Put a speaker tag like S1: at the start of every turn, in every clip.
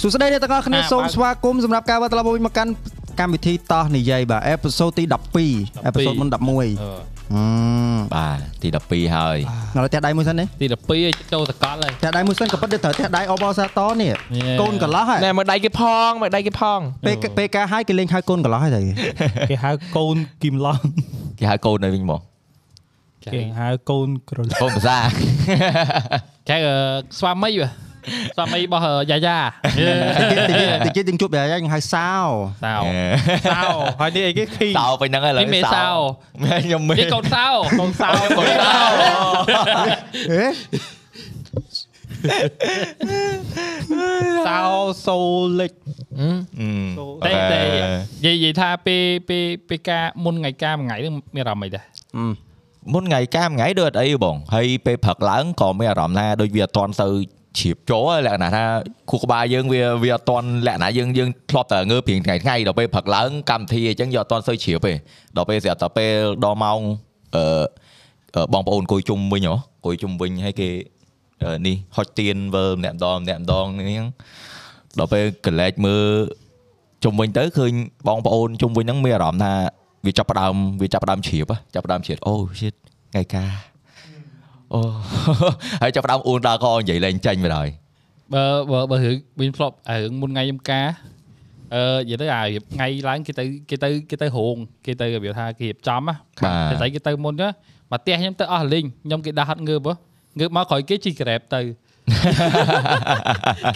S1: សួស្តីអ្នកទាំងអស់គ្នា
S2: បាទ
S1: សូមស្វាគមន៍សម្រាប់ការវិលត្រឡប់មកវិញមកកាន់កម្មវិធីតោះនិយាយបាទអេផ isode ទី12អេផ isode មុន11ហឹមឥ
S2: អឺ
S3: បាទទី12ហើយ
S1: ឡូវតែដៃមួយសិននេះ
S2: ទី12ឲ្យចូលសកលហើយ
S1: តែដៃមួយសិនក៏ប៉ិតត្រូវតែដៃអបអសាតនេះកូនកន្លោះហ៎
S4: ណែមើលដៃគេផងមើលដៃគេផង
S1: ពេលពេលការហាយគេលេងហៅកូនកន្លោះហើយតែ
S5: គេហៅកូនគីមឡង
S3: គេហៅកូននៅវិញមក
S5: គេហៅកូនក្រឡ
S3: កូនភាសា
S2: ចែកអឺស្វាមីវ៉ាស្វាមីរបស់អឺយ៉ាយ៉ា
S1: តិចតិចយើងជួបតែយើងហៅសាវ
S2: សោ
S5: សៅហើយនេះអីគេឃី
S3: សោទៅហ្នឹងហើយឥឡូវ
S2: នេះមេសោ
S3: ខ្ញុំមេ
S2: នេះកូនសោកូនសោ
S3: កូនសោ
S1: ហេ
S5: សៅសូលិច
S3: Ừ.
S2: តែតែនិយាយនិយាយថាពេលពេលពេលការមុនថ្ងៃការមួយថ្ងៃហ្នឹងមានអារម្មណ៍អីដែរ
S3: មុនថ្ងៃកាមថ្ងៃដូចអត់អីបងហើយពេលព្រឹកឡើងក៏មានអារម្មណ៍ថាដូចវាអត់តន់ទៅជ្រាបចូលហើយលក្ខណៈថាខួរក្បាលយើងវាវាអត់តន់លក្ខណៈយើងយើងធ្លាប់តែងើបព្រៀងថ្ងៃថ្ងៃដល់ពេលព្រឹកឡើងកម្មវិធីអញ្ចឹងយកអត់តន់ទៅជ្រាបទេដល់ពេលស្រាប់តែពេលដល់ម៉ោងអឺអឺបងប្អូនអង្គុយជុំវិញហ៎អង្គុយជុំវិញហើយគេអឺនេះហុចទៀនវើម្នាក់ម្ដងម្នាក់ម្ដងនេះហ្នឹងដល់ពេលកលែកមើល ជុំវិញទៅឃើញបងប្អូនជុំវិញហ្នឹងមានអារម្មណ៍ថាវាចាប់ផ្ដើមវាចាប់ផ្ដើមជ្រាបហ៎ចាប់ផ្ដើមជ្រាបអូ shit ថ្ងៃការអូ ហើយចាប់ផ្ដើមអូនដល់កនិយាយលេងចាញ់បាត់ហើយ
S2: បើបើបើរឿងវិញធ្លាប់រឿងមុនថ្ងៃខ្ញុំការអឺនិយាយទៅអារៀបថ្ងៃឡើងគេទៅគេទៅគេទៅរោងគេទៅរបៀបថាគេរៀបចំណា
S3: បាទ
S2: តែតែគេទៅមុនណាមកផ្ទះខ្ញុំទៅអស់លីងខ្ញុំគេដាក់ហត់ងើបហ៎ងើបមកក្រោយគេជីក្រែបទៅ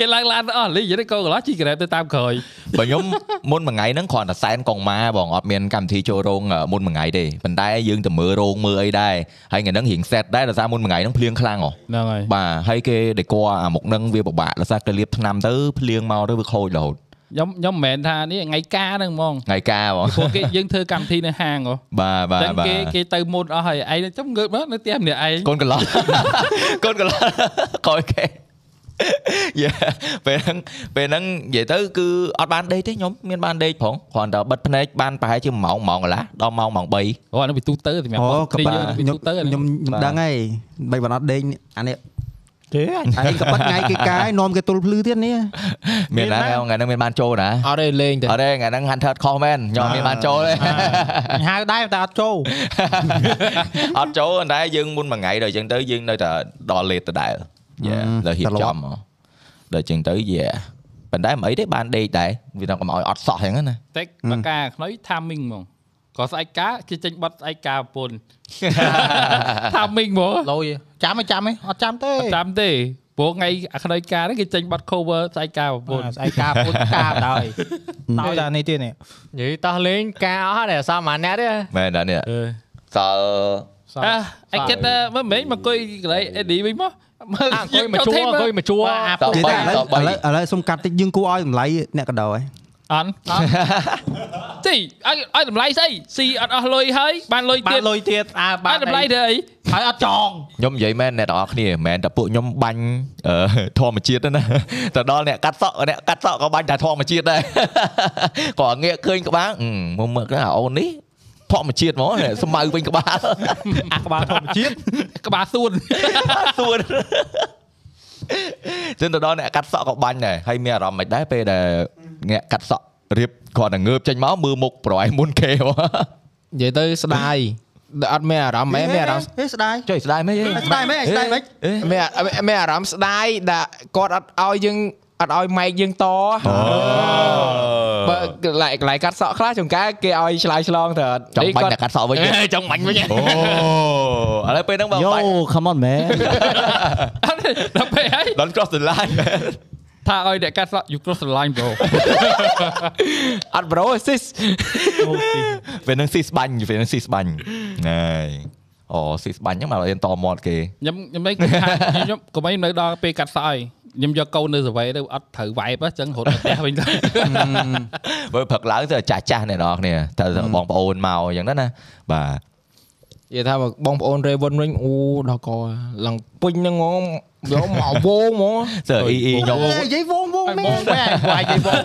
S2: គេឡើងឡានទៅអស់លីងយីកូនកន្លោះជីក្រែបទៅតាមក្រោយ
S3: បើ ខ្ញុំមុនមួយថ្ងៃហ្នឹងគ្រាន់តែសែនកងម៉ាបងអត់មានកម្មវិធីចូលរោងអ่ะមុនមួយថ្ងៃទេប៉ុន្តែយើងទៅមើលរោងមើលអីដែរហើយថ្ងៃហ្នឹងរៀង set ដែរដោយសារមុនមួយថ្ងៃហ្នឹងភ្លៀងខ្លាំងហ៎
S2: ហ្នឹងហើយ
S3: បាទហើយគេដេកអាមុខហ្នឹងវាពិបាកដោយសារគេលាបឆ្នាំទៅភ្លៀងមកទៅវាខូចរហូត
S2: ខ្ញុំខ្ញុំមិនមែនថានេះថ្ងៃការហ្នឹងហ្មង
S3: ថ្ងៃការ បង
S2: ព្រោះគេយើងធ្វើកម្មវិធីនៅហាងហ៎
S3: បាទបាទ
S2: តែ
S3: បាទ
S2: គេគេទៅមុនអស់ហើយឯងចាំងើបមកនៅផ្ទះម្នាក់ឯង
S3: កូនកន្លោះ កូនកន្លោះខូចគេយ៉ាពេលហ្នឹងពេលហ្នឹងនិយាយទៅគឺអត់បានដេកទេខ្ញុំមានបានដេកផងគ្រាន់តែបិទភ្នែកបានប្រហែលជា1ម៉ោង1ម៉ោងកន្លះដល់ម៉ោងម៉ោង3
S2: អូអានោះវាទូទៅសម្រាប់
S1: អូ
S2: បង
S1: ក
S2: គ្រីយើ
S1: បា
S2: ងវា
S1: ខ្ញុំ
S2: ទូទៅ
S1: ខ្ញុំ
S2: ខ្ញុំ
S1: ដឹងហើយបីបណ្ដដេញអានេះ
S5: ទេ
S1: អានេះក៏ប៉ិតថ្ងៃគេកាយនាំគេទុលភ្លឺទៀតនេះ
S3: មានណាថ្ងៃហ្នឹងមានបានចូលណា
S4: អត់ទេលេង
S2: Dạ.
S3: អ
S4: តែ
S3: ត់ទេថ្ងៃហ្នឹង Hunter ខុសមែនខ្ញុំអត់មានបានចូលទេ
S5: ហៅដែរតែអត់ចូល
S3: អត់ចូលប៉ុន្តែយើងមុនមួយថ្ងៃដល់អញ្ចឹងទៅយើងនៅតែដល់លេតដដែលយ៉ាលើរៀបចំមកដល់អញ្ចឹងទៅយ៉ាប៉ុន្តែមិនអីទេបានដេកដែរវាថាកុំឲ្យអត់សោះអញ្ចឹងណា
S2: តែបកាខ្នុយ timing ហ្មងក៏ស្អែកការគេចេញបတ်ស្អែកការប្រពន្ធ timing ហ្មង
S4: លយចាំឯងចាំឯងអត់ចាំទេ
S2: អត់ចាំទេព្រោះថ្ងៃអាខ្នើយការហ្នឹងគេចេញបាត់ cover ស្អែកការប្រពន្ធ
S5: ស្អីការពុតការដែរនៅតែនេះទៀតនេះ
S6: និយាយតោះលេងការអស់ហើយអត់សមអាអ្នកទេ
S3: មែនដល់នេះសល់
S2: អើអញគិតថាមិនមែនមកអង្គុយកន្លែង AD វិញមកមើល
S6: អអង្គុយមកជួអង្គុយមកជួអា
S3: សល់
S1: និយាយតែ
S3: 3ស
S1: ឥឡូវ
S3: ល់
S1: ឥឡូវឥឡូវសុំកាត់តិចយើងគួរឲ្យតម្លៃអ្នកកដោហើយ
S2: អត់ទីឲ្យឲ្យតម្លៃស្អីស៊ីអត់អស់លុយហើយបានលុយ
S5: បា
S2: ទៀត
S5: នលុយទៀតអើបា
S2: បាន នតម្លៃទៅអី
S5: ហើយអត់ចង
S3: 3ខ្ញុំនិយាយមែនអ្នកទាំងអស់គ្នាមិនមែនតែពួកខ្ញុំបាញ់អឺធម្មជាតិទេណា ទៅដល់អ្នកកាត់សក់អ្នកកាត់សក់ក៏បាញ់តែធម្មជាតិដែរ ក៏ងាកឃើញក្បាលអឺមកមើលទៅអាអូននេះធម្មជាតិហ្មងស្មៅវិញក្បាល
S5: អាក្បាលធម្មជាតិ
S2: ក្បាលសួន
S3: សួន ចឹងទៅដល់អ្នកកាត់សក់ក៏បាញ់ដែរហើយមានអារម្មណ៍មិនដែរពេលដែលអ្នកកាត់សក់រៀបគាត់តែងើបចេញមកមើលមុខប្រហែលមុនគេ ហ្មង
S4: និយាយទៅស្ដាយដែលអត់មានអារម្មណ៍មែនមានអារម្មណ៍
S1: ហេស្ដាយ
S3: ចុយស្ដាយមែន
S1: ស្ដាយមែនស្ដាយមែន
S4: មានអាមានអារម្មណ៍ស្ដាយដែលគាត់អត់ឲ្យយើងអត់ឲ្យម៉ែកយើងតបើកន្លែងកន្លែងកាត់សក់ខ្លះចង្ការគេឲ្យឆ្លើយឆ្លងទៅអត់
S3: ចង់
S4: នេះ
S3: បាញ់
S4: គាត់
S3: អ្នកកាត់ស ក់វិញទៀត
S2: ចង់បាញ់វិញ
S3: អូឥឡូវពេលហ្នឹងបងបាញ់
S1: come on man
S2: អត់ទេដល់ពេលហើយ
S3: Don't cross the line
S2: ថាឲ្យអ្នកកាត់សក់ you cross the line bro
S4: អត់ bro sis
S3: ពេលហ្នឹងស៊ីស្បាញ់ពេលហ្នឹងស៊ីស្បាញ់ណែអូស៊ីស្បាញ់ហ្នឹងមករៀនតមាត់គេ
S2: ខ្ញុំខ្ញុំមិនគិតថាខ្ញុំកុំឲ្យនៅដល់ពេលកាត់សក់ហើយខ្ញុំយកកូននៅសវេទៅអត់ត្រូវ vibe អញ្ចឹងរត់ទៅផ្ទះវិញទៅ
S3: បើព្រឹកឡើងទៅចាស់ចាស់អ្នកនរគ្នាទៅបងប្អូនមកអញ្ចឹងណាបាទ
S4: និយាយថាបងប្អូន Raven វិញអូដល់កឡើងពេញហ្នឹងហ្មងយកមកវង ហ្មង
S3: សើអ៊ីអ៊ីខ្ញុំ
S1: និយាយវងវងមែន
S4: វងវាយគេវង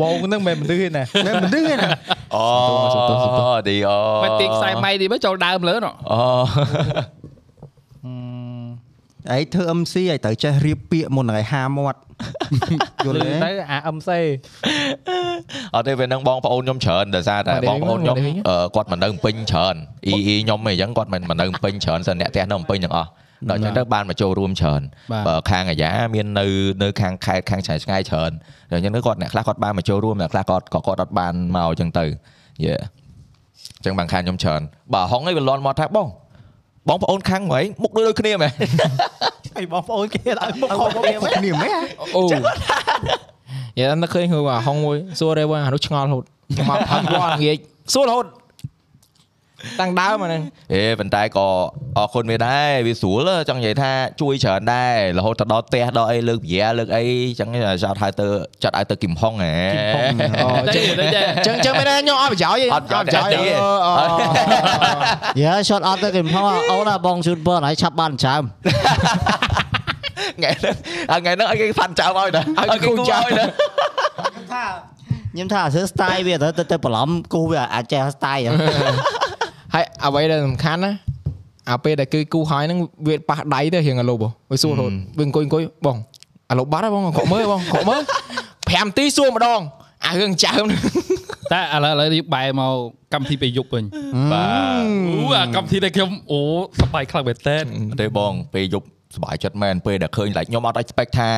S5: វងហ្នឹងមិនមែនមនុស្សទេណា
S1: មែនមនុស្សឯណា
S3: អូទីអូ
S2: មកទីខ្សែម៉ៃនេះមកចូលដើមលើនោះ
S3: អូ
S1: ឯងធ្វើ MC ឲ្យត្រូវចេះរៀបពាក្យមុននឹងឲ្យហាមា ត់ យល់ទេ
S7: ទៅអា MC
S3: អត់ទេវានឹងបងប្អូនខ្ញុំច្រើនដោយសារតែ
S4: មកដេញ
S3: បងប្អូនខ្ញុំ
S4: មកដេញ
S3: អឺគាត់មិននៅភ្នំពេញច្រើនអ៊ីអ៊ីខ្ញុំឯងអញ្ចឹងគាត់មិនមិននៅភ្នំពេញច្រើនសិនអ្នកផ្ទះនៅភ្នំពេញទាំងអស់ដល់អញ្ចឹងទៅបានមកចូលរួមច្រើន
S2: បាទ
S3: បើខាងអាយ៉ាមាននៅនៅខាងខេត្តខាងឆ្ងាយឆ្ងាយច្រើនដល់អញ្ចឹងទៅគាត់អ្នកខ្លះគាត់បានមកចូលរួមអ្នកខ្លះគាត់ក៏គាត់អត់បានមកអញ្ចឹងទៅយេអញ្ចឹងបានខាងខ្ញុំច្រើនបើហុងឯងវាលន់មកថាបងបងប្អូនខាងហ្មងមុខដូចៗគ្នាមែន
S5: អីបងប្អូនគេឲ្យមកខំគ្នា
S1: ពួកគ្នាមែន
S4: អូយ៉ាតែឃើញហូបអាហុងមួយសួររេវអានោះឆ្ងល់ហូតមកផឹកវល់ងាយសួររហូតតាំងដើមអា ហ្នឹង
S3: អេប៉ុន្តែក៏អរគុណវាដែរវាស្រួលចង់និយាយថាជួយច្រើនដែររហូតទៅដល់ផ្ទះដល់អីលើកវាលើកអីចឹងចោតហៅទៅចាត់ឲ្យទៅគឹមហុងហ៎
S4: អូអ
S2: តែនិយាយ
S4: ញ្ចឹងអញ្ចឹងមែនទេខ្ញុំអត់ប្រយោជន៍ទេ
S3: អត់ប្រយោជន៍ទេ
S8: យ៉ា shot out ទៅគេផងអូនអាបងជូនពរឲ្យឆាប់បានចាំ
S3: ថ្ងៃហ្នឹងហើយថ្ងៃហ្នឹងឲ្យគេផាន់ចោលឲ្យដែរឲ្យគេគូចោលឲ្យដែរ
S8: ខ្ញុំថាអាសើ style វាទៅទៅបន្លំគូវាអាចចេះ style ហ៎
S4: ហើយអ្វីដែលសំខាន់ណាអាពេលដែលគឺគូហើយហ្នឹងវាប៉ះដៃទៅរៀងអាលុបហ៎វាសួររហូតវាអង្គុយអង្គុយបងអាលុបបាត់ហើយបងកក់មើលបងកក់មើល5នាទីសួរម្ដងអារឿងចើមហ្នឹង
S2: តែឥឡូវឥឡូវនេះបែរមកកម្មវិធីពេលយប់វិញបាទអូអាកម្មវិធីតែខ្ញុំអូសប្បាយខ្លាំងមែនតើ
S3: ទេបងពេលយប់សុបាយចិត្តមែនពេលដែលឃើញ like ខ្ញុំអត់ expect ថា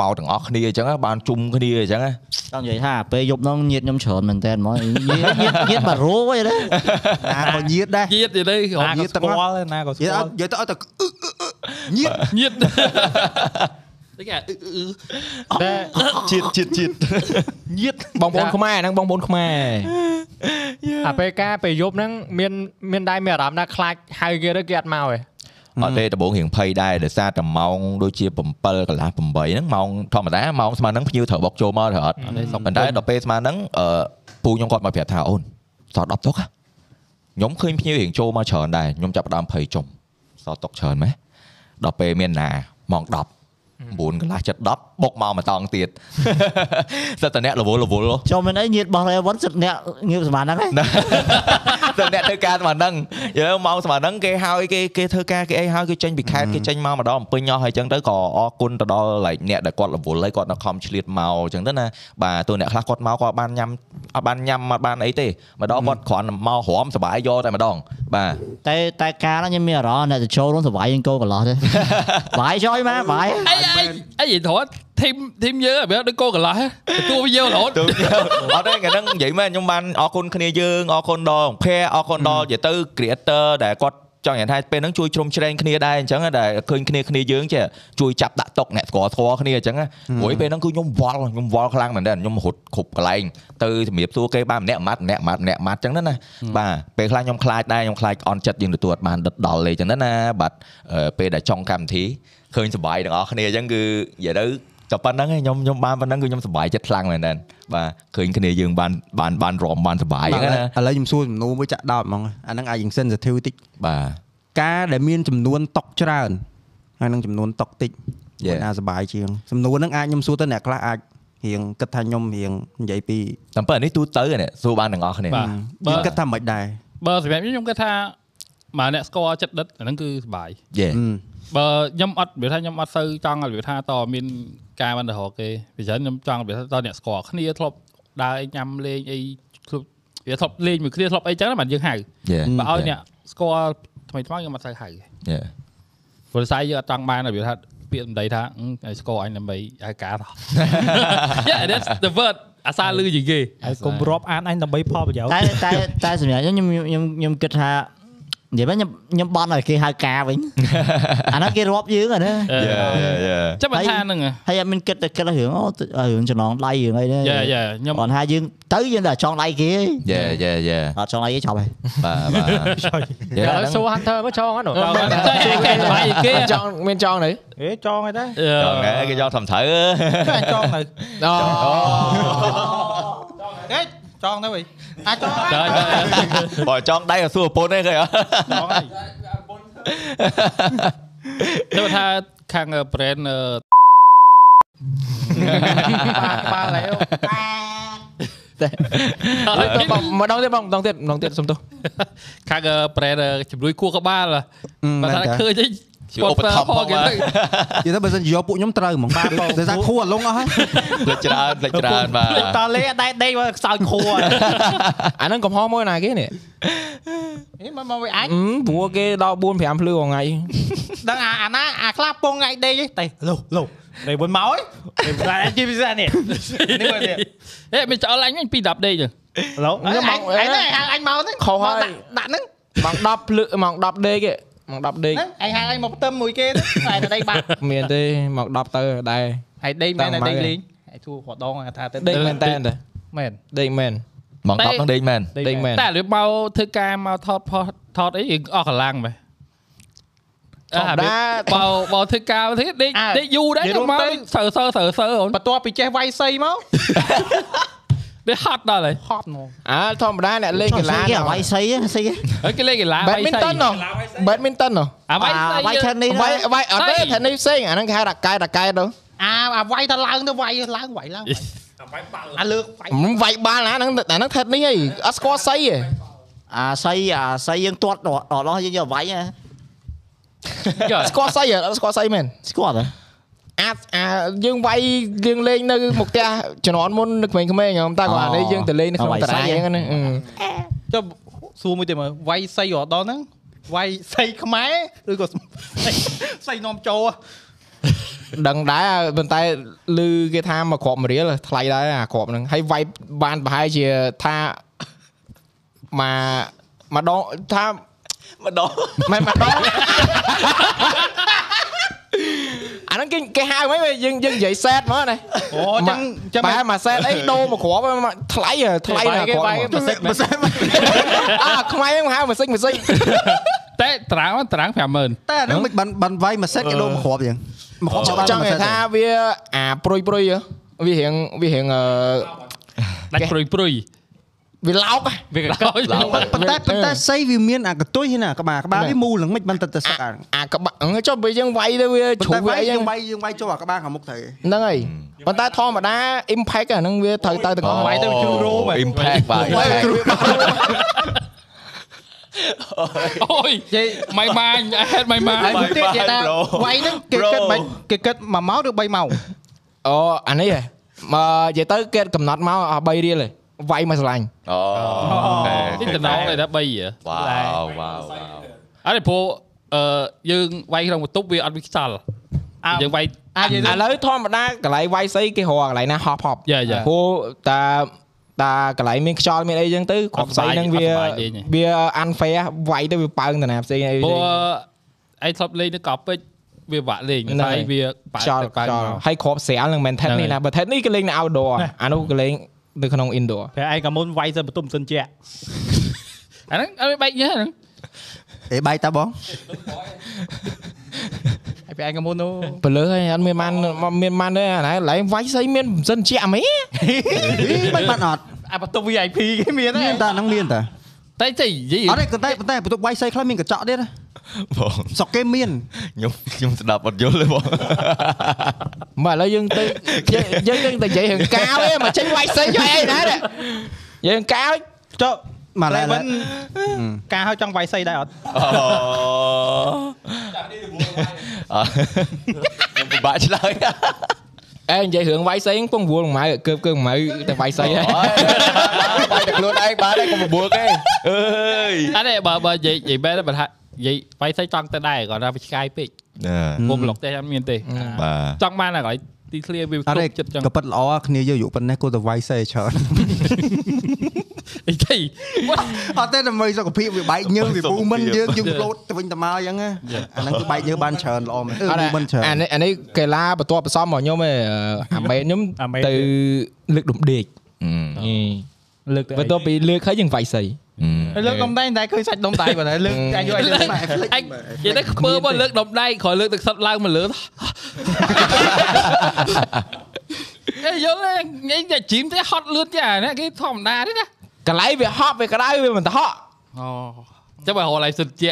S3: មកទាំងអស់គ្នាអញ្ចឹងបានជុំគ្នាអញ្ចឹង
S8: ចង់និយាយថាពេលយប់ហ្នឹងញាតខ្ញុំច្រើនមែនតើហ្មងញាតញាតញាតបារោយទេ
S1: ណាក៏ញៀតដែរ
S2: ជាតិទៀតទេ
S1: អត់
S5: ណា
S1: ញៀ
S5: ក៏
S1: ត
S5: ស្
S1: ទាំងអស់
S5: គាល់ណាក៏ស្
S1: និយាយ
S5: គា
S1: ឲ្យ
S5: ល់
S1: និយាយទៅឲ្យតែអឺអឺអឺញៀត
S2: ជាតិតែគេ
S7: តែ
S3: ជាតិជាតិជាតិ
S4: បងប្អូនខ្មែរហ្នឹងបងប្អូនខ្មែរ
S7: អាពេលការពេលយប់ហ្នឹងមានមានដែរមានអារម្មណ៍ថាខ្លាចហៅគេទៅគេអត់មកទេ
S3: អត់ទេដំបងរៀងភ័យដែរដោយសារតែម៉ោងដូចជា7កន្លះ8ហ្នឹងម៉ោងធម្មតាម៉ោងស្មើហ្នឹងភ្ញៀវត្រូវបុកចូលមកត្រូវអត់ ប៉ុន្តែដល់ពេលស្មានហ្នឹងអឺពូខ្ញុំគាត់មកប្រាប់ថាអូនសល់10ទុកហ៎ខ្ញុំឃើញភ្ញៀវរៀងចូលមកច្រើនដែរខ្ញុំចាប់ផ្ដើមភ័យចំសល់ទុកច្រើនម៉េះដល់ពេលមានណាម៉ោង10 9កន្លះចិត្ត10បុកមកម្ដងទៀត សិតតអ្នករវល់រវល់ហ៎
S8: ចូលមែនអីញាតបោះរ៉េវ៉ុនសិតអ្នកងៀបសម្បានហ្នឹងឯ
S3: សិ
S8: ង
S3: តអ្នកធ្វើការស្មើហ្នឹងយើម៉ោងស្មើហ្នឹងគេហើយគេគេធ្វើការគេអីហើយគេចេញពីខេត្តគេចេញមកម្ដងអំពេញអស់ហើយអញ្ចឹងទៅក៏អរគុណទៅដល់ like អ្នកដែលគាត់រវល់ហើយគាត់នៅខំឆ្លៀតមកអញ្ចឹងទៅណាបាទតួអ្នកខ្លះគាត់មកគាត់បានញ៉ាំអត់បានញ៉ាំអត់បានអីទេម្ដងគាត់គ្រាន់តែមកហ្រាំសប្បាយយកតែម្ដងបាទ
S8: តែតែការហ្នឹងខ្ញុំមានអារម្មណ៍អ្នកទៅចូលរួមសុវ័យយើងគោកន្លោះទេបាយចុយម៉ាបាយ
S2: អីអីអីនិយាយត្រត់ធីមធីមយើងអត់ដូចកោកន្លះទទួលវាយើងរហូត
S3: ទើប អត់ទេកាលហ្នឹងនិយាយមែនខ្ញុំបានអរគុណគ្នាយើងអរគុណដល់អង្គភារអរគុណដល់និយាយទៅ creator ដែលគាត់ចង់និយាយថាពេលហ្នឹងជួយជ្រោមជ្រែងគ្នាដែរអញ្ចឹងណាដែលឃើញគ្នាគ្នាយើងចេះជួយចាប់ដាក់តុកអ្នកស្គាល់ស្គាល់គ្នាអញ្ចឹងណាព្រោះពេលហ្នឹងគឺខ្ញុំវល់ខ្ញុំវល់ខ្លាំងមែនទែនខ្ញុំរត់គ្រប់កន្លែងទៅជំរាបសួរគេបានម្នាក់ម៉ាត់ម្នាក់ម៉ាត់ម្នាក់ម៉ាត់អញ្ចឹងណាណាបាទពេលខ្លះខ្ញុំខ្លាចដែរខ្ញុំខ្លាចអន់ចិត្តយើងទទួលអត់បានដិតដល់ទេអញ្ចឹងណាណាបាទអឺពេលដែលចង់កម្មវិធីឃើញសប្បាយទាំងអស់គ្នាអញ្ចឹងគឺនិយាយទៅ តែប៉ុណ្្នឹងឯងខ្ញុំខ្ញុំបានប៉ុណ្្នឹងគឺខ្ញុំសប្បាយចិត្តខ្លាំងមែនទែនបាទឃើញគ្នាយើងបានបានបានរំបានសប្បាយ
S1: ឥឡូវ
S3: ហ្នឹងណា
S1: ខ្ញុំសួរចំនួនមួយចាក់ដោតហ្មងអាហ្នឹងអាចយើង sensitive តិច
S3: បាទ
S1: ការដែលមានចំនួនតុកច្រើនហើយនឹងចំនួនតុកតិច
S3: Yeah.
S1: ណាសบายជាងសំណួរហ្នឹងអាចខ្ញុំសួរទៅអ្នកខ្លះអាចរៀងគិតថាខ្ញុំរៀងនិយាយពី
S3: តាមពិតអានេះទូទៅឯនេះសួរបានទាំងអស់គ្នា
S2: បាទ
S1: យើ
S2: បើ
S1: ងគិតថាមិនដែរ
S2: បើសម្រាប់ខ្ញុំខ្ញុំគិតថាបើអ្នកស្គាល់ចិត្តដិតអាហ្នឹងគឺសប្បាយ
S3: យេ
S1: ហឹម
S2: បើខ្ញុំអត់វាថាខ្ញុំអត់សូវចង់ឲ្យវាថាតមានការបានទៅរកគេពីច្រើនខ្ញុំចង់វាថាតអ្នកស្គាល់គ្នាធ្លាប់ដើរអីញ៉ាំលេងអីធ្លាប់វាធ្លាប់លេងមួយគ្នាធ្លាប់អីចឹងណាបាទយើងហៅ
S3: យេ
S2: បើឲ្យអ្នកស្គាល់ថ្មីថ្មខ្ញុំអត់សូវហៅ
S3: យេ
S2: ព្រោះសារយើងអត់ចង់បានវាថាពាក្យសម្ដីថាអឺឲ្យស្គាល់អញដើម្បីឲ្យការតោះ Yeah that's the word អាសាលឺជាងគេ
S5: ហើយកុំរាប់អានអញដើម្បីផលប្រយោជន៍
S8: តែតែតែសម្រាប់ខ្ញុំខ្ញុំខ្ញុំខ្ញុំគិតថានិយាយមកខ្ញុំខ្ញុំបន់ឲ្យគេហៅការវិញអាហ្នឹងគេរាប់យើងអាហ្នឹង
S2: អឺ
S3: យេយេ
S2: ចាំមិន
S8: ហើយ
S2: ថាហ្នឹងហ៎
S8: ហើយអត់មានគិតតែគិតរឿងអូរឿងចំណងដៃរឿងអីទេ
S2: Yeah yeah ខ្ញុំ
S8: គាត់ថាយើងទៅយើងតែចង់ដៃគេ
S3: យេយេយេ
S8: អត់ចង់ដៃគេចាប់ហើយ
S3: បាទ បាទយេ
S7: ឥឡូវសួរ Hunter មកចងហ្នឹង
S2: ចង់បានតែគេស្បាយជាងគេ
S4: មានចង់មានចង់នេះ
S5: អេចងអីដែរ
S2: អឺ
S3: ចង់ណាគេយកធ្វ ើត្រូវអើ
S5: តែអាចចងទៅ
S4: អូ
S5: ហេចងទៅវិញអាចចង
S2: តើ
S5: ដែរ
S2: តើ
S3: បើចង់ដៃក៏សួរប្រពន្ធឯងឃើញអត់
S2: ទៅថាខាង brand អឺ
S5: បាទឡើយ
S4: ទៅបងម្ដងទៀតបងម្ដងទៀតម្ដងទៀតសុំទោស
S2: ខាង brand អឺជំនួយគួរក្បាលហ៎បើថាឃើញអី
S3: ជាឧបត្ថម្ភផង
S1: និយ
S3: បាទ
S1: ាយទៅបើសិនជាយកពួកខ្ញុំត្រូវហ្ម ងតែថាខួរអលងអស់ហើយ
S3: លេចច្រើនលេចច្រើនបាទ
S8: តលេអត់ដែកដេកមកខ្សោយខួរ
S4: អាហ្នឹងកំហុសមួយណាគេនេះ
S5: នេះមកមកវាអាច
S4: អឺព្រោះគេដល់4 5ភ្លឺមួយថ្ងៃ
S5: ដឹងអាអាណាអាខ្លះពងថ្ងៃដេកទេលុះលុះដេកមិនមកអីតែជីពិសេសនេះនេះម កនេះ
S2: ហេមិនចោលអញវិញពី10ដេកទៅ
S5: ឡូវអញមកអញអញមកហ្នឹង
S4: ខុសហើយ
S5: ដាក់ហ្នឹង
S4: ម៉ោង10ភ្លឺម៉ោង10ដេកឯងម៉ោង10ដេក
S5: ហ្នឹងអញហៅអញមកផ្ទឹមមួយគេតែដេកបាត់
S4: មានទេម៉ោង10ទៅដែរ
S5: ហើយដេកមែនតែដេកលេងហើយធូរគាត់ដងថាទៅ
S4: ដេកមែនតែន
S5: មែន
S4: ទេដេកមែន
S3: ម៉ោង10ហ្នឹងដេកមែន
S4: ដេកមែន
S2: តែរៀបមកធ្វើការមកថតផុសថតអីយើងអស់កម្លាំងបែ
S4: ធម្មតា
S2: បោបោធ្វើការទៅដេកដេកយូរដែរទៅមកសើសើសើសើអូន
S5: បន្ទាប់ពីចេះវាយសីមក
S2: វាហត់ដល់ហើយ
S5: ហត់ហ្មង
S4: អើធម្មតាអ្នកលេងកីឡា
S8: គេអវ័យសីសី
S2: ហើយគេលេងកីឡា
S4: បែតមីនតុនហ៎បែតមីនតុនហ៎
S2: អាវ៉ៃ
S8: អវ័យ
S2: សី
S8: ឆិននេះ
S4: វាយវាយអត់ទេ
S2: អី
S4: ថានេះផ្សេងអាហ្នឹងគេហៅរ៉ាកែតរ៉ាកែតទៅ
S5: អាអាវាយទៅឡើងទៅវាយឡើងវាយឡើងអាលើកវាយ
S4: មិនវាយបាល់ណាហ្នឹងអាហ្នឹងថេតនេះអីអត់ស្គាល់សីឯង
S8: អាសីអាសីយើងទាត់ដល់ដល់យើងយកអវ័យ
S4: ស្គាល់សីឯងអត់ស្គាល់សីមែន
S8: ស្គាល់ទេ
S4: អាអាយើងវាយយើងលេងនៅមុខផ្ទះជំនាន់មុននៅក្មេងៗហ្មងតែគាត់អានេះយើងទៅលេងនៅក្នុងតារាងហ្នឹងណាអឺ
S5: ចុះសួរមួយទៀតមើលវាយសីរហូតដល់ហ្នឹងវាយសីខ្មែរឬក៏ សីនាំចូល
S4: ដឹងដែរប៉ុន្តែឮគេថាមកគ្រាប់មរៀលថ្លៃដែរអាគ្រាប់ហ្នឹងហើយវាយបានប្រហែលជាថា មកមកដងថា
S3: ម្ដង
S4: មិនមកដងអាហ្នឹងគេគេហៅហ្មងវាយើងយើងនិយាយសែតមកណា
S5: អូអញ្ចឹងអញ្ចឹង
S4: បែរមកសែតអីដូរមកគ្រាប់ មកថ្លៃហ៎ថ្លៃណាស់គ្រាប់ហ្មង
S5: ម៉ាសិចម៉ាសិច
S4: អាខ្មែរហ្នឹងហៅម៉ាសិចម៉ាសិច
S2: តែត្រាំត្រាំ 50000
S1: តែអាហ្នឹងមិនបានបានវាយមួយសេតគេដូរមកគ្រាប់យ៉ាងមកគ្រាប់បាន
S4: ចង់
S1: មួយសេត
S4: ថាវាអាព្រុយព្រុយហ៎វារៀងវារៀងអឺ
S2: ដាច់ព្រុយព្រុយ
S4: វាឡោកហ៎
S2: វាកោច
S3: ឡើងទៅ
S1: ប៉ុន្តែប៉ុន្តែសីវាមានអាកន្ទុយហ្នឹងណាក្បាលក្បាលវាមូលហ្នឹងមិនបានទៅទៅសឹកអា
S4: អាក្បាក់ហ្នឹងចុះបើយើងវាយទៅវា
S1: ប៉ុន្តែ
S4: ជ្រុះវា
S1: វាយ
S4: អី
S1: យើ
S4: ហ្នឹង
S1: ងវាយយើងវាយចូលអាក្បាលខាងមុខទៅ
S4: ហ្នឹងហើយប៉ុន្តែធម្មតា impact អាហ្នឹងវាត្រូវទៅទាំងអស់
S5: វាយទៅជ្រុះរោមហ៎
S3: អ៊ីមផាកបាទ
S4: វាយគ្រោះ
S2: អូយ
S5: និយាយ
S2: ម៉ៃម៉ាញអេតម៉ៃម៉ាញ
S5: ហើយមួយទៀតនិយាយថាវាយហ្នឹងគេគិតមិនគេគិត1ម៉ោងឬ3ម៉ោង
S4: អូអានេះហ៎មកនិយាយទៅគេកំណត់មកអស់3រៀលហ៎វាយមកស្រឡាញ់
S3: អូ
S2: នេះតំណងតែ3ហ៎
S3: វ៉ាវវ៉ាវវ៉ាវ
S2: អត់ទេព្រោះអឺយើងវាយក្នុងបន្ទប់វាអត់មានខ្សលយើងវាយ
S4: ឥឡូវធម្មតាកន្លែងវាយស្អីគេរកកន្លែងណាហោះផប់
S2: យ៉ាយ៉ា
S4: ព្រោះតាតាកន្លែងមានខ្យល់មានអីចឹងទៅគ្រាប់ស្អីហ្នឹងវា
S2: អត់សប្បាយលេងទេ
S4: វា unfair វាយទៅវាប៉ើងតាណាផ្សេងអី
S2: ព្រោះ
S4: ផ្សេង
S2: ឯងធ្លាប់លេងនៅកោះពេជ្រវាវាក់លេង
S4: ហ្នឹង
S2: តែ
S4: ហើយ
S2: វា
S4: ខ្យល់
S2: បាក់ទៅបា
S4: ខ្យ
S2: ក់
S4: ល់
S2: មក
S4: ហើយគ្រាប់ស្រាលនឹងមែនថេត
S2: ហ្នឹង
S4: នេះ
S2: ហើយ
S4: ណាបើថេតនេះគេលេងនៅ outdoor អានោះគេលេងនៅក្នុង indoor
S5: ប្រហែលឯងកាមុនវាយសិនបន្ទុំសិនជា
S2: អាហ្នឹងអត់មានបែកញើសហ្នឹង
S1: អេបាយតាបង
S5: ហើយប្រហែលឯងកាមុននោះ
S4: បើលើហើយអត់មានបានមានបានទេអាណាកន្លែងវាយស្អីមានមិនសិនជាអមេ
S1: មិនបានអត់
S5: អាបន្ទុំ VIP គេមានហ៎
S1: មានតែហ្នឹងមានតែ
S2: តែតែនិយាយ
S1: អត់ទេប៉ុន្តែប៉ុន្តែបន្ទប់វាយសីខ្លះមានកញ្ចក់ទៀតណា
S3: បង
S1: ស្រុកគេមាន
S3: ខ្ញុំខ្ញុំស្ដាប់អត់យល់ទេបង
S4: មកឥឡូវយើងទៅយើងយើងយើងទៅនិយាយរឿងកាវ ឯងមកចេញវាយស្អីយកអីណា ទេយើងកាវ
S5: ចុះ
S1: មកឡើយឡើយ
S5: Eleven ការហៅចង់វាយសីដែរអត់
S3: អូអ่ะខ្ញុំពិបាកឆ្លើយ
S4: អេនិយាយរឿងវាយ ស្អីពងវល់ម៉ៅកើបកើម៉ៅតែវាយស្អីហើយ
S3: អូយបាយតែខ្លួនឯងបានហើយកុំបបួលគេអើយ
S2: អត់ទេបើបើនិយាយនិយាយបែបបើថានិយាយវាយស្អីចង់ទៅដែរគាត់ថាវាឆ្ងាយពេក
S3: ណា
S2: គុំឡុកទេអត់មានទេ
S3: បាទ
S2: ចង់បានអាកន្លែងទីធ្លាវា
S1: អត់
S2: គ្រប់
S1: ទេ
S2: ចិត្តចឹង
S1: ក៏ប៉ិតល្អគ្នាយកយុប៉ុណ្ណេះគួរតែវាយសីច្រើន
S2: អីទេ What?
S1: អត់ទេដើម្បីសុខភាពវាបែកញើសវាពូមិន
S3: សុ
S1: យើង
S3: ខភាព
S1: យើងលោតទៅវិញទៅមកអញ្ចឹងណាអាហ្នឹងគឺបែកញើសបានច្រើនល្អមែនអឺ
S4: អត់
S1: ពូមិនច្រើន
S4: អានេះអានេះកីឡាបន្ទាប់បន្សំរបស់ ខ្ញុំឯងអាមេនខ្ញុំទៅលើកដុំដេក
S3: អឺ
S5: លើកទៅ
S4: បន្ទាប់ពីលើកហើយយើងវាយស្អី
S3: អឺ
S5: លើកដុំដៃតែឃើញសាច់ដុំដៃបើតែលើកតែ
S4: អឺ
S5: យកឲ្យលើក
S1: តែ
S2: អញនិយាយតែខ្ពើមកលើកដុំដៃគ្រាន់លើកទឹកសុទ្ធឡើងមកលើ អេយល់ទេញ៉ៃតែជីមទេហត់លឿនចាណាគេធម្មតាទេណា
S4: កន្លែងវាហប់វាក្តៅវាមិនទៅហក់
S2: អូចាំបើរកឡៃសុទ្ធជា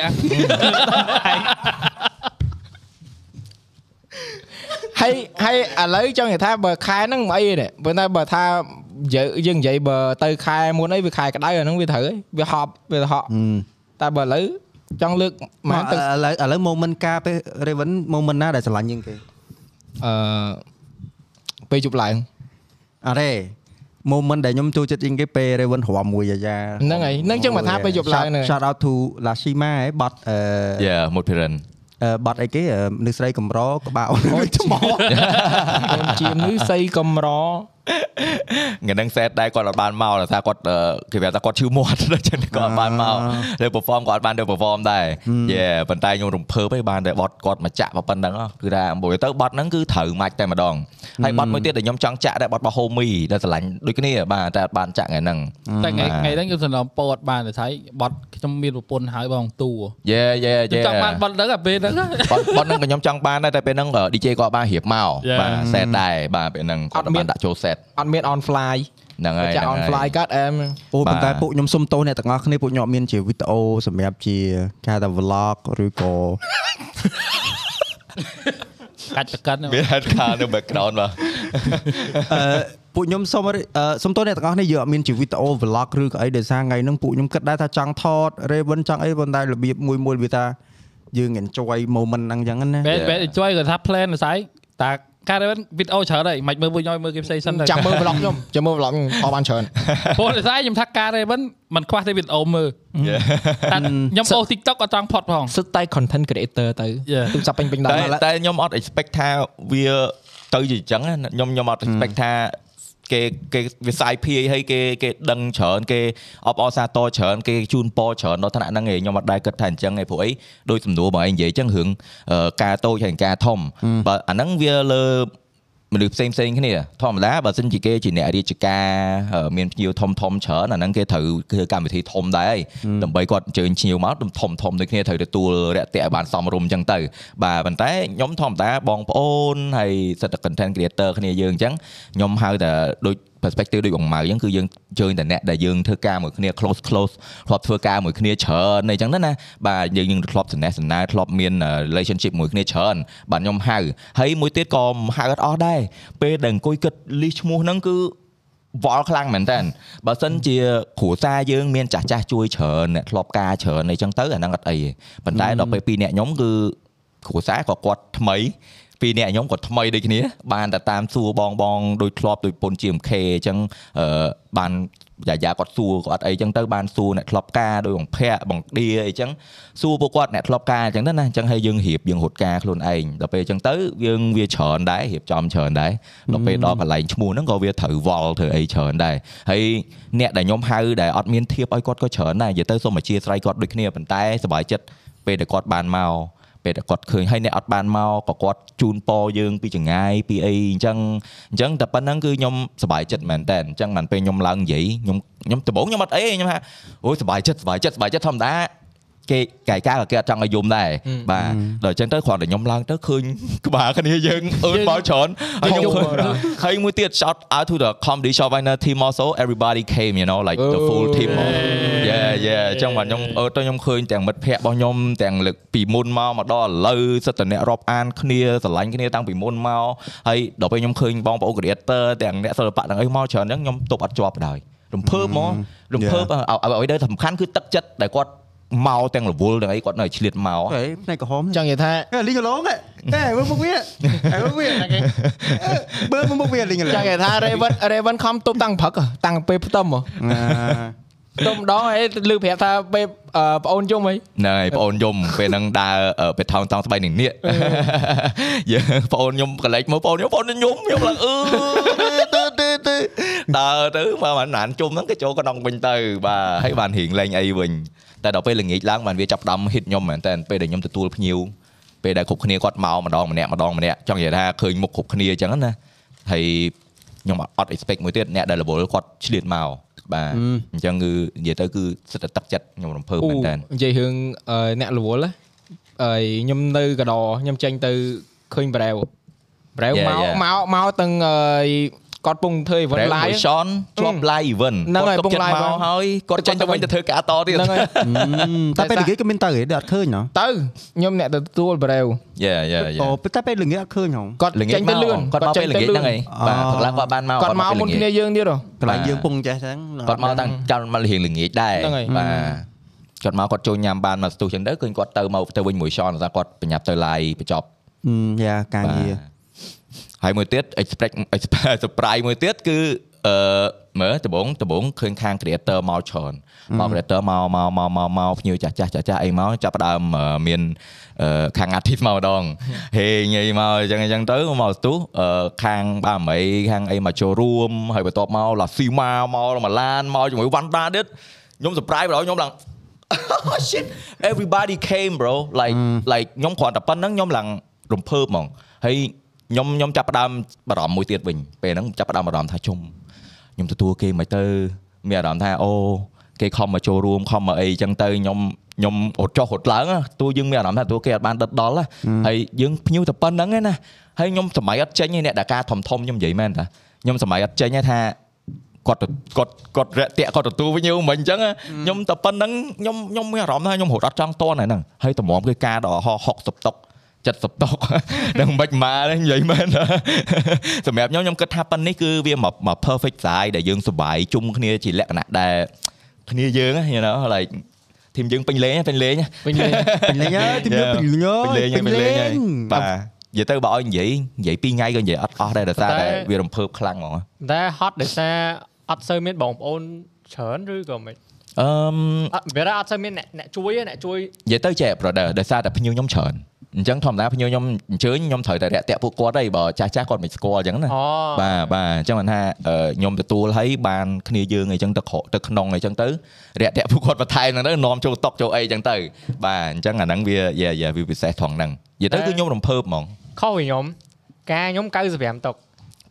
S4: ហើយហើយឥឡូវចង់និយាយថាបើខែហ្នឹងមិនអីទេប៉ុន្តែបើថាយើយើងនិយាយបើទៅខែមុនអីវាខែក្តៅអាហ្នឹងវាត្រូវឯងវាហប់វាទៅហក់
S1: ហឹម
S4: តែបើឥឡូវ ចង់លើកម៉ា
S1: មក
S4: ទៅ
S1: ឥឡូវឥឡូវ moment ការពេល Raven moment ណាដែលស្រឡាញ់ជាងគេ
S4: អឺពេលជប់ឡើង
S1: អរេ moment ដែលខ្ញុំចូលចិត្តជាងគេពេល Raven រំមួយអាយ៉ា
S4: ហ្នឹងហើយហ្នឹងចឹងបើថាពេលយប់ឡើងហ្នឹង
S1: Shout out to Lashima ឯបាត់អឺ
S3: យ៉ាមួយ Dạ, parent
S1: អឺបាត់អីគេអឺមនុស្សស្រីកម្រក្បាលអូន
S4: ថ្មអូនជាមនុស្សសីកំរ
S3: ថ្ងៃហ្នឹង set ដែរគាត់អត់បានមកដោយសារគាត់អឺគេហៅថាគាត់ឈឺ មាត់ដូច្នេះគាត់អត់បានមកលើ perform គាត់អត់បានទៅ perform ដែរយ៉ាប៉ុន្តែខ្ញុំរំភើបឯងបានតែបត់គាត់មកចាក់ប៉ុណ្្នឹងហ៎គឺថាអំបុយទៅបត់ហ្នឹងគឺត្រូវម៉ាច់តែម្ដងហើយបត់មួយទៀតដែលខ្ញុំចង់ចាក់ដែរបត់របស់ Homie ដែលស្រឡាញ់ដូចគ្នាបាទតែអត់បានចាក់ថ្ងៃហ្នឹង
S9: តែថ្ងៃ
S3: បាទ
S9: ថ្ងៃហ្នឹងខ្ញុំសន្លំពោតបានតែថៃបត់ខ្ញុំមានប្រពន្ធហើយបងតួ
S3: យ៉ាយ៉ា
S9: ខ្ញុំ
S3: យ៉ា
S9: ចង់បានបត់ហ្នឹងអាពេ លហ្នឹង
S3: ប៉ុនប៉ុនហ្នឹងក៏ខ្ញុំចង់បានដែរតែពេលហ្នឹងអឺ DJ ក៏បានរៀបមក
S9: យ៉ា
S3: បាទ set ដែរបាទពេលហ្នឹង
S4: អ
S3: គាត់
S4: ត់មា
S3: បា
S4: ន
S3: នដាក់ចូល set
S4: អត់មាន on fly
S3: ហ្នឹងហើយ
S4: ចាក់ on
S3: ហ្នឹងហើ
S4: fly
S3: យ
S4: កើតអែម
S1: អូប៉ុ
S3: បាទ
S1: ន្តែពួកខ្ញុំសុំទោសអ្នកទាំងអស់គ្នាពួកខ្ញុំអត់មានជាវីដេអូសម្រាប់ជាការថា vlog ឬក៏
S9: កាច់ប្រកិនហ្នឹង
S3: មាន head car នៅ background បាទ
S1: អឺពួកខ្ញុំសុំអរអឺសុំទោសអ្នកទាំងអស់គ្នាយើងអត់មានជាវីដេអូ vlog ឬក៏អីដោយសារថ្ងៃហ្នឹងពួកខ្ញុំគិតដែរថាចង់ថត Raven ចង់អីប៉ុន្តែរបៀបមួយមួយវាថាយើង enjoy moment ហ្នឹងអញ្ចឹងណា
S9: បែប
S3: Yeah.
S9: បែបជួយគាត់ថា plan ដូចស្អីតាការវិញវីដេអូច្រើនហើយមិនមើលមួយញយមើលគេផ្សេងសិនទៅ
S4: ចាំមើល vlog ខ្ញុំចាំមើល vlog ខ្ញុំថតបាន ច្រើន
S9: ព្រោះដូចស្អីខ្ញុំថាការវិញมันខ្វះតែវីដេអូមើលតែ
S2: Ừ.
S9: ខ្ញុំអូស TikTok អត់ចង់ផុតផង
S4: សិតតែ content creator ទៅ
S9: Yeah.
S4: ទូរស័ព្ទពេញពេញដែ
S3: តែ
S4: រ
S3: តែខ្ញុំអត់ expect ថាវាទៅជាអញ្ចឹងណាខ្ញុំខ្ញុំអត់ expect ថាគេគេវាសាយភាយហើយគេគេដឹងច្រើនគេអបអរសាទរច្រើនគេជូនពរច្រើនដល់ថ្នាក់ហ្នឹងឯងខ្ញុំអត់ដែរគិតថាអញ្ចឹងឯងព្រោះអីដូចសំណួរបងឯងនិយាយអញ្ចឹងរឿងអឺការតូចហើយនិងការធំបើអាហ្នឹងវាលើមនុស្សផ្សេងផ្សេងៗគ្នាធម្មតាបើសិនជាគេជាអ្នករាជការអឺមានភ្ញៀវធំធំៗច្រើនអាហ្នឹងគេត្រូវធ្វើកម្មវិធីធំដែរហើយដើម្បីគាត់អញ្ជើញភ្ញៀវមកធំធំៗដូចគ្នាត្រូវទទួលរយៈតែឲ្យបានសមរម្យអញ្ចឹងទៅ បាទប៉ុន្តែខ្ញុំធម្មតាបងប្អូនហើយសិតតែ content creator គ្នាយើងអញ្ចឹងខ្ញុំហៅតែដូច perspective ដូចបងម៉ៅអញ្ចឹងគឺយើងជើញតែអ្នកដែលយើងធ្វើការមួយគ្នា close close ធ្លាប់ធ្វើការមួយគ្នាច្រើនអីចឹងទៅណាបាទយើងយើងធ្លាប់សំណេះសំណាលធ្លាប់មាន relationship មួយគ្នាច្រើនបាទខ្ញុំហៅហើយមួយទៀតក៏មិនហៅអត់អស់ដែរពេលដែលអង្គុយគិតលីសឈ្មោះហ្នឹងគឺ វល់ខ្លាំងមែនតើបើសិនជាគ្រួសារយើងមានចាស់ចាស់ជួយច្រើនអ្នកធ្លាប់ការច្រើនអីចឹងទៅអាហ្នឹងអត់អីទេប៉ុន្តែដល់ពេលពីរអ្នកខ្ញុំគឺគ្រួសារក៏គាត់ថ្មីពីរអ្នកខ្ញុំក៏ថ្មីដូចគ្នាបានតែតាមសួរបងបងដូចធ្លាប់ដូចពុន GMK អញ្ចឹងអឺបានយាយាគាត់សួរគាត់អត់អីចឹងទៅបានសួរអ្នកធ្លាប់ការដោយបងភ័ក្របងឌីអីចឹងសួរពួកគាត់អ្នកធ្លាប់ការអញ្ចឹងទៅណាអញ្ចឹងហើយយើងរៀបយើងរត់ការខ្លួនឯងដល់ពេលអញ្ចឹងទៅយើងវាច្រើនដែររៀបចំច្រើនដែរ ដល់ពេលដល់កន្លែងឈ្មោះហ្នឹងក៏វាត្រូវវល់ធ្វើអីច្រើនដែរហើយអ្នកដែលខ្ញុំហៅដែលអត់មានធៀបឲ្យគាត់ក៏ច្រើនដែរនិយាយទៅសូមអធិស្ឋានគាត់ដូចគ្នាប៉ុន្តែសប្បាយចិត្ត ពេលដែលគាត់បានមកពេលដែលគាត់ឃើញហើយអ្នកអត់បានមកក៏គាត់ជូនពរយើងពីចង្ងាយពីអីអញ្ចឹងអញ្ចឹងតែប៉ុណ្្នឹងគឺខ្ញុំសប្បាយចិត្តមែនតើអញ្ចឹងបានពេលខ្ញុំឡើងនិយាយខ្ញុំខ្ញុំដំបូងខ្ញុំអត់អីខ្ញុំថាអូយសប្បាយចិត្តសប្បាយចិត្តសប្បាយចិត្តធម្មតាគេកាយការក៏គេអត់ចង់ឲ្យយំដែរ
S4: ហឹម
S3: បាទដល់អញ្ចឹងទៅគ្រាន់តែខ្ញុំឡើងទៅឃើញ ក្បាលគ្នា យើងអឺនមកច្រើនហើយ ខ្ញុំឃើញ ហើយមួយទៀត shout out to the comedy shop winner team also everybody came you know like the full team yeah yeah អញ្ចឹងបាទខ្ញុំអឺតខ្ញុំឃើញទាំងមិត្តភ័ក្តិរបស់ខ្ញុំទាំងលើកពីមុនមកមកដល់ឥឡូវសិតតអ្នករាប់អានគ្នាស្រឡាញ់គ្នាតាំងពីមុនមកហើយដល់ពេលខ្ញុំឃើញបងប្អូន creator ទាំងអ្នកសិល្បៈទាំងអីមកច្រើនអញ្ចឹងខ្ញុំទប់អត់ជាប់បណ្ដោយរំភើបហ្មងរំភើបឲ្យឲ្យឲ្យដែរសំខាន់គឺទឹកចិត្តដែលគាត់មកទាំងរវល់ទាំងអីគាត់នៅឆ្លៀតមក
S1: ហេផ្នែកក្រហម
S4: ចង់និយាយថា
S1: ហេលីងឡងហេមើលមុខ វាហេមើលវាមើលមុខវា លីងឡ
S4: ចង់
S1: ង
S4: និយាយថា Raven Raven ខំទប់តាំងព្រឹកហ៎តាំងពេលផ្ទឹមហ៎ផ្ទឹមម្ដងហើយលើកប្រាប់ថាពេលអឺប្អូនយំហី
S3: ហ្នឹងហើយបងអូនយំពេលហ្នឹងដើរអឺទៅថោងតង់ស្បៃនឹងនេះ យើងបងអូនខ្ញុំកន្លែងមើលបងអូនខ្ញុំបងអូនខ្ញុំខ្ញុំឡើងអឺទៅទៅទៅដើរទៅបើមិនបានជុំហ្នឹងគេចូលកណ្ដងវិញទៅបាទហើយបានរៀងលេងអីវិញតែដល់ពេលល្ងាចឡើងបានវាចាប់ផ្ដើម hit ខ្ញុំមែនតើពេលដែលខ្ញុំទទួលភ្ញៀវពេលដែលគ្រប់គ្នាគាត់មកម្ដងម្នាក់ម្ដងម្នាក់ចង់និយាយថាឃើញមុខគ្រប់គ្នាអញ្ចឹងណាហើយខ្ញុំអត់ expect មួយទៀតអ្នកដែលរវល់គាត់ឆ្លៀតមកបាទអញ្ចឹងគឺនិយាយទៅគឺសិតតែទឹកចិត្តខ្ញុំរំភើបមែនតើ
S4: និយាយរឿងអឺអ្នករវល់ហ៎ហើយខ្ញុំនៅកដខ្ញុំចេញទៅឃើញប្រែវប្រែវ
S3: Yeah,
S4: មក
S3: yeah.
S4: មកមកទាំងអឺគាត់ពងធ្វើ event
S3: ប្រែ
S4: live ហ
S3: សនជាប់ live event
S4: ហ្នឹងហើយ
S3: គាត់ទុកចិត្តមកហើយគាត់ចេញ
S4: ពង live
S3: ទៅវិញទៅធ្វើការតទៀ
S4: ្នឹង
S3: ត
S4: ហើយ
S1: តែពេលល្ងាចក៏មានទៅហេដល់អត់ឃើញហ៎
S4: ទៅខ្ញុំអ្នកទៅទទួលប្រែវ
S3: Yeah yeah
S1: អូ
S3: yeah
S1: តែពេលល្ងាចអត់ឃើញហ៎
S4: គាត់
S3: ល្ងា
S4: ចេ
S3: ច
S4: ញ
S3: មក
S4: ទៅលឿន
S3: គាត់មក
S4: ចេ
S3: ពេលល្ងាចហ្នឹង
S1: អ่า
S3: ហើយបាទព្រឹកឡើងគាត់បានមក
S4: គាត់មកមុន
S3: ពេល
S4: គ្នា
S3: ល្ងាច
S4: យើងទៀតហ៎
S1: កន្លែងយើងពងចេះចឹង
S3: គាត់មកតាំងចាំមកលៀងល្ងាចដែរ
S4: ហ្នឹងហើយ
S3: បាទ គាត់មកគាត់ចូលញ៉ាំបានមកស្ទុះចឹងទៅឃើញគាត់ទៅមកទៅវិញមួយសនថាគាត់ប្រញាប់ទៅឡាយបញ្ចប់
S1: យ៉ាការ
S3: បា
S1: ងា
S3: ទ
S1: រ
S3: ហើយមួយទៀត expect expect surprise មួយទៀតគឺអឺមើលដំបងដំបងឃើញខាង creator មកច្រើនមក creator មកមកមកមកមកភ្ញៀវចាស់ចាស់ចាស់ចាស់អីមកចាប់ផ្ដើមអឺមានអឺខាង artist មកម្ដង ហេងអីមកអញ្ចឹងអញ្ចឹងទៅមកស្ទុះអឺខាងបាមីខាងអីមកចូលរួមហើយបន្ទាប់មកឡាស៊ីម៉ាមកម៉ាឡានមកជាមួយ Wanda ទៀតខ្ញុំ surprise បងខ្ញុំឡើង oh shit everybody came bro like like ខ្ញុំគ្រាន់តែប៉ុណ្្នឹងខ្ញុំឡើងរំភើបហ្មងហើយខ្ញុំខ្ញុំចាប់ផ្ដើមបារម្ភមួយទៀតវិញពេលហ្នឹងចាប់ផ្ដើមបារម្ភថាជុំខ្ញុំទទួលគេមិនទៅមានអារម្មណ៍ថាអូគេខំមកចូលរួមខំមកអីចឹងទៅខ្ញុំខ្ញុំរត់ចុះរត់ឡើងណាតួយើងមានអារម្មណ៍ថាតួគេអត់បានដិតដល់ណាហើយយើងភ្ញៀវតែប៉ុណ្្នឹងឯណាហើយខ្ញុំសម័យអត់ចេញឯអ្នកដាការធំធំខ្ញុំនិយាយមែនតាខ្ញុំសម័យអត់ចេញឯថាគាត់ទៅគាត់គាត់រាក់ទាក់គាត់ទទួលវិញយើងមិនអញ្ចឹងណាខ្ញុំតែប៉ុណ្្នឹងខ្ញុំខ្ញុំមានអារម្មណ៍ថាខ្ញុំរត់អត់ចង់តន់ហ្នឹងហើយតម្រាំគឺការដល់ហោះ60តុក 70តុក នឹងមិនម៉ាទេនិយាយមែន សម្រាប់ខ្ញុំខ្ញុំគិតថាប៉ុននេះគឺវាមកមក perfect size ដែលយើងសុបាយជុំគ្នាជាលក្ខណៈដែលគ្នាយើងហ្នឹង you know like ធីមយើងពេញលេងពេញលេង
S4: វិញលេង
S1: ពេញលេងអើយទីមើល
S3: Yeah.
S1: ពេញលេងអើយ
S3: ពេញលេងពេញលេងហើយបា
S1: ទ
S3: ទនិយាយទៅបើឲ្យនិយាយនិយាយ2ថ្ងៃក៏និយាយអត់អស់ដែរដោយសារ
S2: តែ
S3: តែវារំភើបខ្លាំងហ្មងអ
S2: តែហត់ដោយសារអត់សូវមានបងប្អូនច្រើនឬក៏មិន
S3: ឺម
S2: អត់វារ៉ាអត់សូវមានអ្នកអ្នកជួយទេអ្នកជួយ
S3: និយាយទៅចែក brother ដោយសារតែភ្ញៀវខ្ញុំច្រើនអញ្ចឹងធម្មតាភ្ញៀវខ្ញុំអញ្ជើញខ្ញុំត្រូវតែរាក់ទាក់ពួកគាត់ហើយបើចាស់ចាស់ៗគាត់មិនស្គាល់អញ្ចឹងណា
S2: អូ
S3: បាទបាទអញ្ចឹងមិនថាអឺខ្ញុំទទួលហើយបានគ្នាយើងអីចឹងទៅក្រទៅក្នុងអីចឹងទៅរាក់ទាក់ពួកគាត់បន្ថែមហ្នឹងទៅនាំចូលតុកចូលអីចឹងទៅបាទអញ្ចឹងអាហ្នឹងវាយាយាវាពិសេសថងហ្នឹងនិយាយទៅគឺខ្ញុំរំភើបហ្មង
S2: ខុសពីខ្ញុំការខ្ញុំ95តុក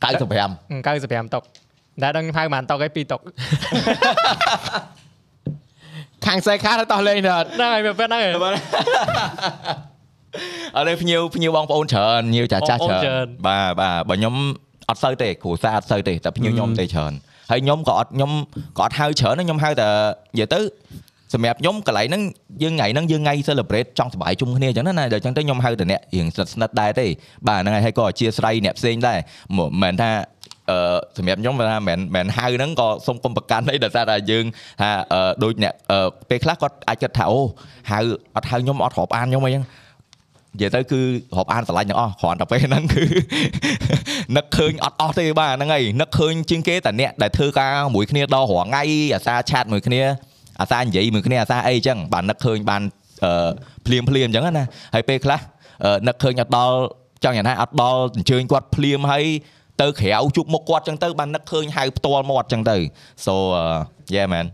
S3: 95
S2: អឺ95តុកតែដល់ខ្ញុំហៅបានតុកឯង2តុក
S4: ខាងខ្សែខាទៅតោះលេងដល់
S2: ហ្នឹងហើយវាពេលហ្នឹងហើយ
S3: ឥឡូវភ្ញៀវភ្ញៀវបងប្អូនច្រើនភ្ញៀវចាស់ចាស់
S2: បងប្អូន
S3: ច្រើ
S2: ច្រើន ន
S3: បាទបាទបើខ្ញុំអត់សូវទេគ្រូសាអត់សូវទេតែភ្ញៀវខ្ញុំទេច្រើនហើយខ្ញុំក៏អត់ខ្ញុំក៏អត់ហៅច្រើនដែរខ្ញុំហៅតែនិយាយទៅសម្រាប់ខ្ញុំកន្លែងហ្នឹងយើងថ្ងៃហ្នឹងយើងថ្ងៃ celebrate ចង់សប្បាយជុំគ្នាអញ្ចឹងណាណាដល់អញ្ចឹងទៅខ្ញុំហៅតែអ្នករៀងស្និទ្ធស្និទ្ធៗដែរទេបាទហ្នឹងហើយហើយក៏អធិស្ឋានអ្នកផ្សេងដែរមិនមែនថាអឺសម្រាប់ខ្ញុំបើថាមិនមែនហៅហ្នឹងក៏សុំកុំប្រកាន់អីដោយសារតែយើងថាអឺដូចអ្នកអឺពេលខ្លះគាត់អាចគិតថាអូហៅអត់ហៅខ្ញុំអត់រាប់អានខ្ញុំអីចឹង និយាយទៅគឺរាប់អានស្រឡាញ់ទាំងអស់គ្រាន់តែពេលហ្នឹងគឺ នឹកឃើញអត់អស់ទេបាទហ្នឹងហើយនឹកឃើញជាងគេតាអ្នកដែលធ្វើការមួយគ្នាដល់រហងៃអាសាឆាតមួយគ្នាអាសានិយាយមួយគ្នាអាសាអីចឹងបាទនឹកឃើញបានអឺភ្លាមភ្លាមចឹងណាហើយពេលខ្លះអឺនឹកឃើញអត់ដល់ចង់យ៉ាងណាអត់ដល់អញ្ជើញគាត់ភ្លាមហើយទៅក្រៅជួបមុខគាត់ចឹងទៅបាននឹកឃើញហៅផ្ទាល់មាត់ចឹងទៅ so uh, yeah man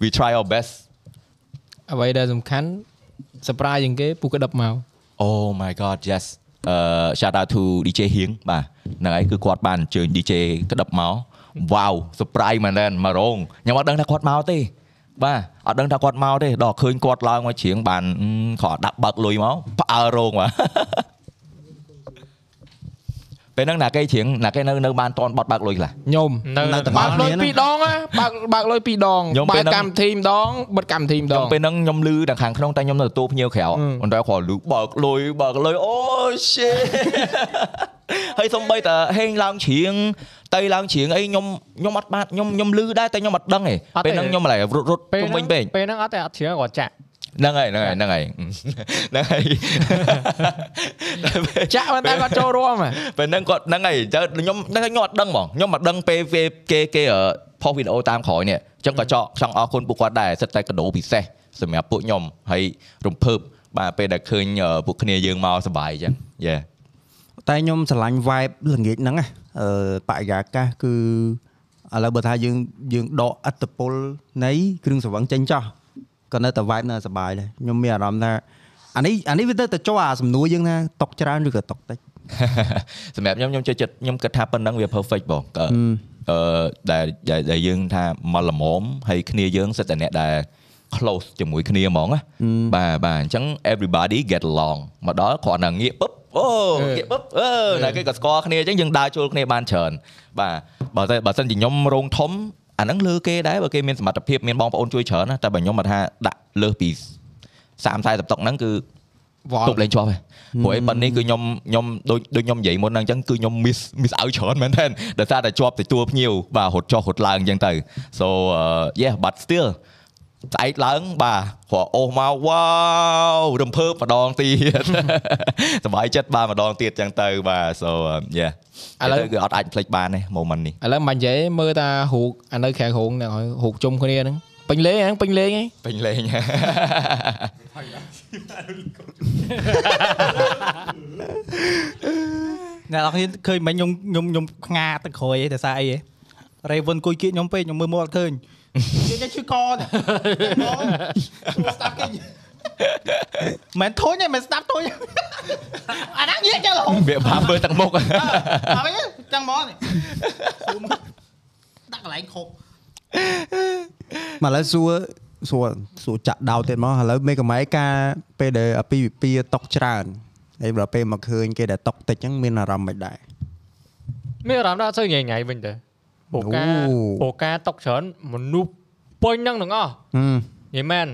S3: we try our best
S4: អ្វីដែលសំខាន់ surprise ជាងគេពូកដិបមក
S3: Oh my god yes អឺ shout out to DJ ហៀងបាទហ្នឹងហើយគឺគាត់បានអញ្ជើញ DJ ក្តឹបមក wow surprise មែនទេមករងខ្ញុំអត់ដឹងថាគាត់មកទេបាទអត់ដឹងថាគាត់មកទេដល់ឃើញគាត់ឡើងមកច្រៀងបានអឺគាត់ដាក់បើកលុយមកផ្អើលរង បាទ ពេលហ្នឹងណាគេច្រៀងណាគេនៅនៅបានតនបត់បើកលុយខ្លះ
S4: ខ្ញុំ
S2: នៅនៅតែ
S4: បើកលុយពីរដងណាបើកបើកលុយពីរដង
S3: ខ្ញុំ
S4: បើ
S3: ពេល
S4: ក
S3: ហ្នឹង
S4: កម្មវិធីម្ដងបិទកម្មវិធីម្ដ
S3: ខ្ញុំ
S4: ង
S3: ពេលហ្នឹងខ្ញុំលឺដល់ខាងក្នុងតែខ្ញុំនៅទទួលភ្ញៀវក្រៅប៉ុន្តែគាត់លឺបើកលុយបើកលុយអូ shit ហើយសំបីតាហេងឡើងជ្រៀងតៃឡើងជ្រៀងអីខ្ញុំខ្ញុំអត់បានខ្ញុំខ្ញុំលឺដែរតែខ្ញុំអត់ដឹងទេ
S2: អត់ទេ
S3: ពេលហ្នឹងខ្ញុំម្ល៉េះរត់រត់
S2: ពេល
S3: ជុំ
S2: ហ្នឹ
S3: វិញ
S2: ង
S3: ពេក
S2: ពេលហ្នឹងអត់តែអត់ជ្រឿគាត់ចាក់
S3: ហ្នឹងហើយហ្នឹងហើយហ្នឹងហើយហ្នឹងហើយ
S4: ចាក់មិនតែគាត់ចូលរួមហ៎
S3: ពេលហ្នឹងគាត់ហ្នឹងហើយទៅខ្ញុំហ្នឹងខ្ញុំអត់ដឹងហ្មងខ្ញុំអត់ដឹងពេលពេលគេគេអឺផុសវីដេអូតាមក្រោយនេះអញ្ចឹងក៏ចកចង់អរគុណពួកគាត់ដែរសិតតែកដោពិសេសសម្រាប់ពួកខ្ញុំហើយរំភើបបាទពេលដែលឃើញអឺពួកគ្នាយើងមកសប្បាយអញ្ចឹងយេ
S1: តែខ្ញុំស្រឡាញ់ vibe ល្ងាចហ្នឹងណាអឺបរិយាកាសគឺឥឡូវបើថាយើងយើងដកអត្តពលនៃគ្រឿងស្រវឹងចេញចោះក៏នៅតែ vibe នៅតែសប្បាយដែរខ្ញុំមានអារម្មណ៍ថាអានេះអានេះវាទៅទៅចូលអាសំណួរយើងថាតុកច្រើនឬក៏តុកតិច
S3: សម្រាប់ខ្ញុំខ្ញុំចូលចិត្តខ្ញុំគិតថាប៉ុណ្ណឹងវា perfect បងក៏ អឺដែលដែលដែលយើងថាមកល្មមហើយគ្នាយើងសិតតែអ្នកដែល close ជាមួយគ្នាហ្មងណាបាទបាទអញ្ចឹង everybody get along មកដល់គ្រាន់តែងាកពឹបអូងាកពឹបអឺតែគេក៏ស្គាល់គ្នាអញ្ចឹងយើងដើរចូលគ្នាបានច្រើនបាទបើតែបើសិនជាខ្ញុំរងធំអាហ្នឹងលើគេដែរបើគេមានសមត្ថភាពមានបងប្អូនជួយច្រើនណាតែបើខ្ញុំមកថាដាក់លើសពី30 40តុកហ្នឹងគឺ
S4: វល់
S3: ទប់លេងជាប់ហើយព្រោះអីប៉ុននេះគឺខ្ញុំខ្ញុំដូចដូចខ្ញុំនិយាយមុនហ្នឹងអញ្ចឹងគឺខ្ញុំ miss miss ឲ្យច្រើនមែនទែនដោយសារតែជាប់ទទួលភ្ញៀវបាទរត់ចុះរត់ឡើងអញ្ចឹងទៅ so uh, yeah but still ស្អែកឡើងបាទព្រោះអូសមកវ៉ាវរំភើបម្ដងទៀត សប្បាយចិត្តបាទម្ដងទៀតចឹងទៅបាទ so yeah
S4: ឥ
S3: ឥ
S4: ឡូ
S3: ឡូ
S4: វ
S3: វគឺអត់អាចភ្លេចបានទេ moment នេះ
S4: ឥឡូវមិននិយាយមើលតារូបអានៅខាងរោងអ្នកឲ្យរូបជុំគ្នាហ្នឹងពេញលេងហ្នឹងពេញលេងហ្នឹង
S3: ពេញលេង
S5: អ្នកនរគ្នាឃើញមិញខ្ញុំខ្ញុំខ្ញុំខ្ងាទឹកក្រួយឯងតែសារអីឯង Raven គួយគៀកខ្ញុំពេកខ្ញុំមើលមកអត់ឃើញនិយាយតែឈឺកនេះបងស្ដាប់គេមិនធុញទេមិនស្ដាប់ធុញអាហ្នឹងនិយាយចឹងរហូត
S3: វាបាមើលទឹកមុខ
S5: អត់វិញចឹងហ្មងនេះស៊ូមដាក់កន្លែងខប់
S1: មកឥឡូវសួរសួរសួរចាក់ដោតទៀតមកឥឡូវមេកម៉ៃការពេលដែលអាពីវិពាតុកច្រើនហើយដល់ពេលមកឃើញគេដែលតុកតិចហ្នឹងមានអារម្មណ៍មិនដែរ
S2: មានអារម្មណ៍ថាធ្វើញ៉ៃញ៉ៃវិញទៅបូកា
S1: អូ
S2: បូកាតុកច្រើនមនុស្សពេញហ្នឹងទាំងអស់
S1: ហឹម
S2: ញ៉ៃមែន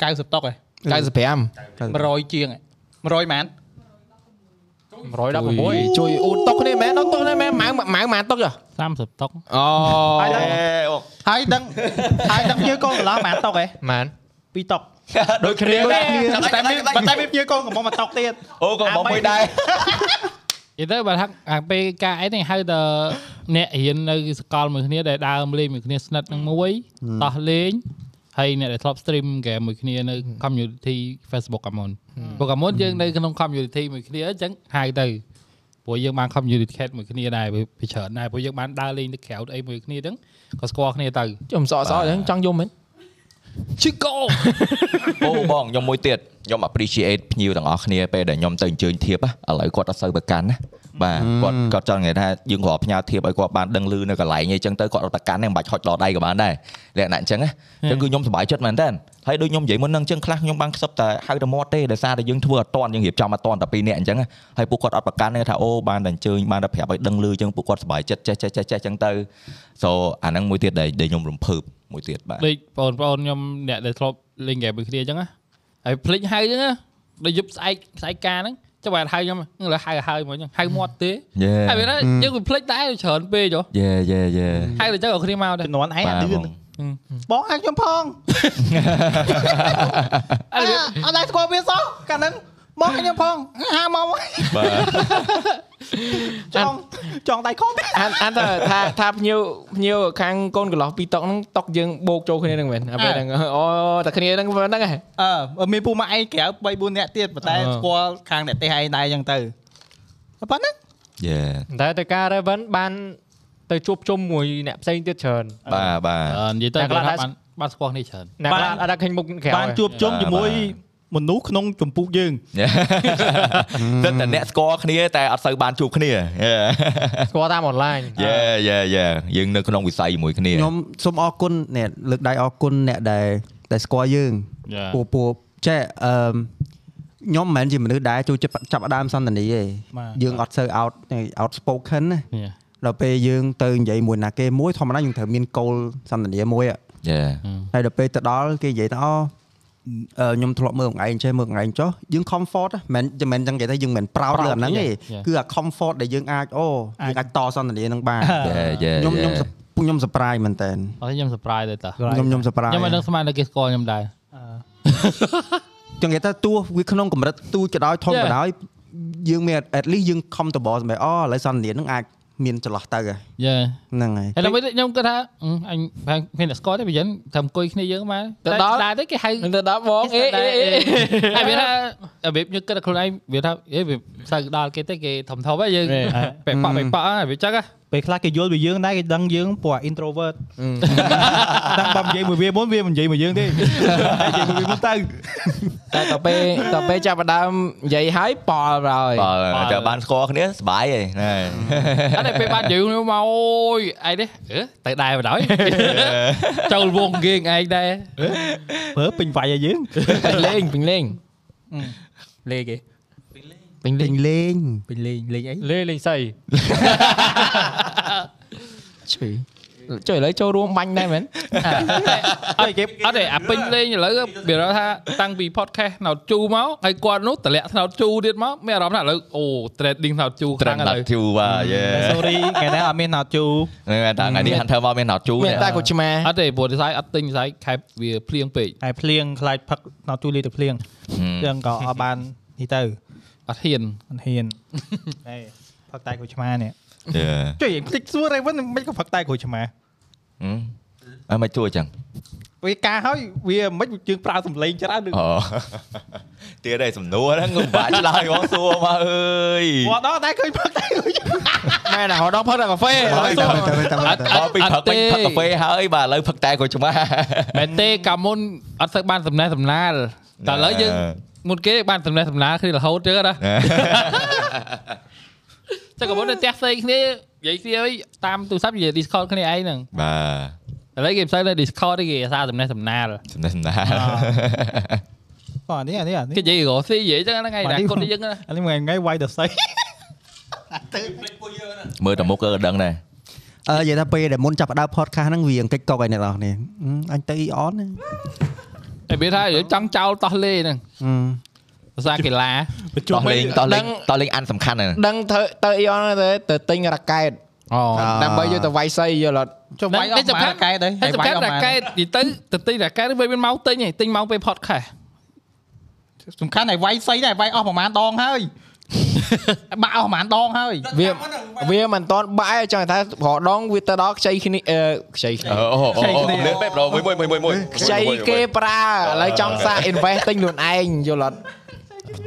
S5: 90តុកឯង
S4: 95
S5: 100ជាងឯង100ម៉ាន
S2: 116
S4: ជួយអ៊ូតតុកគ្នាមែនតុកតុកគ្នាមែនម៉ៅម៉ៅម៉ៅតុកយោ
S9: 30តុក
S4: អូ
S5: ហើយដឹងហើយដឹងជាកូនកន្លងម៉ានតុកឯង
S2: ម៉ាន
S5: 2តុក
S3: ដូចគ្នាដែរ
S5: តែមានតែមានជាកូនកំពុងមកតុកទៀត
S3: អូក៏បងមួយដែរ
S9: និយាយទៅបើថាអាពេលការអីហ្នឹងហៅថាអ្នករៀននៅសកលមួយគ្នាដែលដើមលេងមួយគ្នាស្និទ្ធនឹងមួយតោះលេងហើយអ្នកដែលធ្លាប់ stream ហ្គេមមួយគ្នានៅ community Facebook អាមុនពួកអាមុនយើងនៅក្នុង community មួយគ្នាអញ្ចឹងហៅទៅព្រោះយើងបាន communicate មួយគ្នាដែរពីច្រើនដែរព្រោះយើងបានដើរលេងទៅក្រៅអីមួយគ្នាហ្នឹងក៏ស្គាល់គ្នាទៅ
S4: ខ្ញុំសក់សក់ចឹងចង់យំមែន
S9: ឈឺកោ
S3: អូបងខ្ញុំមួយទៀតខ្ញុំ appreciate ភ្ញៀវទាំងអស់គ្នាពេលដែលខ្ញុំទៅអញ្ជើញធៀបណាឥឡូវគាត់អត់សូវប្រកាន់ណាបាទគាត់គាត់ចង់និយាយថាយើងគ្រាន់ផ្ញើធៀបឲ្យគាត់បានដឹងឮនៅកន្លែងអីចឹងទៅគាត់អត់ប្រកាន់ទេមិនបាច់ហុចដល់ដៃក៏បានដែរលក្ខណៈអញ្ចឹងណាអញ្ចឹងគឺខ្ញុំសប្បាយចិត្តមែនតើហើយដូចខ្ញុំនិយាយមុនហ្នឹងអញ្ចឹងខ្លះខ្ញុំបានខ្សឹបតែហៅតែមាត់ទេដោយសារតែយើងធ្វើអត់តាន់យើងរៀបចំអត់តាន់តែពីរនាក់អញ្ចឹងណាហើយពួកគាត់អត់ប្រកាន់ទេថាអូបានតែអញ្ជើញបានតែប្រាប់ឲ្យដឹងឮអញ្ចឹងពួកគាត់សប្បាយចិត្តចេះចេះចេះចេះអញ្ចឹងទៅ so អាហ្នឹងមួយទៀតដែលដែលខ្ញុំរំភើបមួយទៀតបាទ
S9: ដូចបងប្អូនខ្ញុំអ្នកដែលធ្លាប់លេងហ្គេមមួយគ្នាអញ្ចឹងណាហើយភ្លេចហៅអញ្ចឹងណាដល់យប់ស្អែកស្អែកការហ្នឹងចាំបើហៅខ្ញុំឥឡូវហៅហើយមកអញ្ចឹងហៅមាត់ទេ
S3: Yeah
S9: ហើយវាណាយើងវាភ្លេចដែរច្រើនពេកចុះ
S3: យេយេយេ
S9: ហៅទៅចឹងឲ្យគ្នាមកដែរ
S5: ជំនាន់ឯងអា
S3: បាទ
S5: ឌឿ
S3: ប
S5: ន
S3: ង
S5: បងហៅខ្ញុំផងអើអត់ដែរស្គាល់វាសោះកាលហ្នឹងបងហៅខ្ញុំផងហៅមក
S3: បាទ
S5: ចង់ចង់ដៃខំទេ
S4: អានអានថាថាថាភ្ញៀវភ្ញៀវខាងកូនកន្លោះពីតុកហ្នឹងតុកយើងបោកចូលគ្នាហ្នឹងមែនអាពេលហ្នឹង អូតែគ្នាហ្នឹងប៉ុណ្ណឹងហ៎
S5: អឺមានពូម៉ាក់ឯងក្រៅ3 4នាក់ទៀតប៉ុន្តែ
S4: អឺ
S5: ស្គាល់ខាងអ្នកទេសឯងដែរអញ្ចឹងទៅប៉ុណ្ណឹង
S3: យេ
S2: តែទៅការ Raven បានទៅជួបជុំមួយអ្នកផ្សេងទៀតច្រើន
S3: បាទបាទ
S9: អឺនិយាយទៅគាត់ថាបានបានស្គាល់គ្នាច្រើន
S2: អ្នកខ្លះអត់ដាក់ឃើញមុខក្រៅ
S5: បានជួបជុំ
S3: បាទ
S5: ជាមួយ
S3: បា
S5: មនុស្សក្នុងចម្ពោះយើង
S3: តែតែអ្នកស្គាល់គ្នាតែអត់សូវបានជួបគ្នា
S2: ស្គាល់តាមអនឡាញ
S3: យេយេយេយើងនៅក្នុងវិស័យជាមួយគ្នា
S1: ខ្ញុំសូមអរគុណអ្នកលើកដៃអរគុណអ្នកដែលដែលស្គាល់យើង
S9: យ៉ា
S1: ពូពូចេះអឺខ្ញុំមិនមែនជាមនុស្សដែរចូលចិត្តចាប់ផ្ដើមសន្ទនាទេ
S5: បាទ
S1: យើងអត់សូវ out out spoken ណា
S9: យ៉ា
S1: ដល់ពេលយើងទៅនិយាយមួយណាគេមួយធម្មតាយើងត្រូវមាន goal សន្ទនាមួយอะ
S3: យេ
S1: ហើយដល់ពេលទៅដល់គេនិយាយថាអូអឺខ្ញុំធ្លាប់មើលខ្លួនឯងចេះមើលខ្លួនឯងចុះយើង comfort ណាមិនមិនចឹងនិយាយថាយើងមិន proud លើអាហ្នឹងទេគឺអា comfort ដែលយើងអាចអូយើងអាចតសន្ទនានឹង បាន
S3: យេយេ
S1: ខ្ញុំខ្ញុំខ្ញុំ surprise មែនតើ
S9: អត់ខ្ញុំ surprise ដែរតា
S1: ខ្ញុំខ្ញុំ surprise
S9: ខ្ញុំមិនដឹងស្មានតែគេស្គាល់ខ្ញុំដែរ
S1: ចឹងគេថាទោះវាក្នុងកម្រិតទូចក៏ដោយធំ
S9: Yeah.
S1: ក៏ដោយយើងមាន at least យើង comfortable សម្រាប់អូឥឡូវសន្ទនានឹងអាចមានចន្លោះទៅហ
S9: យ៉ា
S1: ្នឹងហើយ
S9: ហើយដល់ពេលខ្ញុំគិតថាអឺអញប្រហែលមានអ្នកស្គាល់ទេបើយើងតែអង្គុយគ្នាយើងបាន
S4: ទៅដល់
S9: តែទៅគេ ហៅ
S4: ហ្នឹងទៅដល់ បងអេអេអេ
S9: ហើយវាថារបៀបយើងគិតដល់ខ្លួនឯងវាថាអេវាសើចដល់គេទៅគេធំធំហើយយើង បែកប៉ាក់បែកប៉ាក់ហើយវាចឹងហ៎
S5: ពេលខ្លះគេយល់ពីយើងដែរគេដឹងយើងព្រោះ introvert តែបើនិយាយមួយវាមុនវាមិននិយាយមួយយើងទេតែនិយាយមួយវាមុនទៅ
S4: តែទៅពេលទៅពេលចាប់ផ្ដើមនិយាយហើយប៉លបើហើយ
S3: បាទតែបានស្គាល់គ្នាសบายហើយ
S9: អត់ទេពេលបាត់យើងមកអូយឯនេះអឺទៅដែរបណ្ដោយចូលវងគេឯងដែរ
S5: ប្រើពេញវាយឲ្យយើង
S4: ពេញលេងពេញលេង
S5: លេគេ
S4: ពេញលេ
S1: ពេ
S4: ង
S1: ញលេង
S5: ពេញលេងលេងអី
S2: លេលេងសៃ
S4: ឆ្វេ ចុះឥឡូវចូលរួមបាញ់ដែរមែន
S9: អត់គេអត់ទេអាពេញលេងឥឡូវវារកថាតាំងពី podcast ណោតជូមកហើយគាត់នោះតម្លាក់ថ្នោតជូទៀតមកមានអារម្មណ៍ថាឥឡូវអូ trading ថ្នោតជូខ្លាំងឥឡូវ
S3: trend ជូបាទយេ
S5: sorry ថ្ងៃនេះអត់មានណោតជូ
S3: ហ្នឹងតែថ្ងៃនេះ Hunter មកមានណោតជូ
S4: មានតែកូឆ្មា
S9: អត់ទេព្រោះ design អត់ទិញ design ខែបវាភ្លៀង ពេក
S5: ហើយភ្លៀងខ្លាចផឹកណោតជូលីទៅភ្លៀងអញ្ចឹងក៏អត់បាននេះទៅ
S9: អត់ហ៊ាន
S5: អត់ហ៊ាន ហេផឹកតែគ្រូឆ្មានេះ
S3: យេ
S5: ចុយភ្លេចសួររ៉េវិនមិនក៏ផឹកតែគ្រូឆ្មា
S3: អឺមកជួយចឹង
S5: វាការហើយវាមិនយើងប្រើសំឡេងច្រើន
S3: អូ ទៀតឯងសំណួរហ្នឹងគឺបាក់ឆ្លើយបងសួរមកអើយ
S5: គាត់ដល់តែឃើញផឹកតែគ្រូឆ្មា
S4: មែនណារហូតដល់ផឹកតែកាហ្វេឥឡូវសួរ
S1: តែតែ
S3: អត់អត់ពីផឹកពេញផឹកកាហ្វេហើយបាទឥឡូវផឹកតែគាត់ឆ្មា
S9: មែនទេកាលមុនអត់ស្ឹកបានសំណេះសំណា លតែឥឡូវយើងមុនគេបានសំណេះសំណាលគ្នារហូតចឹង ណា តែក៏មិនទៅផ្ទះផ្សេងគ្នានិយាយស្អីតាមទូរស័ព្ទនិយាយ Discord គ្នាឯងហ្នឹង
S3: បាទ
S9: ឥឡូវគេផ្សេងនៅ Discord ទេគេអាសាសំណេះសំណាល
S3: សំណេះសំណាល
S5: Còn đấy à, đấy à, đấy.
S9: គេនិយាយរកស៊ីនិយាយចឹងហ្នឹងឯង
S5: បាទ
S9: តែ
S5: នេះ
S9: គាត់យើងណា
S5: À, nhưng mà ngay quay được xây.
S3: មើលតមុខក៏ដឹងដែរ
S1: អឺនិយាយថាពេលដែលមុនចាប់ផ្ដើម podcast ហ្នឹងវាអង្គិចកុកឲ្យអ្នកនរគ្នាអឺអញទៅ Eon ណា
S9: តែវាថាយើងចង់ចោលតោះលេហ្នឹង
S1: អឺ
S9: ភាសាកីឡា
S3: តោះលេងតោះលេងតោះលេងអានសំខាន់ហ្នឹង
S4: ដឹងទៅទៅអ៊ីអនទៅទៅទិញរ៉ាកែត
S9: អូ
S4: ដើម្បីយកទៅវាយសីយកឡត់
S5: Cho
S9: Đấy,
S5: vay
S9: đấy,
S5: ông
S9: chụp
S5: bà
S9: khác.
S5: cái đấy.
S9: ហើយ
S5: Hay
S9: សំ
S5: vay
S9: ខាន់
S5: ông
S9: រ៉ា
S5: bà.
S9: កែតនិយាយទៅទៅទិញរ៉ាកែតវាមានម៉ោងទិញឯងទិញម៉ោងពេល podcast
S5: Chụp khác này vay xây này, vay ông bà mán đong hơi. Bà ông bà mán đong hơi.
S4: វាវាមិនតន់បាក់ឯងចង់ថាប្រដងវាទៅដល់ខ្ចីគ្នាអឺខ្ចីគ្នា
S3: អូអូអូលឿនពេកប្រូមួយមួយមួយមួយមួយ
S4: ខ្ចីគេប្រើឥឡូវចង់សាក invest ទិញខ្លួនឯងយល់អត់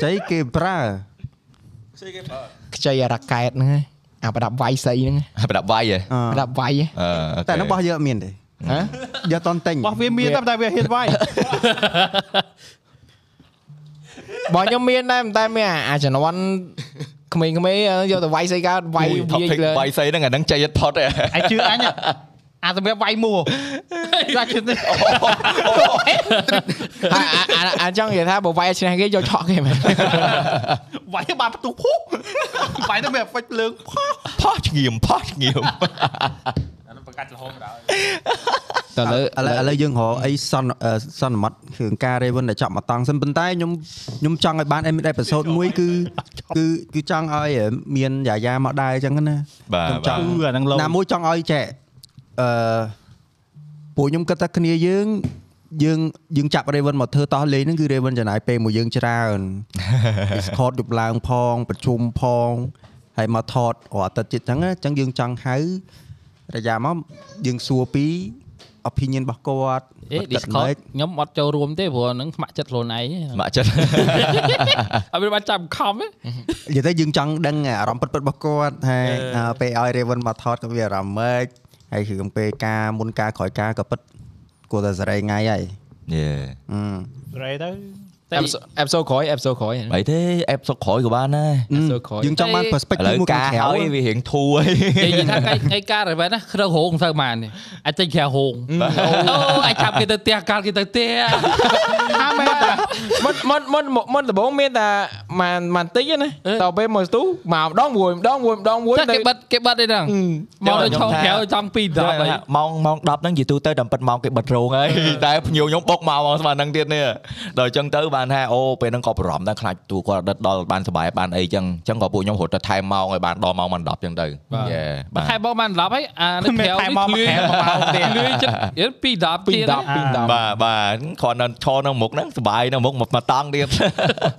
S1: ចៃគេប្រើ
S4: ខ្ចីរ៉ាកែតហ្នឹងឯងអាប្រដាប់វាយសីហ្នឹងឯង
S3: ប្រដាប់វាយហ៎
S4: ប្រដាប់វាយឯង
S1: តែហ្នឹងបោះយើងអត់មានទេ
S4: ហ៎
S1: យកតន់តែញ
S5: Bà viên miên lắm, tại vì hiện vay.
S4: បងខ្ញុំមានដែរតែមានអាអាជំនាន់ក្មេងៗយកទៅវាយសីកើតវាយ
S3: ថ
S4: វាយ
S3: ប់
S4: លើ
S3: វាយសៃហ្នឹងអាហ្នឹងចៃថតទេ
S5: Ai chưa anh ạ. À, tụi bé vay mua. Ra chuyện này.
S4: ហើយអាអាអាចង់និយាយថាបើវាយឈ្នះគេយកឆក់គេមែន
S5: Vay bà tụ phúc. Vay nó mẹ vạch lương.
S3: ផោះឆ្ងៀមផោះឆ្ងៀម
S4: តើលើ
S1: ឥឡូវឥឡូវយើងរកអីសន្និអឺសន្និមត់គឺការ Raven ដែលចាប់មកតង់សិនប៉ុន្តែខ្ញុំខ្ញុំចង់ឲ្យបានអេមីដេប្រសូតមួយគឺគឺគឺចង់ឲ្យមានយាយាមកដែរអញ្ចឹងណា
S3: បាទ
S1: ខ្ញុំចង់
S3: បាទ
S5: Ừ, à, đang lâu.
S1: ណាមួយចង់ឲ្យចែកអឺពួកខ្ញុំគិតថាគ្នាយើងយើងយើងចាប់ Raven មកធ្វើតោះលេងហ្នឹងគឺ Raven ចំណាយពេលមួយយើងច្រើន Discord យប់ឡើងផងប្រជុំផងហើយមកថតរាល់អាទិត្យទៀតហ្នឹងណាអញ្ចឹងយើងចង់ហៅរយៈមកយើងសួរពី opinion របស់គាត់
S9: អេ
S1: គាត់គិតម៉េច
S9: Discord ខ្ញុំអត់ចូលរួមទេព្រោះហ្នឹងខ្មាក់ចិត្តខ្លួនឯងឯង
S3: មក ចិត្ត
S9: អត់មានបានចាប់ខំទេ
S1: និយាយទៅយើងចង់ដឹងអារម្មណ៍ពិតពិតៗរបស់គាត់ហើយអ่าពេលឲ្យ Raven មកថតក៏វាអារម្មណ៍ម៉េចហើយគ្រឿងពេលការមុនការក្រោយការក៏ពិតគួរតែសេរីថ្ងៃហើយ
S3: យេ
S1: អឺ
S5: Rồi đó.
S9: តែ
S4: អេបសូក្រោយអេបសូក្រោយ
S3: បីទេអេបសុកក្រោយក៏បានដែរ
S4: Episode ក្រោយ
S1: យើងចង់បាន
S9: តែ
S3: ឥឡូ
S1: perspective មួ
S3: វ
S1: យខា
S3: កា
S1: ង
S3: រ
S1: ក្រៅ
S3: ហើយវារៀងធូរ ហើយ
S9: និយាយថាឯងឯងការរ៉េវិនណាក្នុងរោងមិនសូវបានទេអាចចេញក្រៅរោងអូអាចចាប់គេទៅផ្ទះកាលគេទៅផ្ទះ
S4: មិន មិនមិនមិនមិនដំបងមានតែមិនមិនតិចទេណាតទៅពេលមើលស្ទូមកម្ដងមួយម្ដងមួយម្ដងមួយ
S9: តែគេបិទគេបិទឯហ្នឹងមកទៅឆោក្រៅចង់ពី10ហើយ
S3: ម៉ោងម៉ោង10ហ្នឹងនិយាយទូទៅដល់ប៉ិតម៉ោងគេបិទរោងហើយ តែភ្ញៀវខ្ញុំបុកមកមកស្មើហ្នឹងទៀតនេះដល់អញ្ចឹងទៅបានថាអូពេលហ្នឹងក៏បារម្ភដែរខ្លាចទូគាត់ដិតដល់បានសុបាយបានអីអញ្ចឹងអញ្ចឹងក៏ពួកខ្ញុំរត់ទៅថែមម៉ោងឲ្យបានដល់ម៉ោងមិន10អញ្ចឹងទៅយេបា
S9: ខែ
S3: ទ
S9: បងបាន10ហើយអា នៅក្រៅ
S5: ថែមក
S9: នេះ
S5: ខែមកបោកទៀត
S9: លឿនចិត្តយល់ពី10
S4: ពី
S9: ទៀត
S4: 10ពី10
S3: បាទបាទគ្រាន់តែឈរនៅមុខហ្នឹងសុបាយនៅមុខមកតង់ ទៀត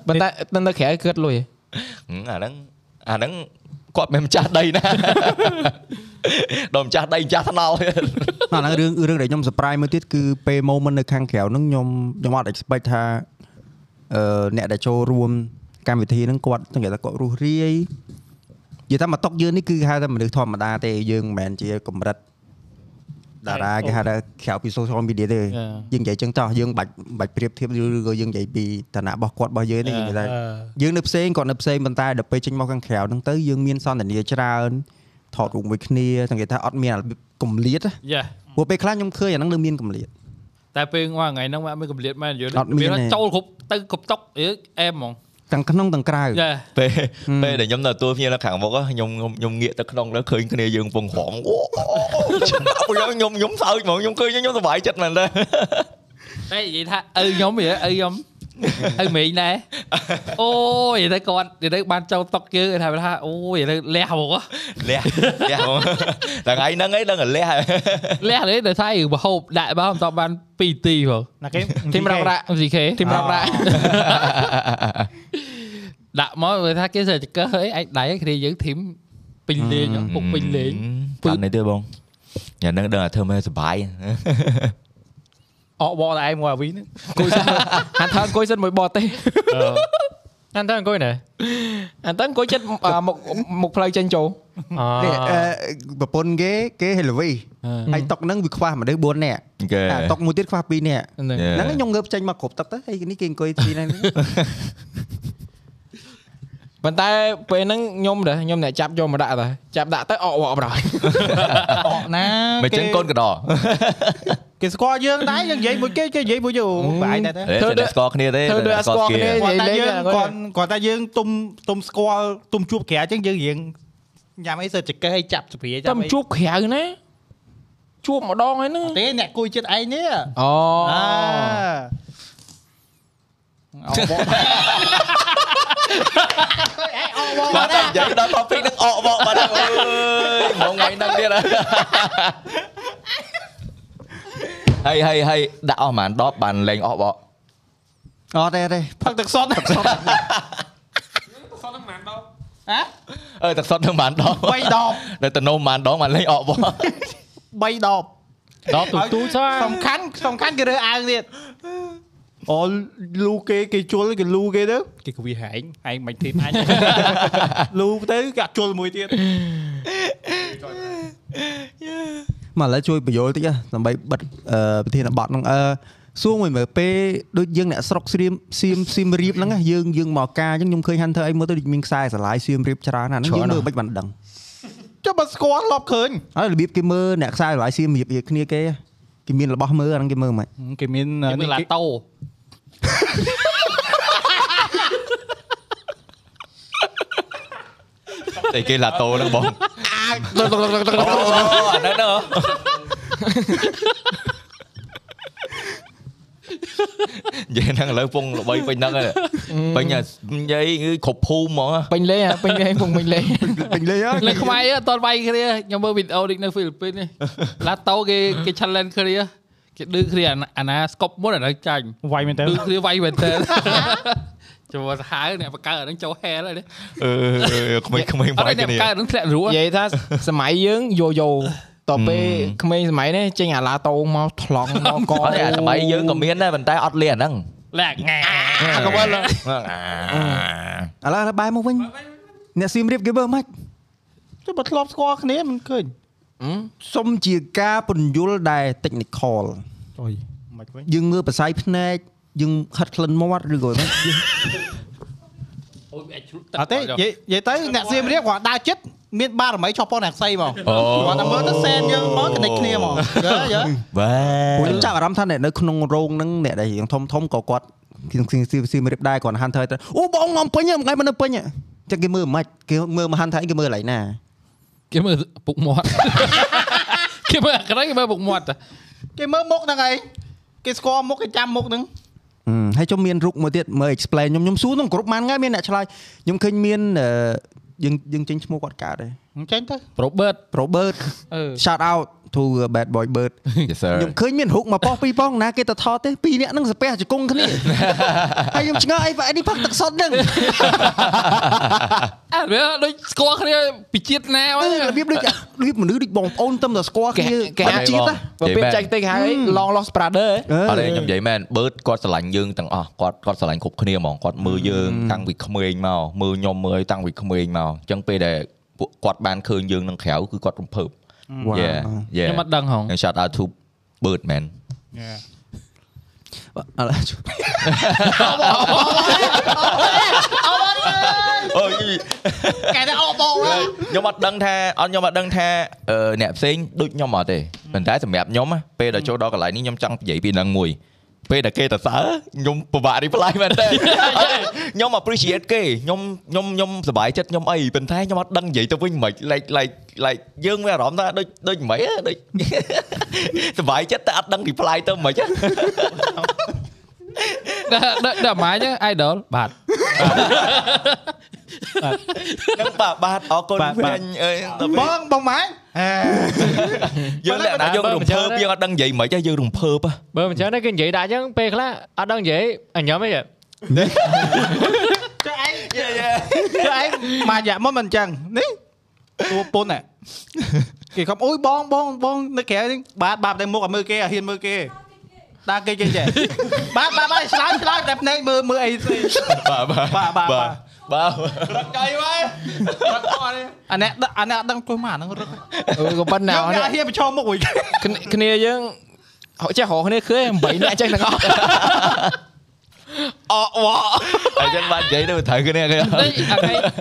S4: ប៉ុន្តែនៅក្រៅគឺអត់លុយ
S3: ហឹមអាហ្នឹងអាហ្នឹងគាត់មិនមែនម្ចាស់ដីណា ដល់ម្ចាស់ដីម្ចាស់ថ្នោត
S1: អាហ្នឹងរឿងរឿងដែលខ្ញុំ surprise មួយទៀតគឺពេល moment នៅខាងក្រៅហ្នឹងខ្ញុំខ្ញុំអត់ expect ថាអឺអ្នកដែលចូលរួមកម្មវិធីហ្នឹងគាត់ទាំងគេថាគាត់រស់រាយនិយាយថាមកតុកយើងនេះគឺហៅថាមនុស្សធម្មតាទេយើងមិនមែនជាកម្រិតតារាគេហៅថាក្រៅពី social media ទេយើងនិយាយចឹងចោះយើងបាច់បាច់ប្រៀបធៀបឬឬក៏យើងនិយាយពីឋានៈរបស់គាត់របស់យើងនេះគេថា យើងនៅផ្សេងគាត់នៅផ្សេងប៉ុន្តែដល់ពេលចេញមកខាងក្រៅហ្នឹងទៅយើងមានសន្ទនាច្រើនថតរូបមួយគ្នាសង្កេតថាអត់មានរបៀបកម្លៀតណា
S9: យ៉ា
S1: ព្រោះពេលខ្លះខ្ញុំឃើញអាហ្នឹងនៅមានកម្លៀត
S9: តែពេលមកថ្ងៃហ្នឹងវាអត់មានកម្លៀតមែនយល់
S1: អត់មានទេ
S9: ចូលគ្រប់ទៅគ្រប់តុកអឺអែមហ្មង
S1: ទាំងក្នុងទាំងក្រៅ
S9: ចា
S3: ពេលពេលដែលខ្ញុំនៅទទួលភ្ញៀវនៅខាងមុខហ្នឹងខ្ញុំខ្ញុំខ្ញុំងាកទៅក្នុងដល់ឃើញគ្នាយើងកំពងហំអូខ្ញុំខ្ញុំខ្ញុំសើចហ្មងខ្ញុំឃើញខ្ញុំសប្បាយចិត្តមែនទេ
S9: តែនិយាយថាឪខ្ញុំហីឪ ខ្ញុំឪមីងដែរ អូយនិយាយទៅគាត់និយាយទៅបានចូលតុកយើងគេថាថាអូយនិយាយទៅលះហ្មង
S3: លះ លះហ្មងដល់ថ្ងៃហ្នឹងឯងដឹងតែលះហើយ
S9: លះលេដល់ថាឯងប្រហូបដាក់បើមិនតបាន2ទីហ្មង
S10: ណាគេ
S4: ទីមរ៉ាប់រ៉ា
S9: MCK
S4: ទីមរ៉ាប់រ៉ា
S9: ដាក់មកវាថាគេសេចក្ដីអីអាចដៃគ្នាយើងធីមពេញលេងពុកពេ
S3: Ừ.
S9: ញលេង
S3: តាន់នេះទេបងញ៉ាំហ្នឹងដឹងតែធ្វើមិនសប្បាយ
S10: អកបតែឯងមកអាវីហ្នឹង
S4: គួយសិន ហាត់ថាអង្គុយសិនមួយបតទេ
S2: អញ្ចឹងអង្គុយណែ
S4: អានតើអង្គុយចិត្ត អ่าមុខមុខផ្លូវចេញចូល
S2: អ
S1: នេះអឺ
S2: ឺ
S1: ប្រពន្ធគេគេហេឡូវីហើយតុកហ្នឹងវាខ្វះមនុស្ស4នាក់
S3: គេ
S1: អាតុកមួយទៀតខ្វះ2នាក់
S4: ហ្នឹង
S3: Yeah.
S1: ហ្នឹងខ្ញុំងើបចេញមកគ្រប់តុកទៅហើយនេះគេអង្គុយទីហ្នឹង
S4: ប៉ុន្តែពេលហ្នឹងខ្ញុំដែរខ្ញុំអ្នកចាប់យកមកដាក់តែចាប់ដាក់ទៅអកបកប្រ ហើយ
S5: អកណា
S3: មិនចឹងកូនកដរ
S5: គេស្គាល់យើងដែរយើងនិយាយមួយគេគេនិយាយមួយយូបែរតែទៅ
S3: ធ្វើដូចស្គាល់គ្នាទេ
S4: ធ្វើដូចអត់ស្គាល់គ្នានិ
S5: គា
S4: យា
S5: ត់
S4: យ
S5: តែ
S4: លេង
S5: យើង
S4: ហ្នឹង
S5: គាត់គាត់តែយើងទុំទុំស្គាល់ទុំជួបក្រៅអញ្ចឹងយើងរៀងញ៉ាំអីសើចកេះឲ្យចាប់ស្ព្រា
S4: តែ
S5: ចាប់អី
S4: ជួបក្រៅណាជួបម្ដងហើយហ្នឹង
S5: ទេអ្នកគួយចិត្តឯងនេះ
S4: អូ
S5: អាអកប
S3: គាត់តែនិយាយដល់ topic ហ្នឹងអកបកបាត់ហើយអើយហ្មងថ្ងៃហ្នឹងទៀតហើយហើយហើយដាក់អស់ប្រហែល10បានលេងអកបក
S1: អ
S2: Ờ,
S1: ត់ទេអត់ទេ
S5: ផឹកទឹកសុទ្ធទឹកសុទ្ធហ៎
S3: អើទឹកសុទ្ធនឹងប្រហែល10
S5: 3ដប
S3: នៅតំណមប្រហែល10បានលេងអកបក
S5: 3ដប
S9: ដល់ទូទូសោះ
S5: សំខាន់សំខាន់គេរើសអើងទៀតអូលូគេគេជុលគេលូគេទៅគេគវាហែងហែងមិនធីមអញ លូទៅគេអត់ជុលមួយទៀត
S1: មកឥឡូវជួយបញ្យលតិចណាដើម្បីបិទអឺប្រធានបទហ្នឹងអឺសួរមួយមើលពេលដូចយើងអ្នកស្រុកស្រៀមសៀមសៀមរាបហ្នឹងណាយើងយើងមកការអញ្ចឹងខ្ញុំឃើញ Hunter អីមើលទៅដូចមានខ្សែស្រឡាយសៀមរាបច្រើនណាស់ហ្នឹងយើងមើលមិនបានដឹង
S5: ចុះបើស្គាល់លប់ឃើញ
S1: ហើយរបៀបគេមើលអ្នកខ្សែស្រឡាយសៀមរាបវាគ្នាគេគេមានរបស់មើលអាហ្នឹងគេមើលមិន
S5: គេមាន
S9: មើលឡាតូ
S3: តែគេឡាតូហ្នឹងបងអូអាហ្នឹងហ្នឹងនិយាយហ្នឹងឥឡូវពងល្បីពេញហ្នឹងហើយពេញនិយាយគឺគ្រប់ភូមិហ្មង
S4: ពេញលេង ហ่ะពេញលេងពុំពេញលេង
S1: ពេញលេង
S9: នៅខ្មែរអត់តវាយគ្នាខ្ញុំមើលវីដេអូដូចនៅហ្វីលីពីននេះឡាតូគេគេ challenge គ្នាគេឌឺគ្នាអាណាអាណាស្កប់មុនអាហ្នឹងចាញ់
S10: វាយមែនទៅ
S9: ឌឺគ្នាវាយមែន តើ ចូលហៅអ្នកបកកើតអាហ្នឹងចូលហែលហើយនេះ
S3: អឺក្មេងក្មេង
S9: អត់
S3: វាយ
S9: ឲ្យអ្នក
S3: គ្នា
S9: បកកើតហ្នឹងធ្លាក់រួច
S4: និយាយថាសម័យយើងយោយោតទៅពេលក្មេងសម័យនេះចេញអាឡាតូមកថ្លង់មកក
S3: អត់ទេអាសម័យយើងក៏មានដែរប៉ុន្តែអត់លៀនហ្នឹង
S9: លាក់ងា
S3: អាក៏មិន
S1: ឥឡូវឥឡូវបែរមកវិញអ្នកសៀមរាបគេមើលមិនខ្មិច
S5: ចុះបើធ្លាប់ស្គាល់គ្នាមិនឃើញ
S1: សុំជាការពន្យល់ដែល technical
S5: អុយមិនវិញ
S1: យើងមើលប្រស័យភ្នែកយើងខិតក្លិនមាត់ឬក៏មិន
S9: អូយអាចជ្រុល
S5: អត់ទេនិយាយនិយាយទៅអ្នកសៀមរាបគាត់ដើរចិត្តមានបារមីឈប់ប៉ុនអ្នកស្អីហ្មង
S3: អូ
S5: គាត់តែមើលទៅសែនយើងមកគណិតគ្នាហ្ម ងយល់យល់
S3: វ៉ា
S1: ព្រោះខ្ញុំចាប់អារម្មណ៍ថាអ្នកនៅក្នុងរោងហ្នឹងអ្នកដែលរៀងធំធំៗក៏គាត់សៀមរាបដែរគាត់ហាន់ថើទៅអូបងងំពេញហ្នឹងថ្ងៃមិននៅពេញហ៎ចឹងគេមើលមិនខ្មិចគេមើលមកហាន់ថើគេមើលកន្លែងណា
S9: គេមើលពុកមាត់ គេមើលអាក្រក់គេមើលពុកមាត់តា
S5: គេមើលមុខហ្នឹងឯងគេស្គាល់មុខគេចាំមុខហ្នឹង
S1: ហឹមហើយខ្ញុំមានរូបមួយទៀតមើល explain ខ្ញុំខ្ញុំសួរក្នុងក្រុមបានថ្ងៃមានអ្នកឆ្លើយខ្ញុំឃើញមានអឺយើងយើងចេញឈ្មោះគាត់កើតទេ
S5: អញ្ចឹងទៅ
S9: Robert
S1: Robert shout out to bad boy bird
S3: យេសឺ
S1: ខ្ញុំឃើញមានរូបមកប៉ោះពីរប៉ងណាគេទៅថតទេពីរនាក់ហ្នឹងសាពះជង្គង់គ្នាហើយខ្ញុំឆ្ងល់អីបែរនេះផឹកទឹកសុទ្ធហ្នឹង
S9: អើវាដូចស្គាល់គ្នាពីជាតិណាវ៉ា
S1: របៀបដូចរបៀបមនុស្សដូចបងប្អូនទៅតែស្គាល់
S4: គេ
S1: គ្នា
S4: គេហៅ
S1: ជាតិណា
S4: បើពេលចែកតិចហើយ long lost brother
S3: អត់ទេខ្ញុំនិយាយមែនបឺតគាត់ស្រឡាញ់យើងទាំងអស់គាត់គាត់ស្រឡាញ់គ្រប់គ្នាហ្មងគាត់មើលយើងតាំងពីក្មេងមកមើលខ្ញុំមើលឲ្យតាំងពីក្មេងមកអញ្ចឹងពេលដែលពួកគាត់បានឃើញយើងនឹងក្រៅគឺគាត់រំភើបយេយេ
S9: ខ្ញុំអត់ដឹងហង
S3: ខ្ញុំ shout out to បឺតមែន
S1: អ ត់
S3: អូយ
S5: កែតែអោបអោ
S3: ហើយខ្ញុំអត់ដឹងថាអត់ខ្ញុំអត់ដឹងថាអឺអ្នកផ្សេងដូចខ្ញុំអត់ទេប៉ុន្តែសម្រាប់ខ្ញុំណាពេលដល់ចូលដល់កន្លែងនេះខ្ញុំចង់និយាយពីនឹងមួយ ពេលដែលគេសរសើរខ្ញុំពិបាករីប្លាយមែនទេខ្ញុំ Ờ, appreciate គេខ្ញុំខ្ញុំខ្ញុំសប្បាយចិត្តខ្ញុំអីប៉ុន្តែខ្ញុំអត់ដឹងនិយាយទៅវិញមិនខ្មិច like like like យើងមានអារម្មណ៍ថាដូចដូចមិនហ៎ ដូច សប្បាយចិត្តតែអត់ដឹងរីប្លាយទៅមិនហ៎
S9: ដល់ដល់ម៉ាចឹង idol បាទ
S3: នឹងបាទបាទអរគុណវិញអើយ
S5: បងបងម៉ែ
S3: យើងលក្ខណៈយើងរំភើបយើងអត់ដឹងនិយាយមិនហ៎យើងរំភើបហ៎
S2: បើមិនចឹងទេគេនិយាយដាក់ចឹងពេលខ្លះអត់ដឹងនិយាយ អញញ៉ាំអីហ៎
S5: ចុះឯងចុះឯងមកយ៉ាមកមិនអញ្ចឹងនេះតួពុនហ៎គេខំអុយបងបងបងនៅក្រៅនេះបាទបាទតែមុខឲ្យមើលគេឲ្យហ៊ានមើលគេតាគេគេចេះបាទបាទបាទឆ្លើយឆ្លើយតែភ្នែកមើលមើលអីស៊ី
S3: បាទបាទ
S5: បាទបាទបាទ
S3: បាទ
S5: អានេះដឹងអានេះអត់ដឹងគួរមកអាហ្នឹងរឹក
S4: អឺក៏ប៉ុណ្ណា
S5: យើង
S4: អស់
S5: គេ
S4: នេះ
S5: អត់ហ៊ានប្រឈមមុខវិញ
S4: គ្នាគ្នាយើងហៅចេះរកគ្នាឃើញ8នាក់ចេះទាំងអស់
S3: អកវ៉អញ្ចឹងបាទនិយាយទៅត្រូវគ្នាគេ
S9: តែអាថ្ងៃអា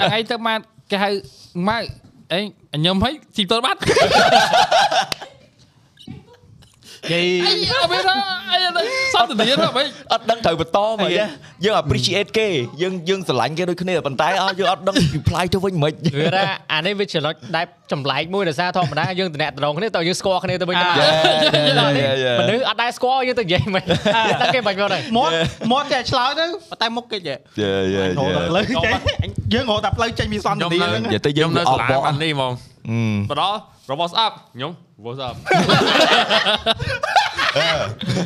S9: ថ្ងៃទៅម៉ាគេហៅម៉ៅអេអញញុំហិចស៊ីតលបាត់
S5: យាយ
S9: អីអត់មានអីសត្វទានហ៎បែ
S3: អត់ដឹងត្រូវបន្តមកយើងយើង appreciate គេយើងយើងស្រឡាញ់គេដូចគ្នាប៉ុន្តែអស់យើងអត់ដឹង reply ទៅវិញមិន
S2: វាថាអានេះវាចំណុចដែលចម្លែកមួយដោយសារធម្មតាយើងតំណាក់តំណងគ្នាតើយើងស្គាល់គ្នាទៅវិញទៅមកមនុស្សអត់ដែរស្គាល់យើងទៅនិយាយមិន តែគេបាញ់មកដែរ
S5: មកមកតែឆ្លើយទៅប៉ុន្តែមុខគេចេះ
S3: យេយេយេ
S5: រត់ដល់ផ្លូវចេះយើងរត់ដល់ផ្លូវចេញមានសន្តិភាពហ្នឹង
S3: និយាយទៅយើង
S11: ខ្ញុំនៅ
S3: អ
S11: សា
S3: ក
S11: លា
S3: វ៉
S11: បាននេះហ្មង
S3: អឺ
S11: បដល់របស់ស្អាប់ខ្ញុំ WhatsApp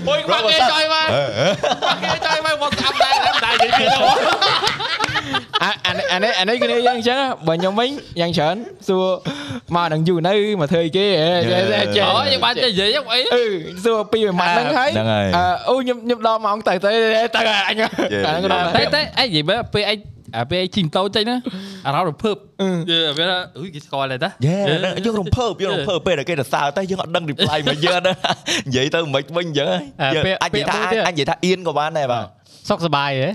S11: អុយបាក់គេចុយមកបាក់គេចុយមក WhatsApp ដែរតែមិនដែរនិយាយទៀតទេ
S4: អាអានេះអានេះអានេះគ្នាយើងអញ្ចឹងបើខ្ញុំវិញយ៉ាងច្រើនសួរមកនឹងយូរនៅមកធ្វើអីគេហ៎ចេះចេះចេះ
S9: អូយើងបានចេះនិយាយហ្នឹងអី
S4: អឺសួរពីមួយម៉ាត់ហ្នឹងហើយ
S3: ហ្នឹងហើយ
S4: អឺអូខ្ញុំខ្ញុំដល់ម៉ោងទៅទៅទៅហើយអញ
S3: យេ
S4: អាហ្នឹងដល់
S9: តែតែអីនិយាយមើលពេលអីអាពេលអីជីមតូចតិចណាអារម្មណ៍រំភើបយេវាថាអ៊ុយគេស្គាល់ហើយតា
S3: យេយើងរំភើបយើងរំភើបពេលដែលគេសរសើរតែយើងអត់ដឹង reply មកយើងណា និយាយទៅមិនវិញអញ្ចឹង
S2: អើ
S3: ហើយ
S2: ពាក្យ
S3: អាចនិ
S2: ពា
S3: យា
S2: ក្យ
S3: យ
S2: មួ
S3: ថា
S2: យ
S3: អាច
S2: ទៀត
S3: និយាយថាអៀនក៏បានដែរបាទ
S2: សុខសប្បាយហ៎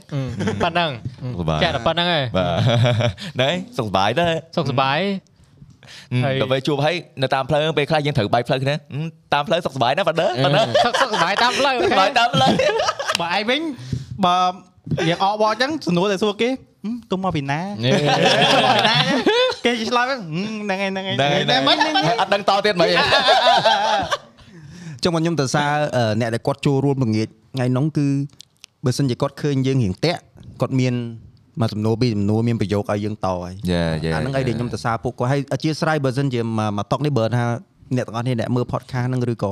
S2: ប៉ណ្ណឹង
S3: បាទ
S2: ចែកតែប៉ុណ្្នឹងឯង
S3: បាទ ណែសុខសប្បាយដែរ
S2: សុខសប្បាយ ហើ
S3: ហើយ
S2: យ
S3: ដល់ពេលជួបហើយនៅតាមផ្លូវពេលខ្លះយើងត្រូវបែកផ្លូវគ្នាហឹមតាមផ្លូវសុខសប្បាយណាស់បាទបាទណា
S2: សុខសុខសប្បាយតាមផ្លូវ
S3: បាយតាមផ្លូវ
S5: បើឯងវិញបើយើងអកបអញ្ចឹងសំណួរតែសួរគេហឹមទុំមកពីណាទុំមកពីណាគេឆ្លើយហ្នឹងឯងហ្នឹងឯង
S3: ហ្នឹងហើយ
S5: មិនហ្នឹងឯង
S3: អត់ដឹងតទៀតមិន
S1: ចឹងមកខ្ញុំទៅសារអឺអ្នកដែលគាត់ចូលរួមពង្រាយថ្ងៃហ្នឹងគឺបើសិនជាគាត់ឃើញយើងរៀងតាក់គាត់មានមកសំណួរពីរសំណួរមានប្រយោគឲ្យយើងតហើយ
S3: យេយេ
S1: អាហ្នឹងអីដែលខ្ញុំទៅសារពួកគាត់ហើយអធិស្ឋានបើសិនជាមកមកតុកនេះបើថាអ្នកទាំងអស់គ្នាអ្នកមើល podcast ហ្នឹងឬក៏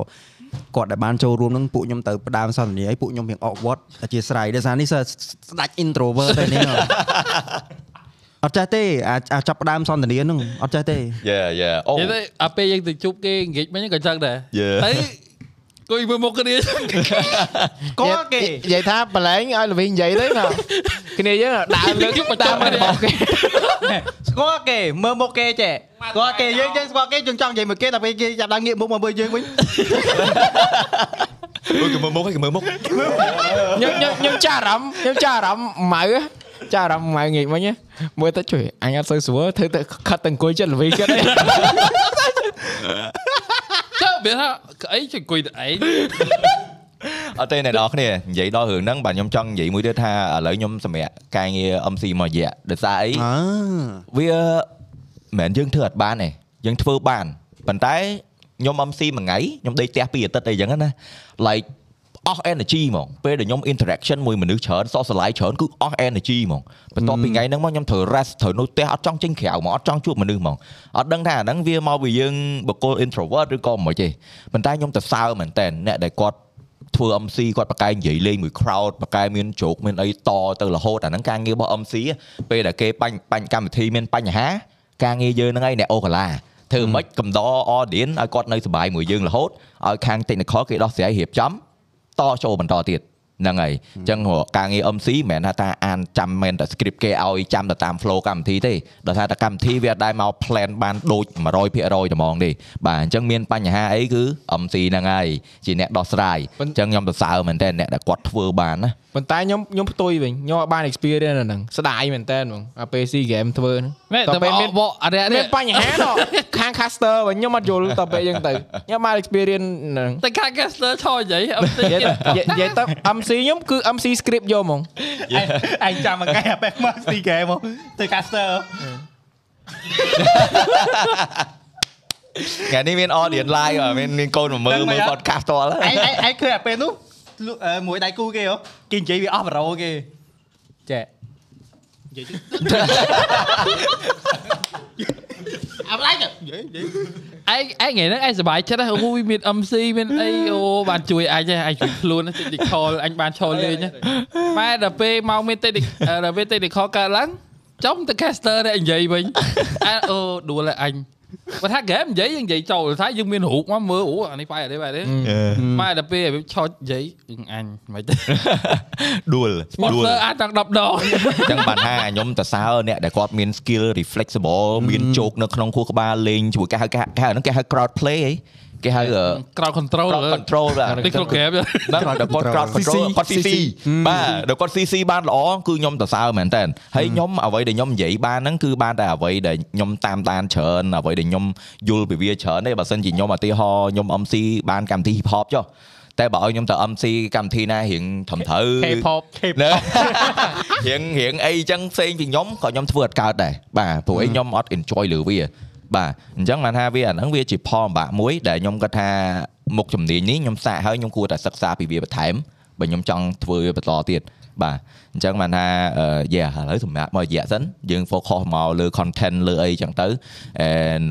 S1: គាត់ដែលបានចូលរួមហ្នឹងពួកខ្ញុំទៅផ្ដើមសន្ទនាឲ្យពួកខ្ញុំរៀងអកវត្តអធិស្ឋានដោយសារនេះសស្ដាច់ introvert តែនេះហ៎ អត់ចេះទេអាអាចាប់ផ្ដើមសន្ទនាហ្នឹងអត់ចេះទេ
S3: យេយេអូ
S9: និយាយទៅអាពេលយើងទៅជួបគេងេចមិញក៏ចឹងដែរ
S3: Yeah.
S9: តែគួយមើលមុខគ្នា
S5: គាត់គេ
S4: និយាយថាប្រឡែងឲ្យល្វីនិយាយទៅណាគ្នាយើងដើរលើកតាមរបស់គេ
S5: ស្គាល់គេមើលមុខគេចេះស្គាល់គេយើងយើងស្គាល់គេយើងចង់និយាយមកគេដល់ពេលគេចាប់ដល់ងាកមុខមកមើលយើងវិញ
S3: អូគេមើលមុខគេមើលមុខ
S4: ខ្ញុំខ្ញុំខ្ញុំចាស់អារម្មណ៍ខ្ញុំចាស់អារម្មណ៍ម៉ៅហ៎ចាស់អារម្មណ៍ម៉ៅងាកមិញហ៎មើលទៅជួយអញអត់សូវស្រួលធ្វើទៅខិតទៅអង្គុយចិត្តល្វីចិត្ត ទេ
S9: ចុះវាថាអីជួយអង្គុយតែឯង
S3: អត់ទេអ្នកនរគ្នានិយាយដល់រឿងហ្នឹងបាទខ្ញុំចង់និយាយមួយទៀតថាឥឡូវខ្ញុំសម្រាប់ការងារ MC មួយរយៈដោយសារអី
S1: អើ
S3: វាមិនមែនយើងធ្វើអត់បានទេយើងធ្វើបានប៉ុន្តែខ្ញុំ MC មួយថ្ងៃខ្ញុំដេកផ្ទះពីអាទិត្យអីចឹងណា like អស់ energy ហ្មងពេលដែលខ្ញុំ interaction មួយមនុស្សច្រើនសោះស្លាយច្រើនគឺអស់ energy ហ្មងបន្ទាប់ពីថ្ងៃហ្នឹងមកខ្ញុំត្រូវ rest ត្រូវនៅផ្ទះអត់ចង់ចេញក្រៅហ្មងអត់ចង់ជួបមនុស្សហ្មងអត់ដឹងថាអាហ្នឹងវាមកពីយើងបុគ្គល introvert ឬក៏មិនទេប៉ុន្តែខ្ញុំទៅសើមែនតើអ្នកដែលគាត់ ធ្វើ MC គាត់បកកែនិយាយលេងមួយ crowd បកកែមានជោគមានអីតទៅរហូតអាហ្នឹងការងាររបស់ MC ហ៎ពេលដែលគេបាញ់បាញ់កម្មវិធីមានបញ្ហា ការងារយើងហ្នឹងឯងអ្នកអូកាឡាធ្វើម៉េចកំដរ audience ឲ្យគាត់នៅសុបាយមួយយើងរហូតឲ្យខាង technical គេដោះស្រាយរៀបចំតចូលបន្តទៀត ហ្នឹងហើយអញ្ចឹងហ៎ការងារ MC មិនមែនថាតាអានចាំមែនតែ script គេឲ្យចាំទៅតាម flow កម្មវិធីទេដល់ថាតែកម្មវិធីវាអត់ដែលមក plan បានដូច100%ត្មងទេបាទអញ្ចឹងមានបញ្ហាអីគឺ MC ហ្នឹងហើយជាអ្នកដោះស្រាយអញ្ចឹងខ្ញុំសរសើរមែនតើអ្នកដែលគាត់ធ្វើបានណា
S4: ប៉ុន្តែខ្ញុំខ្ញុំផ្ទុយវិញខ្ញុំអត់បាន experience នៅហ្នឹងស្ដាយមែនតើហ្មងអាពេល SEA Game ធ្វើហ្នឹង
S9: មែនតែ
S4: ពេលមាន
S9: បកអរិយ
S4: មា
S9: នេះ
S4: នបញ្ហាដល់ខាង caster វិញខ្ញុំអត់យល់តពេលយើងទៅខ្ញុំបាន experience ហ្នឹង
S9: តែខាង caster ថយនិយាយអត់ទេ
S4: និយាយនិយាយទៅ MC ខ្ញុំគឺ MC script យកហ្មង
S5: ឯងចាំមកកែអាពេលមកស៊ីហ្គេមមកទៅ caster
S3: ថ្ងៃនេះមាន audience live ហ៎មានមានកូនមកមើលមើល podcast តល
S5: ឯងឯងឯងឃើញអាពេលនោះលុអឺមួយដៃគូគេហ៎គេនិយាយវាអស់ប្រូគេចែនិយាយទៅអាប់ឡៃទៅនិយាយនិយាយ
S9: ឯងឯងថ្ងៃហ្នឹងឯងសុបាយចិត្តណាស់អូយមាន MC មានអីអូបានជួយអញឯងឯងជួយខ្លួន technical អញបានឈរលេងម៉ែដល់ពេលមកមាន technical
S3: ờ,
S9: ដល់ពេល technical កើតឡើងចំទៅ caster នេះនិយាយវិញអែអូដួលហើយអញបើថា game និយាយយើងនិយាយចូលថាយើងមានរូបមកមើលអូអានេះបែរនេះបែរនេះម៉ែដល់ពេលឲ្យវាឆោតនិយាយ
S3: Ừ,
S9: អឹងអញមិនទេ
S3: ដួលដួល
S9: sponsor អាចដល់10ដ
S3: អ
S9: ង
S3: ញ្ចឹងបានថាខ្ញុំតសើរអ្នកដែលគាត់មាន skill reflexible មានជោគនៅក្នុងខួរក្បាលលេងជាមួយគេហៅគេហៅគេហៅហ្នឹងគេហៅ crowd play ហីគេហៅអឺ
S9: crowd control
S3: crowd control បាទ
S9: តិច program
S3: បាទដល់គាត់ crowd control គាត់ CC បាទដល់គាត់ CC បានល្អគឺខ្ញុំសរសើរមែនតើហើយខ្ញុំអ្វីដែលខ្ញុំនិយាយបានហ្នឹងគឺបានតែអ្វីដែលខ្ញុំតាមដានច្រើនអ្វីដែលខ្ញុំយល់ពីវាច្រើនទេបើសិនជាខ្ញុំឧទាហរណ៍ខ្ញុំ MC បានកម្មវិធី hip hop ចុះតែបើឲ្យខ្ញុំទៅ MC កម្មវិធីណារៀងធំត្រូវ
S2: K-pop
S3: ណា រៀងរៀងអីចឹងផ្សេងពីខ្ញុំក៏ខ្ញុំធ្វើអត់កើតដែរបាទព្រោះអីខ្ញុំអត់ enjoy លើវា បាទអញ្ចឹងបានថាវាអាហ្នឹងវាជាផលម្បាក់មួយដែលខ្ញុំគាត់ថាមុខជំនាញនេះខ្ញុំសាកហើយខ្ញុំគួរតែសិក្សាពីវាបន្ថែមបើខ្ញុំចង់ធ្វើវាបន្តទៀតបាទអញ្ចឹងបានថាយេឥឡូវសម្រាប់មករយៈសិនយើង focus មកលើ content លើអីអញ្ចឹងទៅ and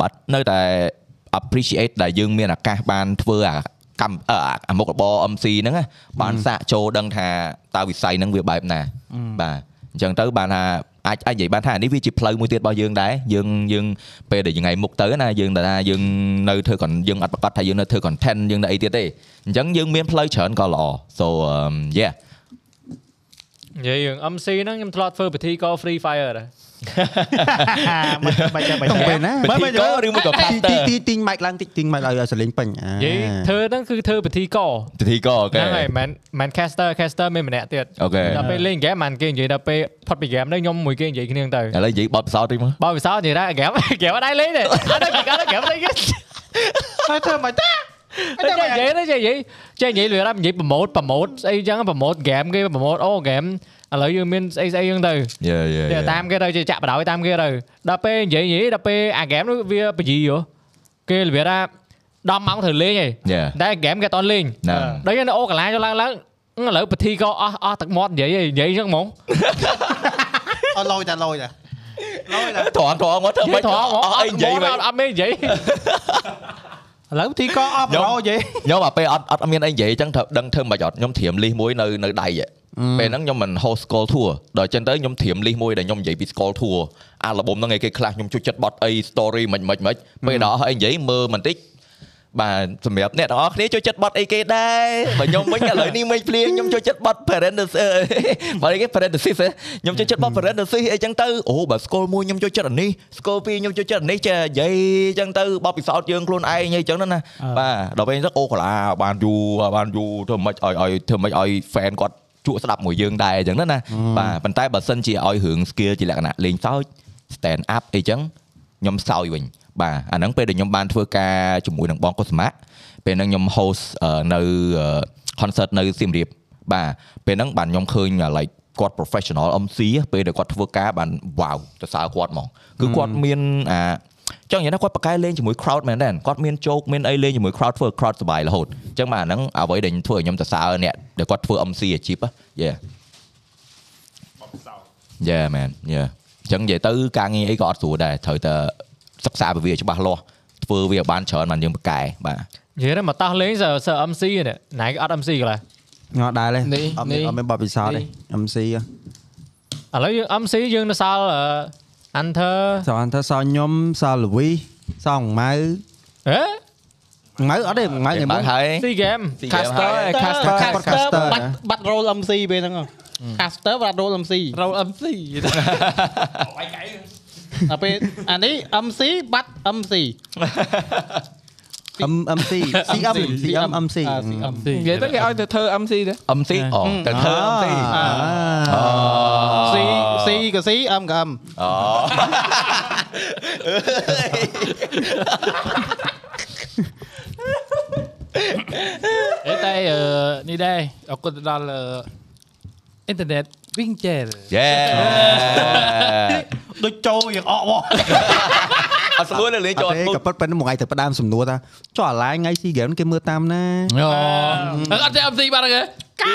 S3: បាត់នៅតែ appreciate ដែលយើងមានឱកាសបានធ្វើអាកម្មអឺអាមុខរបរ MC ហ្នឹងណាបានសាកចូលដឹងថាតើវិស័យហ្នឹងវាបែបណាបាទអញ្ចឹងទៅបានថាអាចអាចនិយាយបានថានេះវាជាផ្លូវមួយទៀតរបស់យើងដែរយើងយើងពេលដែលថ្ងៃមុខទៅណាយើងថាយើងនៅធ្វើ con- យើងអត់ប្រកាសថាយើងនៅធ្វើ content យើងនៅអីទៀតទេអញ្ចឹងយើងមានផ្លូវច្រើនក៏ល្អ so um, yeah
S2: និយាយរឿង MC ហ្នឹងខ្ញុំធ្លាប់ធ្វើពិធីក៏ Free Fire ដែរ
S5: អាមិនបាច់ចាំបាច់ចាំ
S1: ពេលណា
S3: ពិធីក៏ឬមួយក៏
S1: ទីទី
S3: pastor
S1: ទីទីងម៉ៃឡើងតិចទីងម៉ៃឲ្យឲ្យសលេងពេញអា
S2: និយាយធ្វើហ្នឹងគឺធ្វើពិធីក
S3: ពិធីក៏អូខេ
S2: ហ្នឹងហើយមិនមែន caster caster មានម្នាក់ទៀត
S3: អូខេឥ
S2: ដល់ពេលលេងហ្គេមមិនគេនិយាយដល់ពេលផុតពីហ្គេមហ្នឹងខ្ញុំមួយគេនិយាយគ្នាទៅ
S3: ឡូវនិយាយបទពិសោធន៍តិចមក
S2: បើវាសោនិយាយដែរ ហ្គេមហ្គេមអត់ដែរលេងទេអត់ដែរគេអត់ហ្គេមលេងគេ
S5: ហើយធ្វើមិនតា
S2: តែនិយាយនិយាយចេះនិយាយលឿនដែរនិយាយប្រម៉ូតប្រម៉ូតស្អីចឹងប្រម៉ូតហ្គេមគេប្រម៉ូតអូហ្គេមឥឡូវយើងមានស្អីស្អីចឹងទៅ
S3: យេយេ
S2: តែតាមគេទៅជាចាក់បដ ாய் តាមគេទៅដល់ពេលនិយាយនិយាយដល់ពេលអាហ្គេមនោះវាបយីយោគេលវាថា10ម៉ោងត្រូវលេងហី
S3: យេ
S2: តែហ្គេមគេអត់លេង
S3: ណា
S2: ដល់យើងនៅអូកាឡាចូលឡើងឡើងឥឡូវពិធីក៏អស់អស់ទឹកមាត់និយាយហីនិយាយចឹងហ្មង
S5: អត់លយតាលយតាលយតា
S3: ត្រង់ត្រង់មកធ្វើ
S2: និ
S3: ម៉េ
S2: យាយ
S3: ច
S2: ធំហ្មង
S3: អស់អីនិយាយ
S2: អត់អត់
S3: វិញ
S2: មាននិយាយ
S5: ឥឡូវទីក៏អស់ប្រូនិយាយ
S3: ខ្ញុំមកពេលអត់អត់មានអីនិយាយអញ្ចឹងត្រូវដឹងធ្វើមិនអត់ខ្ញុំធรียมលីសមួយនៅនៅដៃហ៎ពេលហ្នឹងខ្ញុំមិន host call tour ដល់អញ្ចឹងទៅខ្ញុំធรียมលីសមួយដែលខ្ញុំនិយាយពី call tour អាល្បមហ្នឹងឯងគេខ្លះខ្ញុំជួយចិត្តបត់អី story មិនមិនមិនពេលដល់អស់អីនិយាយមើលបន្តិចបាទសម្រាប់អ្នកទាំងអស់គ្នាជួយចិត្តបត់អីគេដែរបើ ខ្ញុំវិញឥឡូវនេះមិនភ្លៀងខ្ញុំជួយចិត្តបត់ parenthesis អឺបើគេ parenthesis ហ៎ខ្ញុំជួយចិត្តបត់ parenthesis អីចឹងទៅអូបើ scroll មួយខ្ញុំជួយចិត្តអានេះ scroll ពីរខ្ញុំជួយចិត្តអានេះចេះនិយាយចឹងទៅបបពិសោធន៍យើងខ្លួនឯងអីចឹងហ្នឹងណា បាទដល់ពេលហ្នឹងអូកាឡាបានយូរបានយូរធ្វើមិនឲ្យឲ្យធ្វើមិនឲ្យ fan គាត់ជក់ស្ដាប់មួយយើងដែរអញ្ចឹងណាណាបាទប៉ុន្តែបើសិនជាឲ្យរឿង skill ជាលក្ខណៈលេងសើច stand up អីចឹងខ្ញុំសើចវិញបាទអាហ្នឹងពេលដែលខ្ញុំបានធ្វើការជាមួយនឹងបងកុសមៈពេលហ្នឹងខ្ញុំ host អឺនៅអឺ concert នៅសៀមរាបបាទពេលហ្នឹងបានខ្ញុំឃើញអា like គាត់ professional MC ហ៎ពេលដែលគាត់ធ្វើការបាន wow សរសើរគាត់ហ្មងគឺគាត់មានអា ចង់និយាយថាគាត់ប្រកែលេងជាមួយ crowd មែនដែរគាត់មានជោគមានអីលេងជាមួយ crowd ធ្វើ crowd សប្បាយរហូតអញ្ចឹងបាទអាហ្នឹងអ្វីដែលខ្ញុំធ្វើឲ្យខ្ញុំសរសើរអ្នកដែលគាត់ធ្វើ MC អាជីពយេយេមែនយេអញ្ចឹងនិយាយទៅការងារអីក៏អត់ស្រួលដែរត្រូវតែសិក្សាពីវាច្បាស់លាស់ធ្វើវាឲ្យបានច្រើនបានយើងប្រកែបាទ
S2: និយាយដល់មកតោះលេងសើសើ MC នេះណៃក៏អត់ MC កន្លែង
S1: ងល់ដែរលេ
S4: នេះ
S1: អត់
S4: នេះ
S1: មានអត់មានបទពិសោធន៍
S4: នេះ
S1: ទេ MC ហ៎
S2: ឥឡូវយើង MC យើងនៅសល់អឺ Hunter
S1: សោះថាសោះខ្ញុំសោះលវីសោះម៉ៅ
S2: ហេ
S1: ម៉ៅអត់ទេម៉ៅ
S3: គេ
S1: ញ៉ាំ
S3: បើ
S1: មុ
S3: ក
S1: ន
S3: ហើយ
S2: ស៊ីហ្គេម
S4: caster ឯ caster
S1: Caster
S5: បាត់បាត់ roll MC ពេលហ្នឹងហ៎ caster បាត់ roll MC
S9: roll MC
S5: ដល់ពេលអានេះ MC បាត់ MC
S1: MC CM CM MC
S5: អា CM
S4: និយាយទៅគេឲ្យទៅធ្វើ MC ទៅ
S3: MC អូទៅធ្វើ MC
S1: អ
S3: អូ
S1: ា
S5: C C ក៏ C M ក៏ M
S3: អូ
S9: អីតែអឺនេះដែរអរគុណទៅដល់អ៊ីនធឺណិត Winchell
S3: យេ
S5: ដូចចូលយើងអកមក
S3: អត់ស្រួលទេលេង
S1: អ
S3: ចូល
S1: ត់
S3: អត់
S1: ទេ
S3: ពុក
S1: ក៏ប៉ិតប៉ិនមួយថ្ងៃទៅផ្ដើមសំណួរថាចុះអាឡាញថ្ងៃស៊ីហ្គេមគេមើលតាមណា
S9: អូអត់ទេ MC បាត់ហ្នឹង
S3: គឺ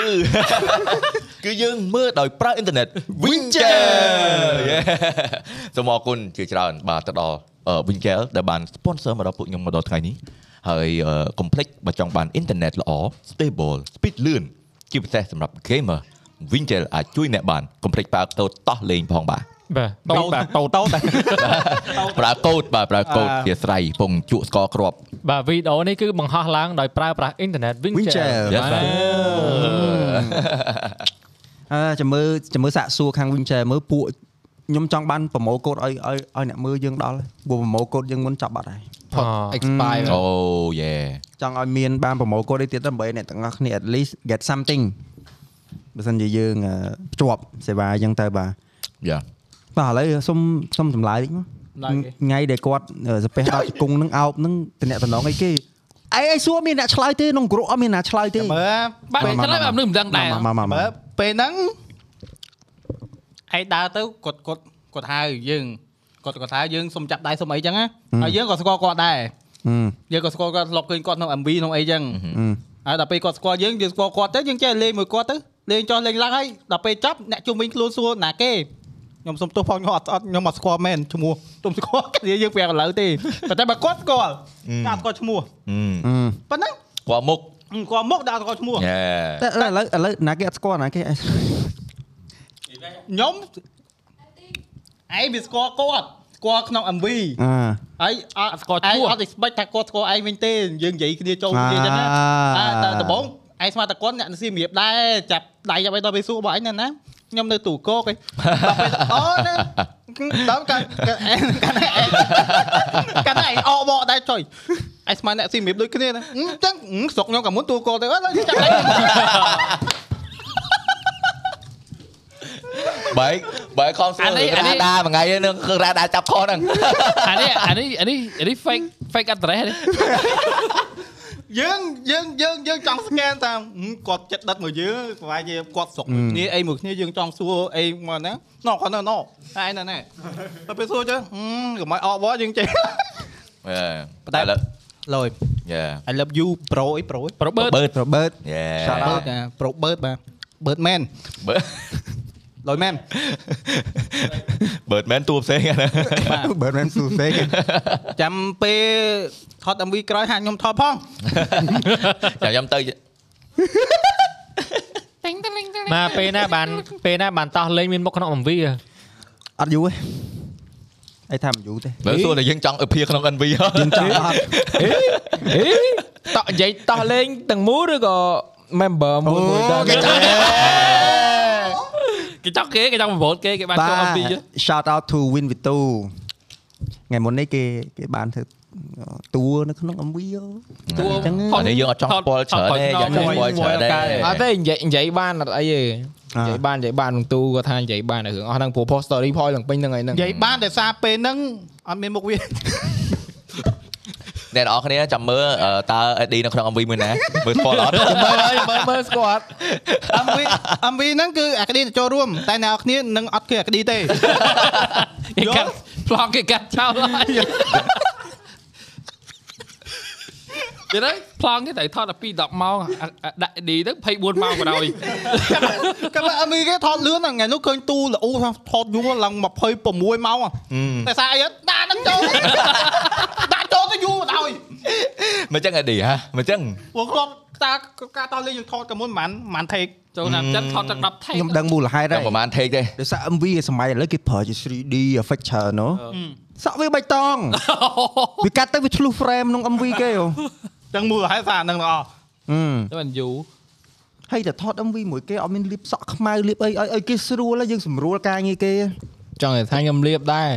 S3: គឺយើងមើលដោយប្រើអ៊ីនធឺណិត Wincher យេ សូមអរគុណជាច្រើនបាទទៅដល់ Wincher ដែលបាន sponsor មកដល់ពួកខ្ញុំមកដល់ថ្ងៃនេះហើយអឺ complex បើចង់បានអ៊ីនធឺណិតល្អ stable speed លឿនជាពិសេសសម្រាប់ gamer Wincher អាចជួយអ្នកបាន complex ប្រើកូដតោះលេងផងបាទ
S9: បាទតោតបាទតោតត
S3: ប្រើកូដបាទប្រើកូដជាស្រ័យពងជក់ស្ករគ្រាប់
S2: បាទវីដេអូនេះគឺបង្ហោះឡើងដោយប្រើប្រាស់អ៊ីនធឺណិត
S1: Winchell
S2: Winchell
S1: បាទអឺចាំមើលចាំមើលសាក់សួរខាង Winchell មើលពួកខ្ញុំចង់បានប្រម៉ូកូដឲ្យឲ្យឲ្យអ្នកមើលយើងដល់ព្រោះប្រម៉ូកូដយើងមុនចាប់បាត់ហើយ
S4: expire
S3: អូយេ
S1: ចង់ឲ្យមានបានប្រម៉ូកូដនេះទៀតដើម្បីអ្នកទាំងអស់គ្នា at least get something បើមិនជាយើងអឺភ្ជាប់សេវាអញ្ចឹងទៅបាទ
S3: យ៉ា
S1: បាទឥឡូវសុំសុំចម្លើយតិចមកថ្ងៃដែលគាត់អឺសាពះដល់ជង្គង់នឹងអោបនឹងតំណតំណងអីគេអីអីសួរមានអ្នកឆ្លើយទេក្នុងក្រុមអត់មានអ្នកឆ្លើយទេ
S5: មើល
S9: បាទឆ្លើយបាទមនុស្សមិនដឹងដែរ
S1: មកមកមក
S5: មើលពេលហ្នឹងឯងដើរទៅគាត់គាត់គាត់ហៅយើងគាត់គាត់ហៅយើងសុំចាប់ដៃសុំអីចឹងណាហើយយើងក៏ស្គាល់គាត់ដែរយើងក៏ស្គាល់គាត់ធ្លាប់ឃើញគាត់ក្នុង MV ក្នុងអីចឹង ហើយដល់ពេលគាត់ស្គាល់យើងយើងស្គាល់គាត់ទៅយើងចេះលេងមួយគាត់ទៅលេងចោះលេងឡើងហើយដល់ពេលចាប់អ្នកជុំវិញខ្លួនសួរណាគេខ្ញុំសុំទោសផងខ្ញុំអត់ស្អត់ខ្ញុំអត់ស្គាល់មែនឈ្មោះខ្ញុំស្គាល់គ្នាយើងប្រាប់ឥឡូវទេប៉ុន្តែបើគាត់ស្គាល់ដាក់ស្គាល់ឈ្មោះប៉ុណ្ណឹង
S3: គាល់មុខ
S5: គាត់មុខដាក់ស្គាល់ឈ្មោះ
S3: យេ
S1: តែឥឡូវឥឡូវណាគេអត់ស្គាល់ណាគេឯង
S5: ខ្ញុំឯងវាស្គាល់គាត់ស្គាល់ក្នុង MV
S1: អ่า
S5: ហើយអត់
S9: ស្គាល់ឈ្មោះ
S5: ឯងអត់ expect ថាគាត់ស្គាល់ឯងវិញទេយើងនិយាយគ្នាចូលគ្នាចឹងណា
S1: អា
S5: អាតែដំបងឯងស្មានតែគាត់អ្នកនសៀមរៀបដែរចាប់ដៃចាប់ឯងដល់ពេលសួរបងឯងណាណាខ្ញុំនៅទូកកឯងដល់ពេលអូណាដល់កាន់កាន់ឯងកាន់ឯងកាន់ឯងអោបកដែរចុយឯងស្មានអ្នកនសៀមរៀបដូចគ្នាណាអញ្ចឹងអឺស្រុកខ្ញុំក៏មុនទូកកទៅអត់ឡើយចាប់ដៃ
S3: បែកបែកខំស្គាល់រ៉ាដាមួយថ្ងៃនឹងរ៉ាដាចាប់ខ ហ្នឹង
S9: អានេះអានេះអានេះអានេះ fake fake address នេះ
S5: យើងយើងយើងយើងចង់ scan តាម ហ៊ឹមគាត់ចិត្តដិតមកយើងប្រហែលជាគាត់ស្រុកមួយគ្នាអីមួយគ្នាយើងចង់សួរអីមកណាណោគាត់ណោណោឯណាណែទៅពេលសួរចឹងហ៊ឹមកុំឲ្យអបវយើងចេះ
S3: តែលើ
S5: ឡយ
S3: យេ
S5: I love you bro អី bro
S9: ប្របឺត
S3: បឺត
S1: រ៉ូបឺត
S3: យេ
S5: ចាបើត bro បឺតបាទបឺតមែន
S3: បឺត
S5: ឡយមែន
S3: បឺតមែនតួផ្សេង ណា
S1: បឺតមែនស៊ូសេក
S5: ចាំពេលថត MV ក្រោយហាក់ខ្ញុំថតផង
S3: ចាំខ្ញុំទៅ
S2: ណាពេលណាបានពេលណាបានតោះលេងមានមុខក្នុង MV ហ៎
S1: អត់យូរទេអីថាមិនយូរទេ
S3: បើសួរតែយើងចង់អភិក្នុង NV
S1: យើងចង់អត់
S4: ហេតោះនិយាយតោះលេងទាំងមូលឬក៏ member មួយមួយតោះគេចង់
S9: គេចង់គេគេចង់ប្រមូលគេគេបានចូលអំពី
S1: shout out to Win Vitu ថ្ងៃមុននេះគេគេបានធ្វើតួនៅក្នុង MV យោ
S3: អានេះយើងអត់ចង់ស្ពល់ច្រើនទេយើងចង់ស្ពល់ច្រើនទេ
S4: អត់ទេនិយាយនិយាយបានអត់អីទេនិយាយបាននិយាយបានក្នុងទូគាត់ថានិយាយបានរឿងអស់ហ្នឹងព្រោះ post story point ឡើងពេញហ្នឹងឯងហ្នឹង
S5: និយាយបានតែសារពេលហ្នឹងអត់មានមុខវា
S3: អ្នកនរគ្នាចាំមើលតើ AD នៅក្នុង MV មួយណាមើលស្ពល់អត់
S4: មើលហើយមើលមើលស្គាល់
S5: MV MV ហ្នឹងគឺអាក្តីចូលរួមតែអ្នកនរគ្នានឹងអត់គឺអាក្តី ទេ
S9: គេកាត់ប្លង់គេកាត់ចោលហើយយល់ទេប្លង់គេតែថតដល់2 10ម៉ោងអាអាដាក់ឌីទៅ24ម៉ោងបណ្ដោយ
S5: កាលអមីគេថតលឿនហ្នឹងថ្ងៃនោះឃើញទូលអ៊ូថាថតយូរឡើង26ម៉ោងហ៎តែសារអីហ៎ដាក់ហ្នឹង ចូលដាក់ចូលទៅយូរបណ្ដោយ
S3: មិនចឹង AD ហ៎មិនចឹង
S5: ពួកគ្រាប់តាការតោះលេងយើងថតកាលមុនមិនមិនមិនថេក
S9: ចូលតាមចិត្តថតទាំង10ថេ
S1: ខ្ញុំដឹងមូលហេតុ
S3: តែ
S1: ហើយ
S3: ប្រហែល take ទេ
S1: ដោយសារ MV សម័យឥឡូវគេប្រើជា 3D effect ច្រើនណូសក់វាបៃតង វាកាត់ទៅវាឆ្លុះ frame ក្នុង MV គេហ៎
S5: ចឹងមូលហេតុសារហ្នឹងទាំងអស់
S9: តែបានយូរ
S1: ហើយតែថត MV មួយគេអត់មានលាបសក់ខ្មៅលាបអីឲ្យឲ្យគេស្រួលហើយយើងសម្រួលការងារគេ
S4: ចង់និយាយថាខ្ញុំលៀបដែរ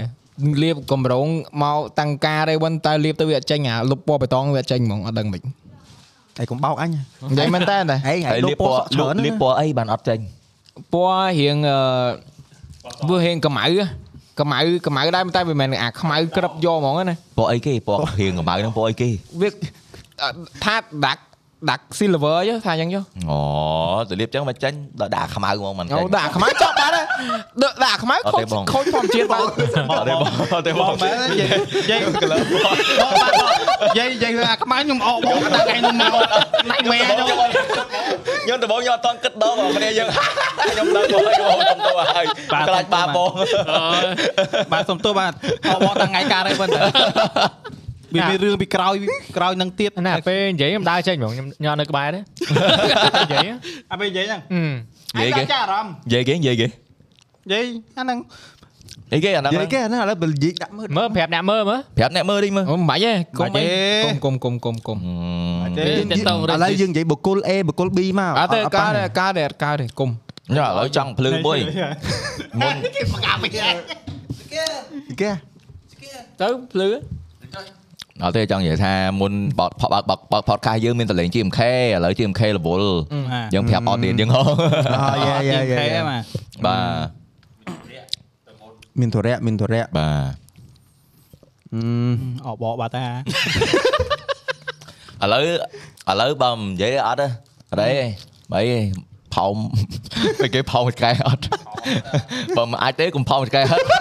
S4: លៀបកម្រងមកតាំងការទេវិញតែលៀបទៅវាអត់ចេញអាលុបពណ៌បៃតងវាអត់ចេញហ្មងអត់ ដឹងមិន
S1: ហើយកុំបោកអញ
S4: និយាយមែនតើតែ
S1: ហែងហែងលុបពណ៌សក់ច្រើន
S3: លៀ
S1: ណា
S3: បពណ៌អីបានអត់ចេញ
S4: ពណ៌រៀងអឺវារៀងកម្មៅហ៎កម្មៅកម្មៅដែរប៉ុន្តែវាមិនមែនអាខ្មៅក្របយកហ្មងណា
S3: ពណ៌អីគេពណ៌ហៀងកម្ៅហ្នឹងពណ៌អីគេ
S4: វាអឺថាដាក់ដាក់ silver យោថាអញ្ចឹងយោ
S3: អូទៅលៀបចឹងមកចេញដល់ដាក់ខ្មៅហ្មងមិនចេញ
S4: អូដាក់អាខ្មៅចប់បាត់ហើយដកដាក់អាខ្មៅ
S3: អត់
S4: ខូ
S3: ទេ
S4: ច
S3: បង
S4: ខូចធម្មជាតិបាត់
S3: អត់ទេបងអត់ទេបង
S5: មែននិយាយនិយាយនិយាយនិយាយរឿងអាខ្មៅខ្ញុំអកបងដាក់ឯងខ្ញុំមកណៃមែខ្ញុំ
S3: ខ្ញុំដំបងខ្ញុំអត់តន់គិតដល់បងគ្នា យើងខ្ញុំដឹងបងខ្ញុំខ្ញុំទៅហើយខ្លាចបាបបង
S5: បាទសុំទោសបាទអបអរតាំងថ្ងៃការហើយប៉ុន្តែ វាមានរឿងពីក្រោយក្រោយនឹងទៀត
S2: ណាពេលនិយាយខ្ញុំដើរចេញហ្មងខ្ញុំញ៉ាំនៅក្បែរទេ និយាយហ៎
S5: អាពេលនិយាយហ្នឹង
S2: អឺ
S3: និយាយគេ
S5: ចាអារម្មណ៍
S3: និយាយគេនិយាយគេ
S5: និយាយអាហ្នឹង
S3: និយាយគេអាហ្នឹង
S1: និយាយគេអាហ្នឹងឥឡូវបើនិយាយដាក់មើល
S2: មើលប្រាប់អ្នកមើលមើល
S3: ប្រាប់អ្នកមើលនេះមើល
S4: អូមិនបាច់ទេកុំអីកុំកុំកុំកុំ
S9: តែតងរ
S1: ឥឡូវយើងនិយាយបុគ្គល A បុគ្គល E, B មក
S4: អត់ទេកើតទេកើតទេអត់កើតទេកុំ
S3: ញ៉ាំឥឡូវចង់ភ្លើងមួយមុន
S1: គេ
S2: ទៅភ្លឺ
S3: អត់ទេចង់និយាយថាមុនបោកបោកបោកបោក podcast យើងមានតលេង GMK ឥឡូវ GMK រវល់យើងប្រាប់ audience យើងហ៎
S1: អូយេយេយេ
S5: បាទ
S3: បាទ
S1: មានធរៈមានធរៈ
S3: បាទ
S1: Ừ.
S5: អបអរបាទតា
S3: ឥឡូវឥឡូវបើមិននិយាយអត់ទេអត់ទេបើអីផោម ពេលគេផោមឆ្កែអ ត់បើមិនអាចទេកុំផោមឆ្កែហត់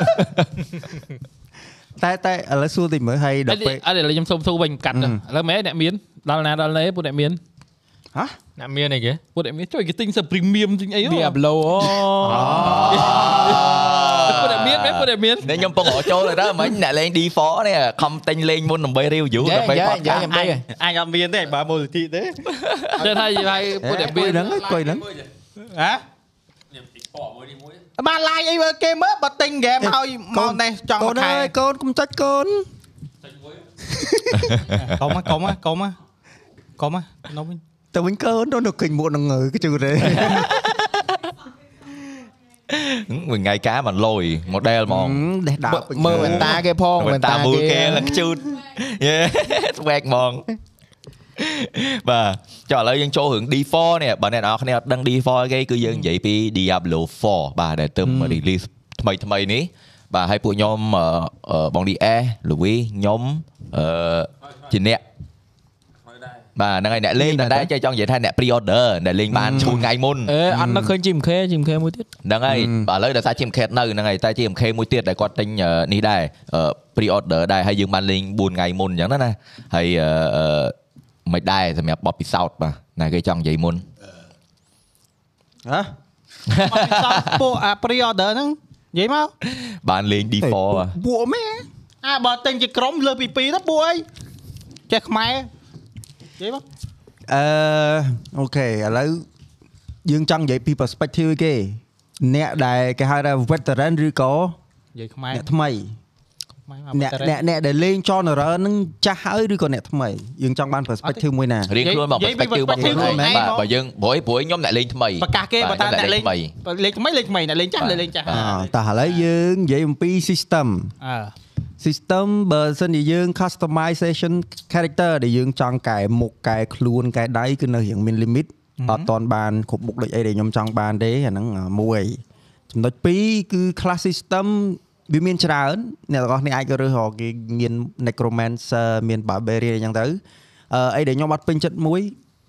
S1: តែតែឥឡូវសួរតិចមើលហើយ
S9: អ
S1: ដល់
S9: ត់
S1: ពេល
S9: អត់ឥឡូវខ្ញុំសុំទូវិញកាត់ទៅឥឡូវមែនអ្នកមានដល់ណាដល់ណេពួកអ្នកមាន
S2: អ្នកមានអីគេ
S9: ពួកអ្នកមានជួយគេទិញសព្រីមៀមទិញអីហ៎
S4: វាអាប់ឡូអូ
S9: ពួកអ្នកមានមែនពួកអ្នក មាន
S3: នេះខ្ញុំពងរកចូលហើយដល់មិញអ្នកលេង D4 នេះខំតែញលេងមុនដើម្បី review
S4: យេ
S3: ដើម្បី
S4: យេ
S3: podcast
S4: យេយ៉ាងបីហ៎
S5: អញអត់មានទេបើមូលនិធិទេ
S9: តែថាយីហើយពួកអ្នកមាន
S1: ហ្នឹងកុយហ្នឹង
S5: ហ៎បានឡាយអីមើលគេមើលបើទិញហ្គេមឲ្យមកនេះចង់
S1: កូ
S5: មួ
S1: ន
S5: យ
S1: អើ
S5: ខែ
S1: យកូនកុំចាច់កូន
S5: កុំកុំកុំកុំនំវិញ
S1: ទៅវិញកូនទៅនៅគេញមួកនឹងងើគេជឿទេ
S3: មួយថ្ងៃការមិនលុយ model ហ្មង
S1: ដេះដាវ
S4: មើលវ៉ែនតាគេផង
S3: មិន
S4: វ៉ែន
S3: តា
S4: តា
S3: មួយ
S4: គេ
S3: គេលឹកជូតយេ swag ហ្មងបាទចុះឥឡូវយើងចូលរឿង D4 នេះបើអ្នកនរគ្នាអត់ដឹង D4 អីគេគឺយើងនិយាយពី Diablo 4បាទដែលទើប release ថ្មីថ្មីនេះបាទហើយពួកខ្ញុំអឺអឺបង DS Louis ខ្ញុំអឺជាអ្នកបាទហ្នឹងហើយអ្នកលេងតែដែរចេះចង់និយាយថាអ្នក pre order ដែលលេងបានជូនថ្ងៃមុន
S4: អេអត់នឹកឃើញ GMK GMK មួយទៀត
S3: ហ្នឹងហើយឥឡូវដោយសារ GMK នៅហ្នឹងហើយតែ GMK មួយទៀតដែលគាត់ទិញអឺនេះដែរអឺ pre order ដែរហើយយើងបានលេង4ថ្ងៃមុនអញ្ចឹងណាណាហើយអឺអឺមិនដែរសម្រាប់បបពិសោធន៍បាទណាគេចង់និយាយមុន
S1: ហ៎
S5: មកពីសោះពួកអា pre order ហ្នឹងនិយាយមក
S3: បានលេង D4 បាទ
S5: ពួកមែនអាបើទិញជាក្រុមលើពី2ទៅពួកអីចេះខ្មែរនិយាយមក
S1: អឺអូខេឥឡូវយើងចង់និយាយពី perspective គេ អ្នកដែលគេហៅថា veteran ឬក៏
S5: និយាយខ្មែរ
S1: អ្នកថ្មី
S5: ខ្មែរមក
S1: អ្នក
S5: តែ
S1: អ្នកអ្នកដែលលេង genre ហ្នឹងចាស់ហើយឬក៏អ្នកថ្មីយើងចង់បាន perspective មួយណា
S3: រៀងខ្លួនមក perspective របស់ខ្លួនឯងបាទបើយើងព្រួយព្រួយខ្ញុំអ្នកលេងថ្មី
S5: ប្រកាសគេបើតាអ្នកលេងលេងថ្មីលេងថ្មីអ្នកលេងចាស់លេងចាស់
S1: អ่าតោះឥឡូវយើងនិយាយអំពី system
S5: អើ
S1: system បើសិនជាយើង customization character ដែលយើងចង់កែមុខកែខ្លួនកែដៃគឺនៅរៀងមាន limit អត់តាន់បានគ្រប់មុខដូចអីដែលខ្ញុំចង់បានទេអាហ្នឹងអាមួយចំណុច2គឺ class system វាមានច្រើនអ្នកទាំងអស់គ្នាអាចរើសរកគេមាន necromancer មាន barbarian អីចឹងទៅអឺអីដែលខ្ញុំអត់ពេញចិត្តមួយ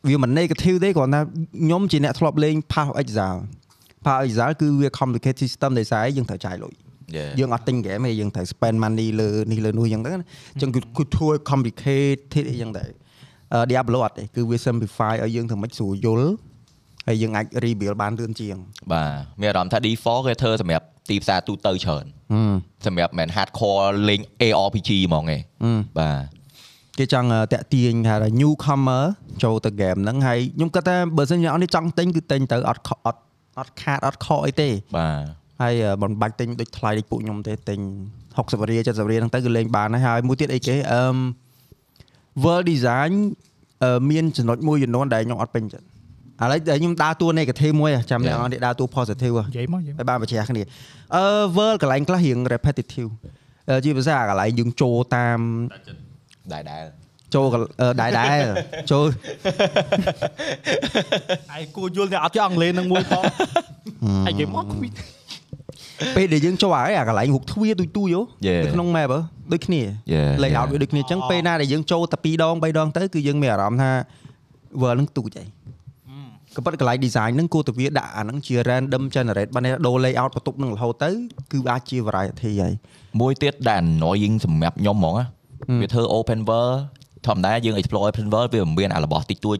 S1: វាមិន negative ទេគ្រាន់តែខ្ញុំជាអ្នកធ្លាប់លេង path of exile path of exile គឺវា complicated system ដែលស្អីយើងត្រូវចាយលុយ យើងអត់ទិញហ្គេមទេយើងត្រូវ spend money លើនេះលើនោះអញ្ចឹងទៅណាអញ្ចឹងគឺគឺធ្វើ complicated អីចឹងដែរអឺ Diablo អត់ទេគឺវា simplify ឲ្យយើងធ្វើម៉េចស្រួលយល់ហើយយើងអាច rebuild បានលឿនជាង
S3: បាទមានអារម្មណ៍ថា D4 គេធ្វើសម្រាប់ទីផ្សារទូទៅច្រើនសម្រាប់មិនមែន hardcore លេង ARPG ហ្មងឯងបាទ
S1: គេចង់តាក់ទាញហៅថា newcomer ចូលទៅ game ហ្នឹងហើយខ្ញុំគិតថាបើសិនជាអ្នកនរនេះចង់ទិញគឺទិញទៅអត់ខអត់អត់ខាតអត់ខកអីទេ
S3: បាទ
S1: ហើយអឺមិនបាច់ទិញដូចថ្លៃដូចពួកខ្ញុំទេទិញ60រៀល70រៀលហ្នឹងទៅគឺលេងបានហើយហើយមួយទៀតអីគេអឺម world design អ អឺមានចំណុចមួយចំនួនដែលខ្ញុំអត់ពេញចិត្តឥឡូវដែលខ្ញុំដើរតួ negative មួយហ៎ចាំអ្នកនរនេះដើរតួ positive ហ៎
S5: និយាយមកនិយាយមក
S1: ហើយបានបញ្ជាក់គ្នាអឺ world កន្លែងខ្លះរៀង repetitive អឺជាភាសាកន្លែងយើងចូលតាម
S3: ដែរដែរ
S1: ចូលកន្អឺដែរដែរ ចូល
S5: ឯងគួរយល់តែអត់ចេះអង់គ្លេសនឹងមួយផងឯងនិយាយមកខ្វិត
S1: ពេលដែលយើងចូលហើយអាកន្លែងរុកទ្វារទូចទូចហ៎នៅក្នុង map ហ៎ដូចគ្នា
S3: Yeah,
S1: layout
S3: yeah.
S1: វាដូចគ្នាអញ្ចឹងពេលណាដែលយើងចូលតែ2ដង3ដងទៅគឺយើងមានអារម្មណ៍ថា world នឹងទូចហើយក៏ប៉ុន្តែកន្លែង design ហ្នឹងគួរតែវាដាក់អាហ្នឹងជា random generate បានដូរ layout បន្ទប់ហ្នឹងរហូតទៅគឺអាចជា variety ហើយ
S3: មួយទៀតដែល annoying សម្រាប់ខ្ញុំហ្មងណា
S1: ម
S3: វាធ្វើ open world ធម្មតាយើង explore open world វាមិនមានអារបស់តិចតួច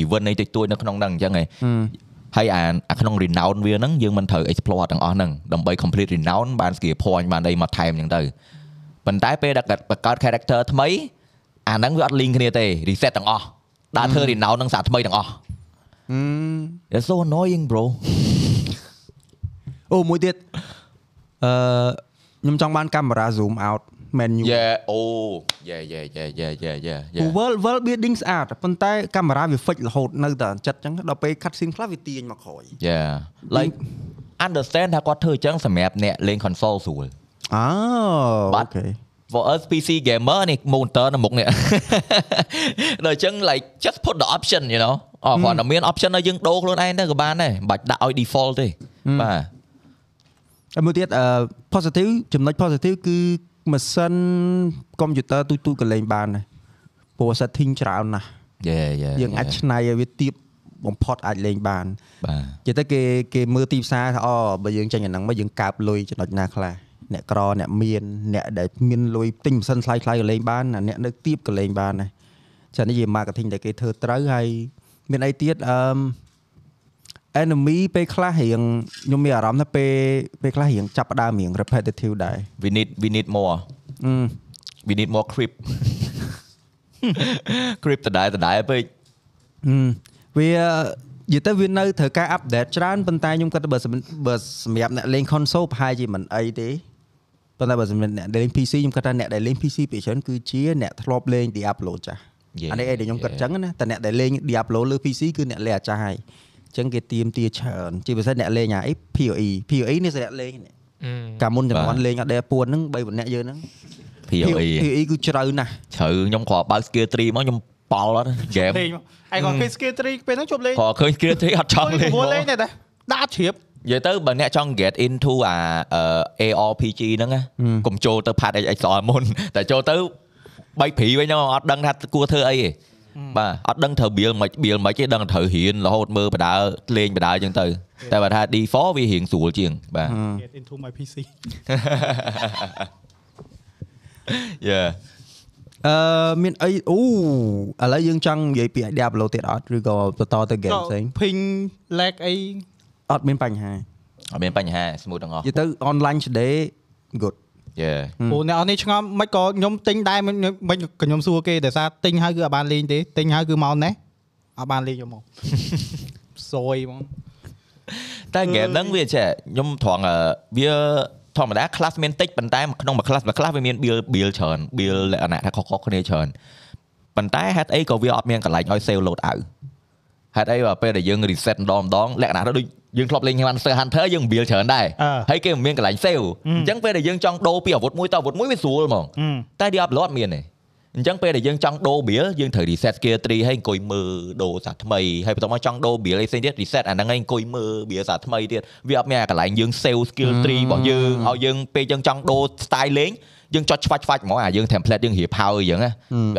S3: event នៃតិចតួចនៅក្នុងហ្នឹងអញ្ចឹងឯងហើយអាអាក្នុង renown វាហ្នឹងយើងមិនត្រូវ explore ទាំងអស់ហ្នឹងដើម្បី complete renown បាន skill point បានអីមកថែមអញ្ចឹងទៅប៉ុន្តែពេលដែលបង្កើត character ថ្មីអាហ្នឹងវាអត់ link គ្នាទេ reset ទាំងអស់ដើរធ្វើ renown ហ្នឹងសាកថ្មីទាំងអស់
S1: ហឹម
S3: It's so annoying bro
S1: អូមួយទៀតអឺខ្ញុំចង់បានកាមេរ៉ា zoom out menu
S3: Yeah oh yeah yeah yeah yeah yeah yeah yeah
S1: world world building ស្អាតប៉ុន្តែកាមេរ៉ាវាហ្វិចរហូតនៅតែចិត្តអញ្ចឹងដល់ពេល cut scene ខ្លះវាទាញមកក្រោយ
S3: Yeah like understand ថាគាត់ធ្វើអញ្ចឹងសម្រាប់អ្នកលេង console ស្រួល
S1: អូ
S3: But- for us PC gamer នេះ monitor នៅមុខនេះ ដល់អញ្ចឹង like just put the option you know អរគាត់តែមាន option ឲ្យយើងដូរខ្លួនឯងទៅក៏បានដែរមិនបាច់ដាក់ឲ្យ default ទេបាទ
S1: ហើយមួយទៀតអឺ positive ចំណុច positive គឺម៉ាស៊ីនកុំព្យូទ័រទូចទូចក៏លេងបានដែរព្រោះ setting ច្រើនណាស់
S3: yeah yeah
S1: យើងអាច
S3: yeah.
S1: ឆ្នៃឲ្យវាទៀបបំផុតអាចលេងបាន
S3: បាទ
S1: និយាយទៅគេគេមើលទីផ្សារថាអូបើយើងចេញអាហ្នឹងមកយើងកើបលុយចំណុចណាខ្លះអ្នកក្រអ្នកមានអ្នកដែលមានលុយទិញម៉ាស៊ីនថ្លៃថ្លៃៗក៏លេងបានអាអ្នកនៅទៀបក៏លេងបានដែរចានេះជា marketing ដែលគេធ្វើត្រូវហើយមានអីទៀតអឺម enemy ពេលខ្លះរៀងខ្ញុំមានអារម្មណ៍ថាពេលពេលខ្លះរៀងចាប់ផ្ដើមរៀង repetitive ដែរ
S3: we need we need more
S1: អឺ
S3: we need more creep creep ដដែលដដែលពេក
S1: ហឹមវានិយាយទៅវានៅត្រូវការអាប់ដេតច្រើនប៉ុន្តែខ្ញុំគិតថាបើសម្រាប់បើសម្រាប់អ្នកលេង console ប្រហែលជាមិនអីទេប៉ុន្តែបើសម្រាប់អ្នកដែលលេង PC ខ្ញុំគិតថាអ្នកដែលលេង PC ភាគច្រើនគឺជាអ្នកធ្លាប់លេង Diablo ចាស់
S3: Yeah,
S1: អានេះឯងដែលខ្ញុំគិត
S3: yeah.
S1: ចឹងណាតែអ្នកដែលលេង Diablo លើ PC គឺអ្នកលេងអាចារ្យហើយអញ្ចឹងគេទៀមទាច្រើនជាពិសេសអ្នកលេងអាអី PoE PoE នេះសម្រាប់លេងនេះកាលមុនចំនួន
S3: បាទ
S1: លេងអត់ដែរពួនហ្នឹង3 4នាក់យើងហ្នឹង
S3: POE
S1: PoE គឺជ្រៅណាស់
S3: ជ្រៅខ្ញុំគ្រាន់បើក skill tree មកខ្ញុំប៉ល់អត់ game
S5: លេងមកឯងគាត់ឃើញ skill tree ពេលហ្នឹងជប់លេង
S3: គ្រាន់ឃើញ skill tree អត់ចង់លេង
S5: ព្រោះ
S3: ហ្ម
S5: លេង
S3: ង
S5: តែតែដាក់ជ្រាប
S3: និយាយទៅបើអ្នកចង់ get into à, ờ, អាអឺ ARPG ហ្នឹងណាកុំចូលទៅ part XXR មុនតែចូលទៅបែកព្រីវិញហ្នឹងអត់ដឹងថាគួរធ្វើអីទេបាទអត់ដឹងត្រូវ build មិន build មិនទេដឹងត្រូវរៀនរហូតមើលបដាលេងបដាអញ្ចឹងទៅតែបើថា D4 វារៀងស្រួលជាងបាទ
S5: get into my PC
S3: Yeah
S1: អឺមានអីអូឥឡូវយើងចង់និយាយពី Diablo ទៀតអត់ឬក៏បន្តទៅ game ផ្សេង
S5: ភីង lag អី
S1: អត់មានបញ្ហា
S3: អត់មានបញ្ហា smooth ទាំងអស់
S1: និយាយទៅ online today good
S3: Yeah
S5: ព្រោះអ្នកអត់នេះឆ្ងល់មិនក៏ខ្ញុំទិញដែរមិនមិនក៏ខ្ញុំសួរគេតែថាទិញហើយគឺអត់បានលេងទេទិញហើយគឺមកណេះអត់បានលេងយក មកសយហ្មង
S3: តែ game ហ្នឹងវាចេះខ្ញុំត្រង់អឺវាធម្មតា class មានតិចប៉ុន្តែក្នុងមួយ class មួយ class វាមាន build build ច្រើន build លក្ខណៈថាខុសៗគ្នាច្រើនប៉ុន្តែហេតុអីក៏វាអត់មានកន្លែងឲ្យ save load out ហេតុអីបើពេលដែលយើង reset ម្ដងម្ដងលក្ខណៈដូចយើងធ្លាប់លេង Monster Hunter យើង build ច្រើនដែរ
S5: អឺ
S3: ហើយគេមិនមានកន្លែង save អញ្ចឹងពេលដែលយើងចង់ដូរពីអាវុធមួយទៅអាវុធមួយវាស្រួលហ្មងតែ Diablo អត់មានទេអញ្ចឹងពេលដែលយើងចង់ដូរ build យើងត្រូវ reset skill tree ហើយអង្គុយមើលដូរសាថ្មីហើយបន្ទាប់មកចង់ដូរ build អីផ្សេងទៀត reset អាហ្នឹងឯងអង្គុយមើល build សាថ្មីទៀតវាអត់មានអាកន្លែងយើង save skill tree របស់យើងឲ្យយើងពេលយើងចង់ដូរ style លេងយើងចុចឆ្វាច់ឆ្វាច់ហ្មងអាយើង template យើងរៀបហើយអញ្ចឹងណា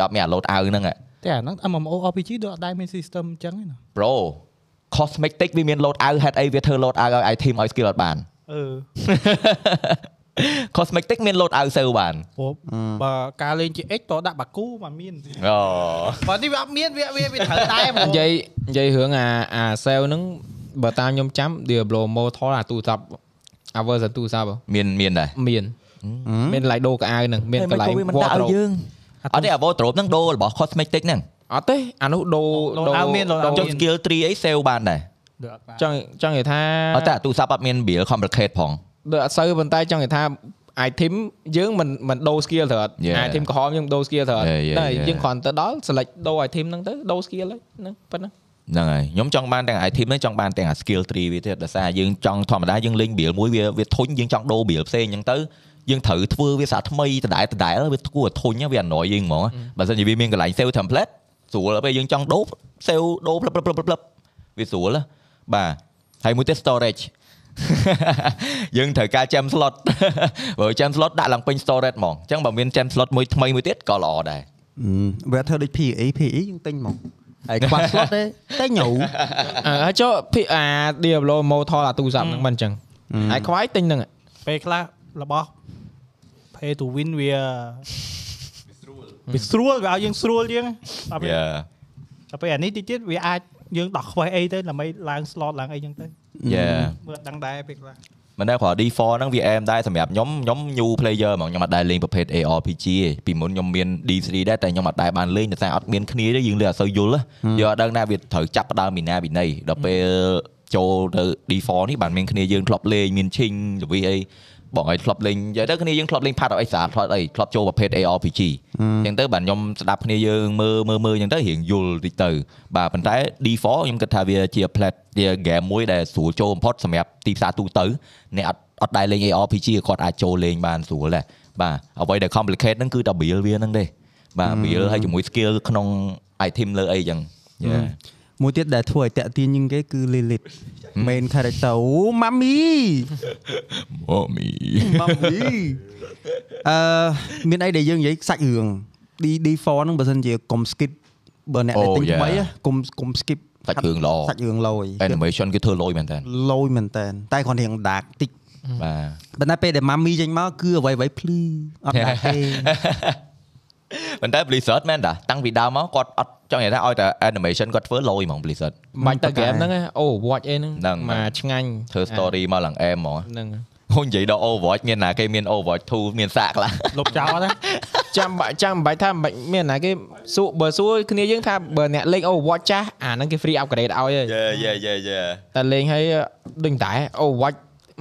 S3: វាអត់មានអា load out ហ្នឹងឯង
S5: តែអាហ្នឹង MMO RPG ដូចអត់ដែរមាន system អញ្ចឹងទេណា
S3: bro cosmetic វាមាន load out ហេតុអីវាធ្វើ load out ឲ្យ item ឲ្យ skill អត់បាន
S5: អឺ
S3: cosmetic មាន load out ទៅបាន
S5: ព្រោះបើការលេងជា X តដាក់បាគូមិនមាន
S3: អូ
S5: បើនេះវាអត់មានវាវាវាត្រូវដែរហ្មង
S4: និយាយនិយាយរឿងអាអា sale ហ្នឹងបើតាមខ្ញុំចាំ Diablo Immortal អាទូរស័ព្ទ Avers ទូរស័ព្ទហ៎
S3: មានមានដែរ
S4: មានមាន like ដូរកៅអៅហ្នឹងមានកន្លែង
S3: មិនដាក់ឲ្យ
S4: wardrobe
S3: យើងអត់ទេអា wardrobe ហ្នឹងដូររបស់ cosmetic ហ្នឹង
S4: អត់ទេអានោះដូរ
S5: ដូរ admin ដូរ
S4: ដូរ
S3: ចុច skill tree អី save បានដែរ
S5: ដូចអត់បាន
S4: ចង់ចង់និយាយថា
S3: អត់តែអាទូរស័ព្ទអត់មាន bill complicate ផង
S4: ដូចអត់សូវប៉ុន្តែចង់និយាយថា អាយធីមយើងមិនមិនដូរ skill ត្រូវអត់
S3: Yeah.
S4: អាយធីមក្រហមយើងដូរ skill ត្រូវអត់
S3: Yeah, yeah,
S4: តែ
S3: yeah.
S4: យើងគ្រាន់តែដល់ select ដូរអាយធីមហ្នឹងទៅដូរ skill ហើយហ្នឹងប៉ុណ្ណឹង
S3: ហ្នឹងហើយខ្ញុំចង់បានទាំងអា team ហ្នឹងចង់បានទាំងអា skill tree វាទៀតដោយសារយើងចង់ធម្មតាយើងលេង build មួយវាវាធុញយើងចង់ដូរ build ផ្សេងអញ្ចឹងទៅយើងត្រូវធ្វើវាសាថ្មីដដែលដដែលវាគួរឲ្យធុញណាវាអណ្រយយើងហ្មងណាបើសិនជាវាមានកន្លែង save template ស្រួលពេលយើងចង់ដូរ save ដូរផ្លឹបផ្លឹបផ្លឹបវាស្រួលណាបាទហើយមួយទៀត storage យើងត្រូវការ jam slot បើ jam slot ដាក់ឡើងពេញ storage ហ្មងអញ្ចឹងបើមាន jam slot មួយថ្មីមួយទៀតក៏ល្អដែរ
S1: វាធ្វើដូច PE PE យើងទិញមកហើយខ្វះ slot ទេតែញូវ
S4: អើហើយចុះភីអា Diablo Immortal អាទូរស័ព្ទហ្នឹងមិនអញ្ចឹងហើយខ្វាយទិញហ្នឹងឯង
S5: ពេលខ្លះរបស់ pay to win វាវាស្រួលវាឲ្យយើងស្រួលជាងតែពេល
S3: Yeah
S5: តែពេលអានេះតិចទៀតវាអាចយើងដោះខ្វេះអីទៅដើម្បីឡើង slot ឡើងអីចឹងទៅ
S3: Yeah
S5: មើលអត់ដឹងដែរពេលខ្លះ
S3: មិនដែរគ្រាន់ D4 ហ្នឹងវាអែមដែរសម្រាប់ខ្ញុំខ្ញុំ new player ហ្មងខ្ញុំអត់ដែរលេងប្រភេទ ARPG ទេពីមុនខ្ញុំមាន D3 ដែរតែខ្ញុំអត់ដែរបានលេងដោយសារអត់មានគ្នាទេយើងលេងអត់សូវយល់ហ៎យើងអត់ដឹងណាវាត្រូវចាប់ផ្ដើមពីណាពីណីដល់ពេលចូលទៅ D4 នេះបានមានគ្នាយើងធ្លាប់លេងមានឈីងល្វីអីបងឲ្យធ្លាប់លេងនិយាយទៅគ្នាយើងធ្លាប់លេង part of អីសារធ្លាប់អីធ្លាប់ចូលប្រភេទ ARPG អញ្ចឹងទៅបាទខ្ញុំស្ដាប់គ្នាយើងមើលមើលមើលអញ្ចឹងទៅរៀងយល់តិចទៅបាទប៉ុន្តែ D4 ខ្ញុំគិតថាវាជា plat ជា game មួយដែលស្រួលចូលបំផុតសម្រាប់ទីផ្សារទូទៅអ្នកអត់អត់ដែរលេង ARPG គាត់អាចចូលលេងបានស្រួលដែរបាទអ្វីដែល complicate ហ្នឹងគឺតែ build វាហ្នឹងទេបាទ build ហើយជាមួយ skill ក្នុង item លើអីអញ្ចឹង Yeah
S1: មួយទៀតដែលធ្វើឲ្យតាក់ទាញជាងគេគឺ Lilith main character អូ Mami
S3: Mommy
S1: Mami អឺមានអីដែលយើងនិយាយសាច់រឿង D D4 ហ្នឹងបើសិនជាកុំ skip បើអ្នកដែល
S3: Oh,
S1: ទិញ
S3: yeah.
S1: ថ្មីណាកុំកុំ skip
S3: សាច់រឿងល្អ
S1: សាច់រឿងឡយ
S3: animation គឺធ្វើលយមែនតើ
S1: ឡយមែនតើតែគ្រាន់តែរៀង dark តិច
S3: បាទ
S1: ប៉ុន្តែពេលដែល Mami ចេញមកគឺអ្វីៗភ្លឺអត់ដាក់ទេ
S3: ប៉ុន្តែ Blizzard មែនតាតាំងពីដើមមកគាត់អត់ចង់និយាយថាឲ្យតែ animation គាត់ធ្វើលយហ្មង Blizzard
S4: បាញ់តែ game ហ្នឹងអូ watch អី
S3: ហ្នឹ
S4: ហ្នឹង ងមកឆ្ងាញ់
S3: ធ្វើ story មកឡើងអែមហ្មង
S4: ហ្នឹង
S3: ហូននិយាយដល់ Overwatch មានណាគេមាន Overwatch 2មានសាក់ ខ្លះ
S5: លុបចោលណា
S4: ចាំបាច់ចាំបាច់ថាមិនបាច់មានណាគេសួរបើសួរគ្នាយើងថាបើអ្នកលេង Overwatch ចាស់អាហ្នឹងគេ free upgrade ឲ្យហើយ
S3: យេយេយេយេ
S4: តែលេងហើយដូចតែ Overwatch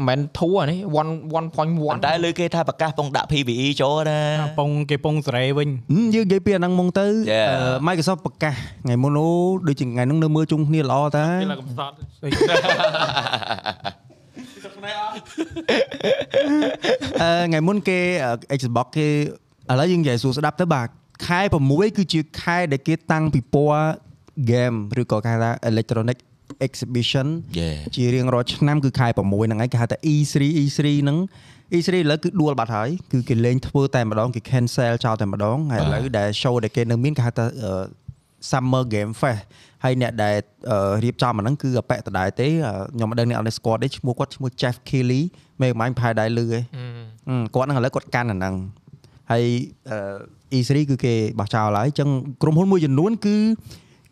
S4: មិនធូរអានេះ1.1
S3: ប៉ុន្តែលើគេថាប្រកាសពងដាក់ PVE ចូលណា
S5: ពងគេពងសេរីវិញ
S1: ហឹមយើងនិយាយពីអាហ្នឹងមកទៅ
S3: Yeah.
S1: អឺ Microsoft ប្រកាសថ្ងៃមុនអូដូចជាថ្ងៃហ្នឹងនៅមើលជុំគ្នាល្អតា
S9: គេឡើងកំស ត់
S1: អឺថ្ងៃមុនគេអឺ Xbox គេឥឡូវយើងនិយាយសួរស្ដាប់ទៅបាទខែ6គឺជាខែដែលគេតាំងពិព័រណ៍ game ឬក៏គេហៅថា electronic exhibition
S3: Yeah.
S1: ជារៀងរាល់ឆ្នាំគឺខែ6ហ្នឹងឯងគេហៅថា E3 E3 ហ្នឹង E3 ឥឡូវគឺដួលបាត់ហើយគឺគេលែងធ្វើតែម្ដងគេ cancel ចោលតែម្ដងហើយឥឡូវដែល show ដែលគេនៅមានគេហៅថាអឺ Summer Game Fest ហើយអ្នកដែលអឺរៀបចំអាហ្នឹងគឺអបតដែរទេអឺខ្ញុំមិនដឹងអ្នកអត់ស្គាល់ទេឈ្មោះគាត់ឈ្មោះ Jeff Kelly មេកំបាញ់ផែដែរលឺឯង អឺគាត់ហ្នឹងឥឡូវគាត់កាន់អាហ្នឹងហើយអឺ E3 គឺគេបោះចោលហើយអញ្ចឹងក្រុមហ៊ុនមួយចំនួនគឺ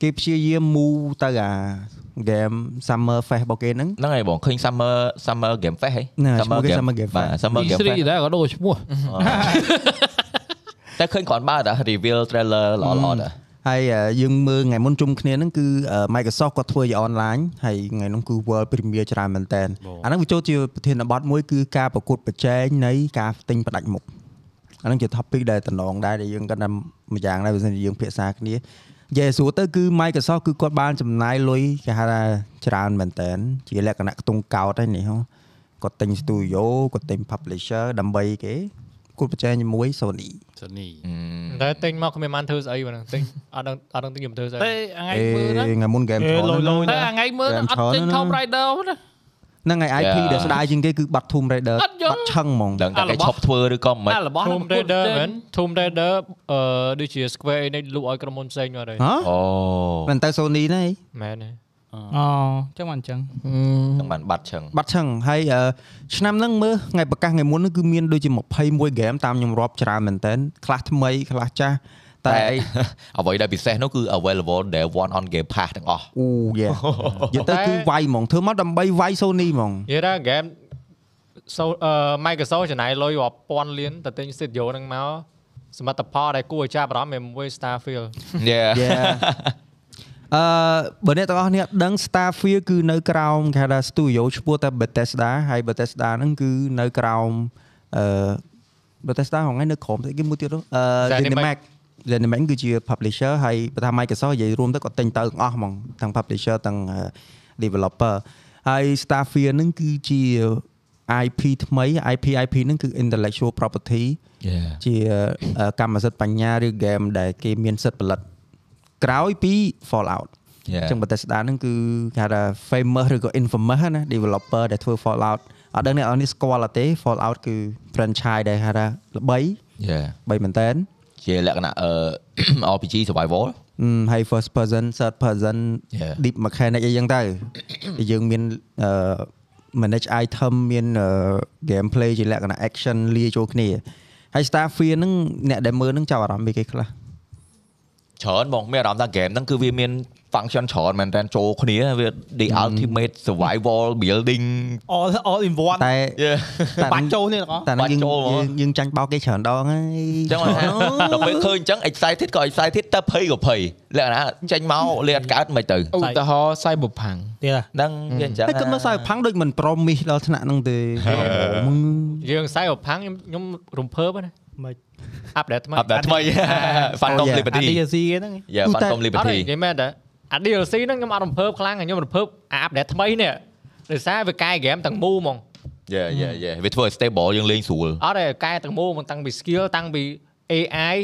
S1: គេព្យាយាម move ទៅអា game Summer Fest របស់គេហ្នឹង
S3: ហ្នឹងហើយបងឃើញ Summer Summer Game Fest ហី
S1: ហ្នឹងហើយឈ្មោះគេ Summer Game Fest
S3: បាទ Summer Game
S9: ស្រី
S3: Fest
S9: ដែរក៏ដូរឈ្មោះ
S3: តែឃើញគាត់បើតា reveal trailer ល្អល្អតា
S1: ហើយអឺយើងមើលថ្ងៃមុនជុំគ្នាហ្នឹងគឺអឺ Microsoft គាត់ធ្វើជា online ហើយថ្ងៃហ្នឹងគឺ World Premiere ច្រើនមែនតើអាហ្នឹងវាចូលជាប្រធានបទមួយគឺការប្រកួតប្រជែងនៃការទិញផ្ដាច់មុខអាហ្នឹងជា topic ដែលតំណងដែរដែលយើងគាត់ថាម្យ៉ាងដែរបើសិនជាយើងភាសាគ្នានិយាយឲ្យស្រួលទៅគឺ Microsoft គឺគាត់បានចំណាយលុយគេហៅថាច្រើនមែនតើជាលក្ខណៈខ្ទង់កោតហ្នឹងនេះហ៎គាត់ទិញ studio គាត់ទិញ publisher ដើម្បីគេប្រគួតប្រជែងជាមួយ Sony
S9: សានី
S2: តែទិញមកគ្មានបានធ្វើស្អីបងហ្នឹងទិញអត់ដឹងអត់ដឹងទិញខ្ញុំធ្វើស្អី
S9: តែថ្ងៃ
S1: អេ
S9: មើលណា
S1: ថ្ងៃមុន Game
S5: គេ
S1: Pro
S5: លុយ
S1: ហ្នឹង
S5: លុយ
S9: តែ
S5: ណា
S9: ថ្ងៃមើលអត់ទិញ Top Rider ណា
S1: ហ្នឹងហើយ IP
S3: Yeah.
S1: ដែលស្ដាយជាងគេគឺបាត់ Tomb Raider
S9: អត់យល់
S1: បាត់ឆឹងហ្មង
S3: ដឹងតែគេឈប់ធ្វើឬក៏មិន
S9: អារបស់
S2: Tomb Raider មែន Tomb Raider អឺដូចជា Square Enix លក់ឲ្យក្រុមហ៊ុនផ្សេងមកហើយ
S1: ហ៎
S3: អូ
S1: មិនទៅ Sony ទេ
S2: មែនទេ
S10: អូចឹងមកអញ្ចឹង
S3: ហ្នឹងបានបាត់ឆឹង
S1: បាត់ឆឹងហើយអឺឆ្នាំហ្នឹងមើលថ្ងៃប្រកាសថ្ងៃមុនហ្នឹងគឺមានដូចជា21ហ្គេមតាមខ្ញុំរាប់ច្រើនមែនតើខ្លះថ្មីខ្លះចាស់តែ
S3: តែអ្វីដែលពិសេសនោះគឺ available day one on game pass ទាំងអស់
S1: អូយេនិយាយទៅគឺវាយហ្មងធ្វើមកដើម្បីវាយ Sony ហ្មង
S2: និយាយថាហ្គេម so អឺ Microsoft ចំណាយលុយរាប់ពាន់លានទៅទិញ studio ហ្នឹងមកសមត្ថផលដែលគួរឲ្យចាប់អារម្មណ៍មានមួយ Starfield
S3: Yeah
S1: យេអឺបើអ្នកទាំងអស់គ្នាដឹង Starfield គឺនៅក្រោមគេហៅថា Studio ឈ្មោះតែ Bethesda ហើយ Bethesda ហ្នឹងគឺនៅក្រោមអឺ Bethesda ហ្នឹងឯងនៅក្រោមតែគេមួយទៀតនោះអឺ Zenimax Zenimax គឺជា publisher ហើយបើថា Microsoft និយាយរួមទៅគាត់ទិញទៅទាំងអស់ហ្មងទាំង publisher ទាំងអឺ developer ហើយ Starfield ហ្នឹងគឺជា IP ថ្មី IP IP ហ្នឹងគឺ intellectual property ជាអឺកម្មសិទ្ធិបញ្ញាឬ game ដែលគេមានសិទ្ធិផលិតក្រោយពី Fallout អ
S3: Yeah.
S1: ញ្ចឹង Bethesda ហ្នឹងគឺគេហៅថា famous ឬក៏ infamous ហ្នឹងណា developer ដែលធ្វើ Fallout អត់ដឹងអ្នកនរនេះស្គាល់អត់ទេ Fallout គឺ franchise ដែលហៅថាល្បី
S3: យ៉ា
S1: ល្បីមែនតើ
S3: ជាលក្ខណៈអឺ RPG survival
S1: អឺហើយ first person third person
S3: Yeah.
S1: deep mechanic អីចឹងទៅ ដែលយើងមានអឺ manage item មានអឺ gameplay ជាលក្ខណៈ action លាយចូលគ្នាហើយ Starfield ហ្នឹងអ្នកដែលមើលហ្នឹងចាប់អារម្មណ៍ពីគេខ្លះ
S3: ច្រើនបងមានអារម្មណ៍ថា game ហ្នឹងគឺវាមាន function ច្រើនមែនតើចូលគ្នាវា the ultimate survival building
S5: all all in one
S1: តែ
S3: Yeah.
S5: បាច់ចូលនេះទាំងអស់
S1: តែហ្នឹង
S3: បាច់ចូលហ្មង
S1: យើងយើងយើងចាញ់បោកគេច្រើនដងហើយ
S3: អញ្ចឹង បងថាដល់ពេលឃើញអញ្ចឹង excited ក៏ excited តែភ័យក៏ភ័យលក្ខណៈចេញមកលេអត់កើតមិនទៅ
S4: ឧទាហរណ៍ Cyberpunk
S5: ទៀតហ៎
S3: ហ្នឹងវាអញ្ចឹង
S1: តែគិតមើលសាយផាំងដូចមិនប្រមីសដល់ថ្នាក់ហ្នឹងទេហ្មង
S2: យើងសៃអផាំងខ្ញុំខ្ញុំរំភើបណា
S5: មិន
S2: អាប់ដេតថ្មី
S3: អាប់ដេតថ្មី Phantom
S1: yeah.
S3: Liberty
S5: អា DLC គេហ្នឹង
S3: យ៉ា
S1: Ooh, តែ
S3: Phantom
S2: អត់ទេ
S3: Liberty
S2: និយាយមែនតើអា DLC ហ្នឹងខ្ញុំអត់រំភើបខ្លាំងទេខ្ញុំរំភើបអាអាប់ដេតថ្មីនេះដោយសារវាកែហ្គេមទាំងមូលហ្មង
S3: យ៉ាយ៉ាយ៉ាវាធ្វើឲ្យ stable យើងលេងស្រួល
S2: អត់ទេកែទាំងមូលហ្មងតាំងពី skill តាំងពី AI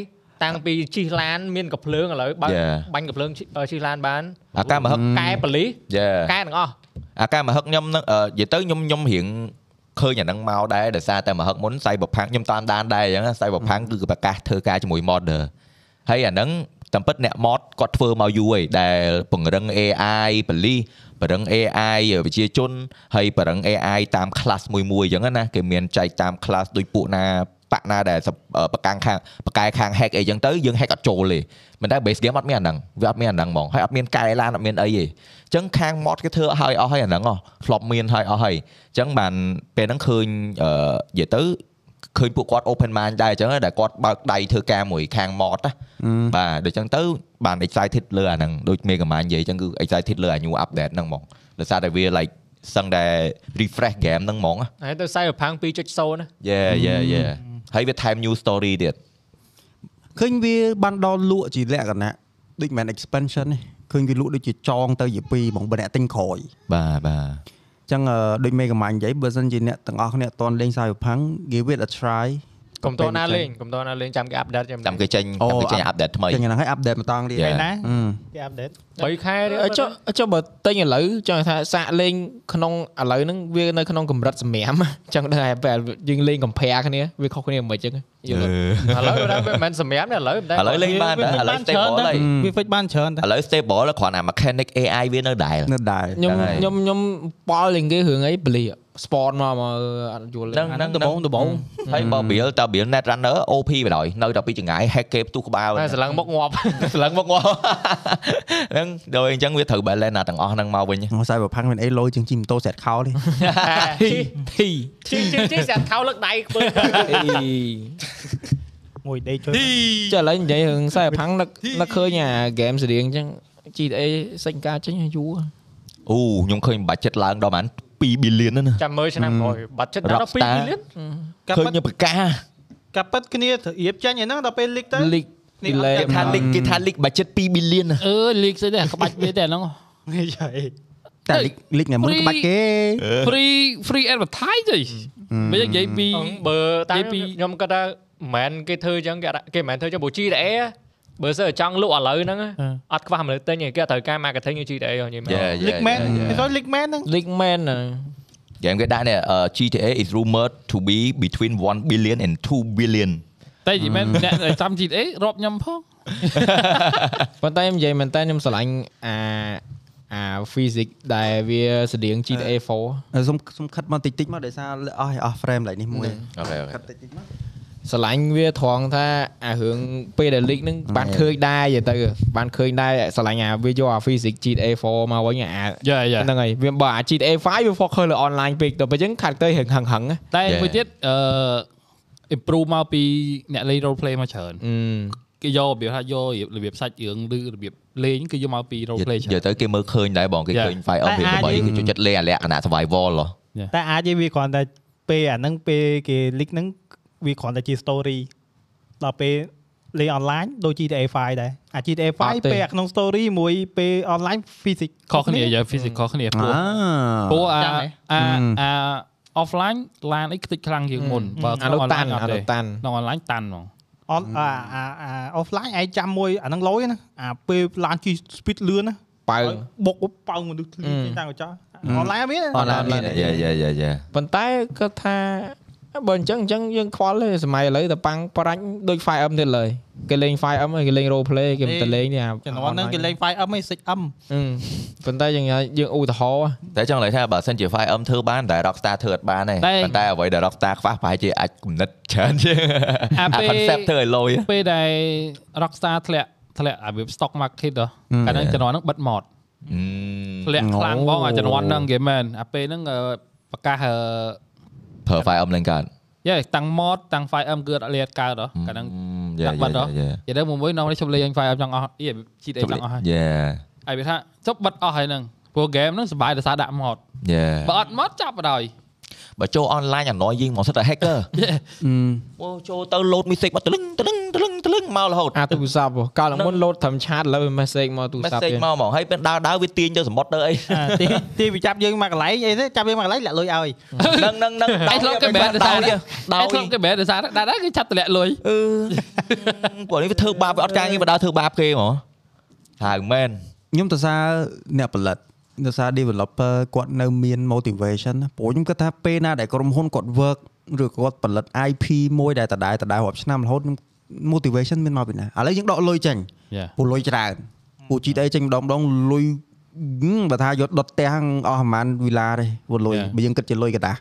S2: តាំងពីជិះឡានមានកភ្លើងឥឡូវបើក
S3: Yeah.
S2: បាញ់កភ្លើងជិះជិះឡានបាន
S3: អាការមហឹក
S2: កែបលីស
S3: Yeah.
S2: កែទាំងអស់
S3: អាការមហឹកខ្ញុំហ្នឹងអឺនិយាយទៅខ្ញុំខ្ញុំរៀងឃើញអាហ្នឹងមកដែរដោយសារតែមហឹកមុន Cyberpunk ខ្ញុំតាមដានដែរអញ្ចឹងណា Cyberpunk គឺគេប្រកាសធ្វើការជាមួយ modder ហើយអាហ្នឹងតាមពិតអ្នក mod គាត់ធ្វើមកយូរហើយដែលពង្រឹង AI បលីសពង្រឹង AI វិជាជនហើយពង្រឹង AI តាម class មួយមួយអញ្ចឹងណាគេមានចែកតាម class ដូចពួកណាបាក់ណាដែលសអឺប្រកាំងខាងប្រកែខាង hack អីអញ្ចឹងទៅយើងហែកអត់ចូលទេមិនតែ base game អត់មានអាហ្នឹងវាអត់មានអាហ្នឹងហ្មងហើយអត់មានកែឡានអត់មានអីទេ អញ្ចឹងខាង mod គេធ្វើឲ្យអស់ហើយអាហ្នឹងហ៎ធ្លាប់មានឲ្យអស់ហើយអញ្ចឹងបានពេលហ្នឹងឃើញអឺនិយាយទៅឃើញពួកគាត់ open mind ដែរអញ្ចឹងដែរគាត់បើកដៃធ្វើការមួយខាង mod ណា
S1: Ừ.
S3: បាទដូចអញ្ចឹងទៅបាន excited លើអាហ្នឹងដូចមេកាម៉ានិយាយអញ្ចឹងគឺ excited លើអា new update ហ្នឹងហ្មងដោយសារតែវា like សឹងតែ refresh game ហ្នឹងហ្មងណា
S2: ហើយទៅ Cyberpunk 2.0ណា
S3: yeah yeah yeah ហើយវាថែម new story ទៀត
S1: ឃើញវាបានដល់លក់ជាលក្ខណៈដូចមិនមែន expansion ទេឃើញវាលក់ដូចជាចងទៅជា2ហ្មងបើអ្នកទិញក្រោយ
S3: បាទបាទ
S1: ចឹងអឺដូចមេកាម៉ាញ់និយាយបើសិនជាអ្នកទាំងអស់គ្នាអត់ទាន់លេងសាយផាំង give it a try
S2: កុំតណាលេងកុំតណាលេងចាំគេ update ចាំ
S3: តាមគេចេញ
S1: អូ
S3: តាមគេចេញ update ថ្មី
S1: ចឹងហ្នឹងហើយ update ម្ដងទៀត
S3: Yeah.
S1: ហ
S5: ណា
S1: ឹម
S5: គេ update
S2: 3ខែទេ
S4: អញ្ចឹងអញ្ចឹងបើទិញឥឡូវចង់ថាសាកលេងក្នុងឥឡូវហ្នឹងវានៅក្នុងកម្រិតសម្រាមអញ្ចឹងដឹងហើយពេលយើងលេងកំភែគ្នាវាខុសគ្នាមិនអញ្ចឹងយល់ទេ
S2: ឥឡូវដល់វាមិនមែនសម្រាប់ទេឥឡូវមិនដែរ
S3: ឥឡូវលេងបានតែឥឡូវ à, stable ហើយ
S5: វាពេចបានច្រើនតែ
S3: ឥឡូវ stable ហើយគ្រាន់តែ mechanic AI វានៅដែរ
S1: នៅដែរ
S4: ខ្ញុំ
S3: ហ្នឹងហើយ
S4: ខ្ញុំខ្ញុំប៉ល់លេងគេរឿងអីបលី spawn មកមកអត់យល់ទេ
S3: ហ្នឹងហ្នឹងដំបងដំបង
S5: Ừ.
S3: ហើយបើ build តើ build net runner OP បណ្ដោយនៅតែពីចង្អាយ hack គេផ្ទុះក្បាល
S2: តែសន្លឹងមកងាប់
S3: ស្លឹង មកងាប់ហ្នឹងដោយអញ្ចឹងវាត្រូវ balance ណាទាំងអស់ហ្នឹងមកវិញ
S1: សាយផាំងមានអីលយជាងជីម៉ូតូសែតខោទេ
S2: ជីជីជីជីសាត់ខោលើកដៃខ្ពើ
S4: អី
S5: មួយដេកជួយ
S4: ចុះឥឡូវនិយាយរឿងសាយផាំងនឹកនឹកឃើញអា game សេរីអញ្ចឹង GTA សេចក្ដីការចេញយូរ
S3: អូខ្ញុំឃើញ budget ឡើងដល់ប្រហែល2 billion ហ្នឹងណា
S2: ចាំមើលឆ្នាំក្រោយបាត់ចិត្តដល់
S3: Rockstar
S2: 2មីលាន
S5: កាប់
S3: ឃើញខ្ញុំ
S5: ប៉ិត
S3: ប្រកាស
S5: កាប់ប៉ិតគ្នារៀបចាញ់ឯហ្នឹងដល់ពេលលីកទៅ
S4: លីក
S5: នេះ
S4: លេ
S3: គេថា
S5: Ừ.
S3: leak គេថា leak budget 2 billion ណា
S9: អឺលីកស្អីដែរក្បាច់វាតែហ្នឹង
S1: តែលិចលិចថ្ងៃមុន
S9: Free
S1: ក្បាច់គេ
S9: free free advertise ទេមិននិយាយពី
S2: បើតាម
S9: និយាយពី
S2: ខ្ញុំគាត់ថាមិនមែនគេធ្វើអញ្ចឹងគេអត់គេមិនមែនធ្វើអញ្ចឹងបើ GTA បើសិនតែចង់លក់ឥឡូវហ្នឹងអត់ខ្វះមនុស្សទិញទេគេត្រូវការ marketing ដូច GTA ហ្នឹងនិយាយមក
S5: លីកមែនគេចូលលីកមែនហ្នឹង
S4: លីកមែន
S3: game គេដាក់នេះអឺ GTA is rumored to be between 1 billion and 2 billion
S9: តែនិយាយមែនអ្នកដែលចាំ GTA រាប់ខ្ញុំផង
S4: ប៉ុន្តែខ្ញុំនិយាយមែនតើខ្ញុំស្រឡាញ់អាអា physics ដែលវាស្តៀង GTA 4
S1: សុំសុំខិតមកតិចតិចមកដោយសារអស់អស់ frame ឡែកនេះមួយ
S3: អូខេ
S1: ខិតតិចតិចមក
S4: ស្រឡាញ់វាត្រង់ថាអារឿងពេលដែលលីកហ្នឹងបានឃើញដែរយទៅបានឃើញដែរស្រឡាញ់អាវាយកអា physics GTA 4មកវិញអា
S9: យ៉ាយ៉ា
S4: ហ្នឹងហើយវាបើអា GTA 5វា focus លើ online ពេកទៅបើអញ្ចឹង character ហឹងហឹងហឹងណា
S9: តែមួយទៀតអឺ improve មកពីអ្នកលេង role play មកច្រើន
S4: អឺ
S9: គេយករបៀបថាយករបៀបសាច់រឿងឬរបៀបលេងគឺយកមកពី role play ច្រើ
S3: យើ
S9: ន
S3: ទៅគេមើលឃើញដែរបងគេ
S5: Dạ.
S9: Yeah.
S3: ឃើញ Fire Emblem 8គេចូលចិត្តលេងអាលក្ខណៈ survival ហ៎
S5: តែអាចទេវាគ្រាន់តែពេលអាហ្នឹងពេលគេលីកហ្នឹង វាគ្រាន់តែជា story ដល់ពេលលេង online ដូច GTA 5ដែរអា GTA
S4: អត់ទេ
S5: 5ពេលអាក្នុង story មួយពេល online physics
S9: ខុសគ្នាយើង physical គ្នាព្រោះ
S1: អា
S9: ព្រោះអា
S2: ចាំទេ
S9: អា
S1: ម
S9: អា offline ឡានអីខ្ទេចខ្លាំងជាងមុនបើ
S4: អា
S9: ក្នុង
S4: នោះតាន់
S9: online អត់
S4: អា
S9: ទេ
S4: នោះតាន់
S9: ក្នុង online តាន់ហ្មង
S5: អត់អាអាអា offline ឯងចាំមួយអាហ្នឹងលយណាអាពេលឡានជិះ speed លឿនណា
S4: បើង
S5: ឲ្យបុកប៉ោងមនុស្សធ្លី
S4: អឺ
S5: ចេញតាំងកញ្ចក់ online អត់មានទេ
S1: អត់ឡានមានអី
S3: យ៉ាយ៉ាយ៉ាយ៉ា
S4: ប៉ុន្តែគាត់ថាបើអញ្ចឹងអញ្ចឹងយើងខ្វល់ទេសម័យឥឡូវតែប៉ាំងប្រាញ់ដូច 5M ទៀតឡើយគេលេង 5M ហើយគេលេង role play គេមិន
S5: អេ
S4: ទៅលេងទេអា
S5: ចំនួនហ្នឹងគេលេង 5M ឯង 6M
S4: ហឹមប៉ុន្តែយើងយើងឧទាហរណ៍
S3: តែចង់លើកថាបើសិនជា 5M ធ្វើបានតែ Rockstar ធ្វើអត់បានទេ
S9: តែ
S3: ប៉ុន្តែអ្វីដែល Rockstar ខ្វះប្រហែលជាអាចគំនិតច្រើនជាង
S9: អា
S3: អា
S9: ពេល
S3: concept ធ្វើឲ្យលយ
S9: ពេលដែល Rockstar ធ្លាក់ធ្លាក់អាវា stock market ហ៎កាលហ្នឹងជំនាន់ហ្នឹងបិទ mod ធ្លាក់ខ្លាំងបងអាជំនាន់ហ្នឹងគេមែនអាពេលហ្នឹងអឺប្រកាសអឺ
S3: ប្រើ 5M ឡើងកើត
S9: យេតាំង mod តាំង 5M គឺអត់លាតកើតហ៎កាលហ្នឹង
S3: យ៉ា
S9: ដាក់បាត់ហ៎
S3: យ៉ាយ៉ា
S9: និយាយទៅមួយមួយនំនេះជប់លេង 5M ចង់អស់យេជីតអីចង់អស់ហើយ
S3: យ៉ា
S9: ហើយវាថាចប់បិទអស់ហើយហ្នឹងព្រោះ game ហ្នឹងសប្បាយដោយសារដាក់ mod
S3: យ៉ា
S9: បើអត់ mod ចាប់បណ្ដោយ
S3: បើចូល online អាណយយើងមកសិតតែ hacker អូចូលទៅ load music មកតលឹងតលឹងតលឹងតលឹងមករហូត
S4: អាទូរស័ព្ទហ៎កាលមុនលោតត្រឹមឆាតឥឡូវវា message មកទូរស័ព្ទ
S3: message
S4: ទៀត
S3: មកហ្មកហើយពេលដើរដើរវាទាញទៅសមុទ្រទៅអី
S5: ទី ទីវាចាប់យើងមកកន្លែងអីទេចាប់យើងមកកន្លែងលាក់លុយឲ្យ
S3: ហ្នឹងហ្នឹងហ្នឹង
S9: ឯងធ្លាប់គេបែរដោយសារ
S3: ដោយ
S9: ឯងធ្លាប់គេបែរដោយសារដាក់ដែរគឺចាប់ទម្លាក់លុយ
S3: អឺពួកនេះវាធ្វើបាបវាអត់ការងារវាដើរធ្វើបាបគេហ្មងហៅមែន
S1: ខ្ញុំទៅសារអ្នកផលិតទៅសារ developer គាត់នៅមាន motivation ណាព្រោះខ្ញុំគិតថាពេលណាដែលក្រុមហ៊ុនគាត់ work ឬក៏គាត់ផលិត IP មួយដែលដដែលដដែលរាប់ឆ្នាំរហូតខ្ញុំ motivation មានមកពីណាឥឡូវយើងដកលុយចេញព្រោះលុយច្រើនព្រោះ GTA ចេញម្ដងម្ដងលុយហឹមបើថាយកដុតផ្ទះអស់ប្រហែលវិឡាទេព្រោះលុយ
S9: Yeah.
S1: បើយើងគិតជាលុយកតា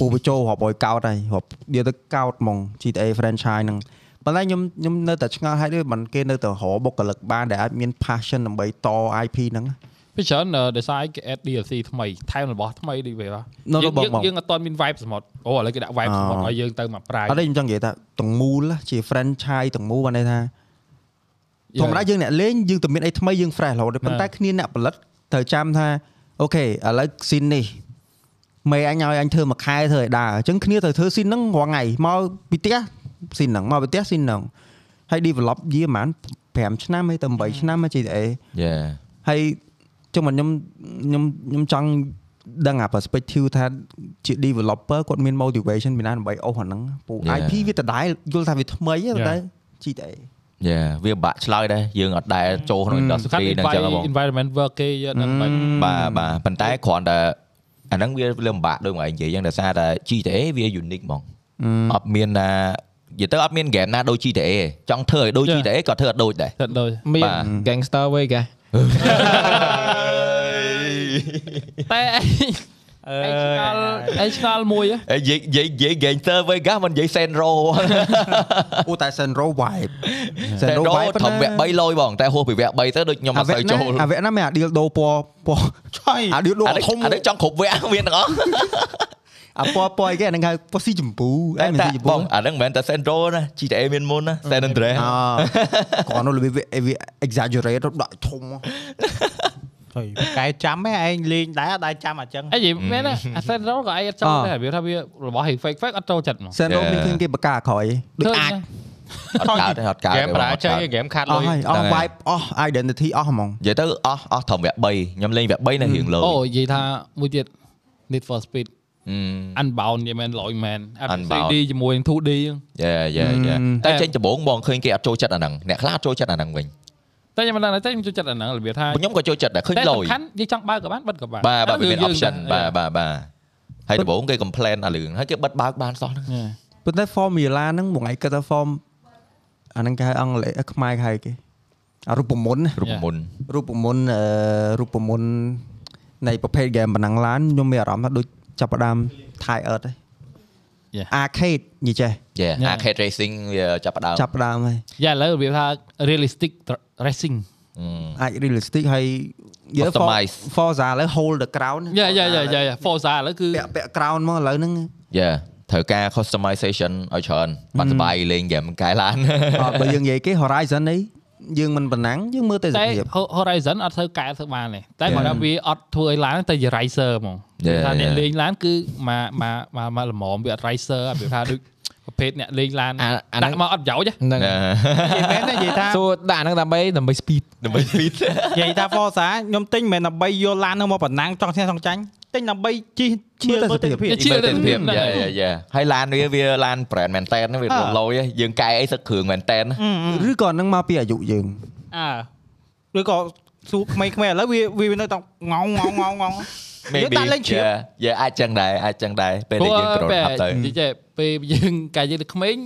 S1: ពូបញ្ចូលរាប់រយកោតហើយរាប់និយាយទៅកោតហ្មង GTA franchise ហ្នឹងប៉ុន្តែខ្ញុំខ្ញុំនៅតែឆ្ងល់ហើយដូចមិនគេនៅតែរកបុគ្គលិកបានដែលអាចមាន passion ដើម្បីត IP ហ្នឹង
S9: ពីច្រើនអឺដោយសារឯងគេ add DLC ថ្មីថែមរបស់ថ្មីដូចវាបាទ
S1: នៅ
S9: យើ
S1: របប
S9: ង
S1: មក
S9: យើងអត់ទាន់មាន vibe សមុទ្រអូឥឡូវគេដាក់ vibe
S1: អូ
S9: សមុទ្រឲ្យយើងទៅមកប្រាយ
S1: អត់ទេខ្ញុំចង់និយាយថាទាំងមូលជា franchise ទាំងមូលបានន័យថាធម្មតាយើងអ្នកលេងយើងតែមានអីថ្មីយើង fresh រហូតទេប៉ុន្តែគ្នាអ្នកផលិតត្រូវចាំថាអូខេឥឡូវ scene នេះមេអញឲ្យអញធ្វើមួយខែធ្វើឲ្យដើរអញ្ចឹងគ្នាត្រូវធ្វើ scene ហ្នឹងរាល់ថ្ងៃមកពីផ្ទះ scene ហ្នឹងមកពីផ្ទះ scene ហ្នឹងហើយ develop យាប្រហែល5ឆ្នាំហើយទៅ8ឆ្នាំមក GTA
S3: Yeah
S1: ហើយចុះមកខ្ញុំខ្ញុំខ្ញុំចង់ដឹងអា perspective ថាជា developer គាត់មាន motivation ពីណាដើម្បីអស់អាហ្នឹងពូ
S3: Yeah.
S1: IP វាដដែលយល់ថាវាថ្មីទេប៉ុន្តែ GTA
S3: Yeah វាបាក់ឆ្លើយដែរយើងអត់ដែរចូលក្នុង
S9: សំខាន់
S3: industry ហ្នឹងចឹងហ៎បង
S9: invite- environment work គេយកដល់បាច់
S3: បាទបាទប៉ុន្តែគ្រាន់តែអាហ្នឹងវាលំបាកដូចមកឯងនិយាយចឹងដោយសារតែ GTA វា unique ហ្មងអត់មានណានិយាយទៅអត់មានហ្គេមណាដូច GTA ទេចង់ធ្វើឲ្យដូច GTA ក៏ធ្វើអត់ដូចដែរ
S9: ទៅដូច
S4: មាន
S3: បាទ
S4: gangster វិញគេ
S9: តែឯងឯងឆ្ងល់ឯងឆ្ងល់មួយហ៎
S3: អេនិយាយនិយាយនិយាយ gangster Vegas មិននិយាយ Senro
S1: អូតែ Senro vibe
S3: Senro ធំវគ្គ3លយបងតែហួសពីវគ្គ3ទៅដូចខ្ញុំអ
S1: អា
S3: ត់
S1: វ
S3: សូវ
S1: គ្គ
S3: ចូល
S1: ណាអាវគ្គណាមានអា deal ដូរពណ៌ពណ៌
S5: ឆៃ
S1: អា deal ដូរ
S3: អានេះ
S1: ធំ
S3: អានេះចង់គ្រប់វគ្គមានទាំងអស់
S1: អាពណ៌ពណ៌អីគេអាហ្នឹងហៅពណ៌ស៊ីចម្ពូ
S3: តែ
S1: អីមិន
S3: តែ
S1: ស៊ីចម្ពូ
S3: បងអាហ្នឹងមិនមែនតែ Senro ណា GTA មានមុនណា San Andreas
S1: អគាត់នោះរបៀបវាវា exaggerate ដាក់ធំ
S5: ហើយកែចាំឯងលេងដែរអត់ដែរចាំអញ្ចឹង
S9: ឯងនិយាយមែនណាអា Sentinel ក៏ឯងអត់ចូលដែរវាថាវារបស់ឯង fake fake អត់ចូលចិត្តហ្មង
S1: Senro
S3: យ៉ា
S1: មានឃើញគេបកកាក្រោយដូចអាច
S3: អត់កើតទេអត់កើតទេ
S2: ហ្គេម
S3: បង
S2: ប្រា
S3: អត់
S2: ជ័
S3: កើត
S2: យហ្គេមខាត់
S1: អ
S2: លុ
S1: ស់
S2: យ
S1: ហើយអស់
S3: ហ្នឹងហើយ
S1: vibe អស់ identity អស់ហ្មង
S3: និយាយទៅអស់អស់ត្រឹមវគ្គ3ខ្ញុំលេងវគ្គ3នៅរៀងលើ
S9: អូនិយាយថាមួយទៀត Need for Speed
S3: អឺ
S9: Unbound និយាយមែនលយមែន
S3: Unbound
S9: D ជាមួយនឹង 2D ហ្នឹង
S3: យ៉ាយ៉ាយ៉ា
S1: អឺ
S3: តែចេញដំបងបងឃើញគេអត់ចូលចិត្តអាហ្នឹងអ្នកខ្លះអត់ចូលចិត្តអាហ្នឹងវិញ
S9: តែខ្ញុំមិនដឹងតែខ្ញុំចូលចិត្តអាហ្នឹងរបៀបថា
S3: ខ្ញុំក៏ចូលចិត្តដែរឃើញ
S9: តែ
S3: ល
S9: សំ
S3: យ
S9: ខាន់យើងចង់បើកក៏បានបិទក៏បាន
S3: បាទបាទវាមាន
S9: យើង
S3: option
S9: យើង
S3: បាទបាទបាទហើយដំបងគេ complain អារឿងហើយគេបិទបើកបានសោះហ្នឹង
S9: Yeah.
S1: ប៉ុន្តែ formula ហ្នឹងមួយថ្ងៃគិតថា form អាហ្នឹងគេហៅអង់គ្លេសខ្មែរគេហៅគេអារូបមន្ត
S3: រូបមន្ត
S1: រូបមន្តអឺរូបមន្តនៃប្រភេទ game បណ្ណាំងឡានខ្ញុំមានអារម្មណ៍ថាដូចចាប់ផ្ដើម Thai Earth ឯង
S9: Yeah.
S1: arcade និយាយចេះ
S3: Yeah,
S9: Yeah.
S3: arcade racing វាចាប់ផ្ដើម
S1: ចាប់ផ្ដើមហើយ
S9: យ៉ាឥឡូវរបៀបថា realistic tr- racing
S3: អឺ
S1: អាច realistic ហើយយើ
S3: Customize
S1: Forza ឥឡូវ hold the ground
S9: យ៉ាយ៉ាយ៉ាយ៉ា Forza ឥឡូវគឺ
S1: ពាក់ពាក់ ground មកឥឡូវហ្នឹង
S3: Yeah ត្រូវការ customization ឲ្យច្រើនបាត់សបាយលេងហ្គេមកែឡាន
S1: អត់បើយើងនិយាយគេ Horizon នេះយើងមិនបណ្ណាំងយើងមើលតែស
S9: តែ
S1: ភាព
S9: Ho- Horizon អត់ធ្វើកែធ្វើបានទេតែបើថាវាអត់ធ្វើឲ្យឡានតែជា racer ហ្មង
S3: Yeah,
S9: ថាអ្នក
S3: yeah.
S9: លេងឡានគឺមកមកមកមកល្មមវាអត់ racer អត់វាថាដូច ប្រភេទអ្នកលេងឡាន
S4: អាអា
S9: ដា
S4: ហ្នឹង
S9: ក់មកអត់ប្រយោជន៍ហ៎
S4: ហ្នឹង
S5: និយាយមែនទេនិយាយថា
S4: សួរដាក់ហ្នឹងដើម្បីដើម្បី speed
S3: ដើម្បី speed
S5: និយាយថា Forza ខ្ញុំទិញមិនមែនដើម្បីយកឡានហ្នឹងមកប្រណាំងចង់ឈ្នះចង់ចាញ់ទិញដើម្បីជិះឈៀលមើលទិដ្ឋភាព
S9: ជា
S3: មើលទិដ្ឋភាព
S9: ហ្នឹង
S3: យ៉ា
S9: ហើយ
S3: យ៉ាយ៉ាហើយឡានវាវាឡាន brand មែនតែនវារលយហ៎យើងកែអីសឹកគ្រឿងមែនតែនហ៎
S1: ឬក៏នឹងមកពីអាយុយើង
S5: អឺឬក៏សួរក្មេងៗឥឡូវវាវានៅតែងងងង ងង
S3: maybe
S5: យើងដាក់លេខជ្រាប
S3: yeah, yeah អាចចឹងដែរអាចចឹងដែរពេលដែលយើងក្រោកហាប់ទៅ
S9: និយាយពេលយើងកាយយើងនៅក្មេង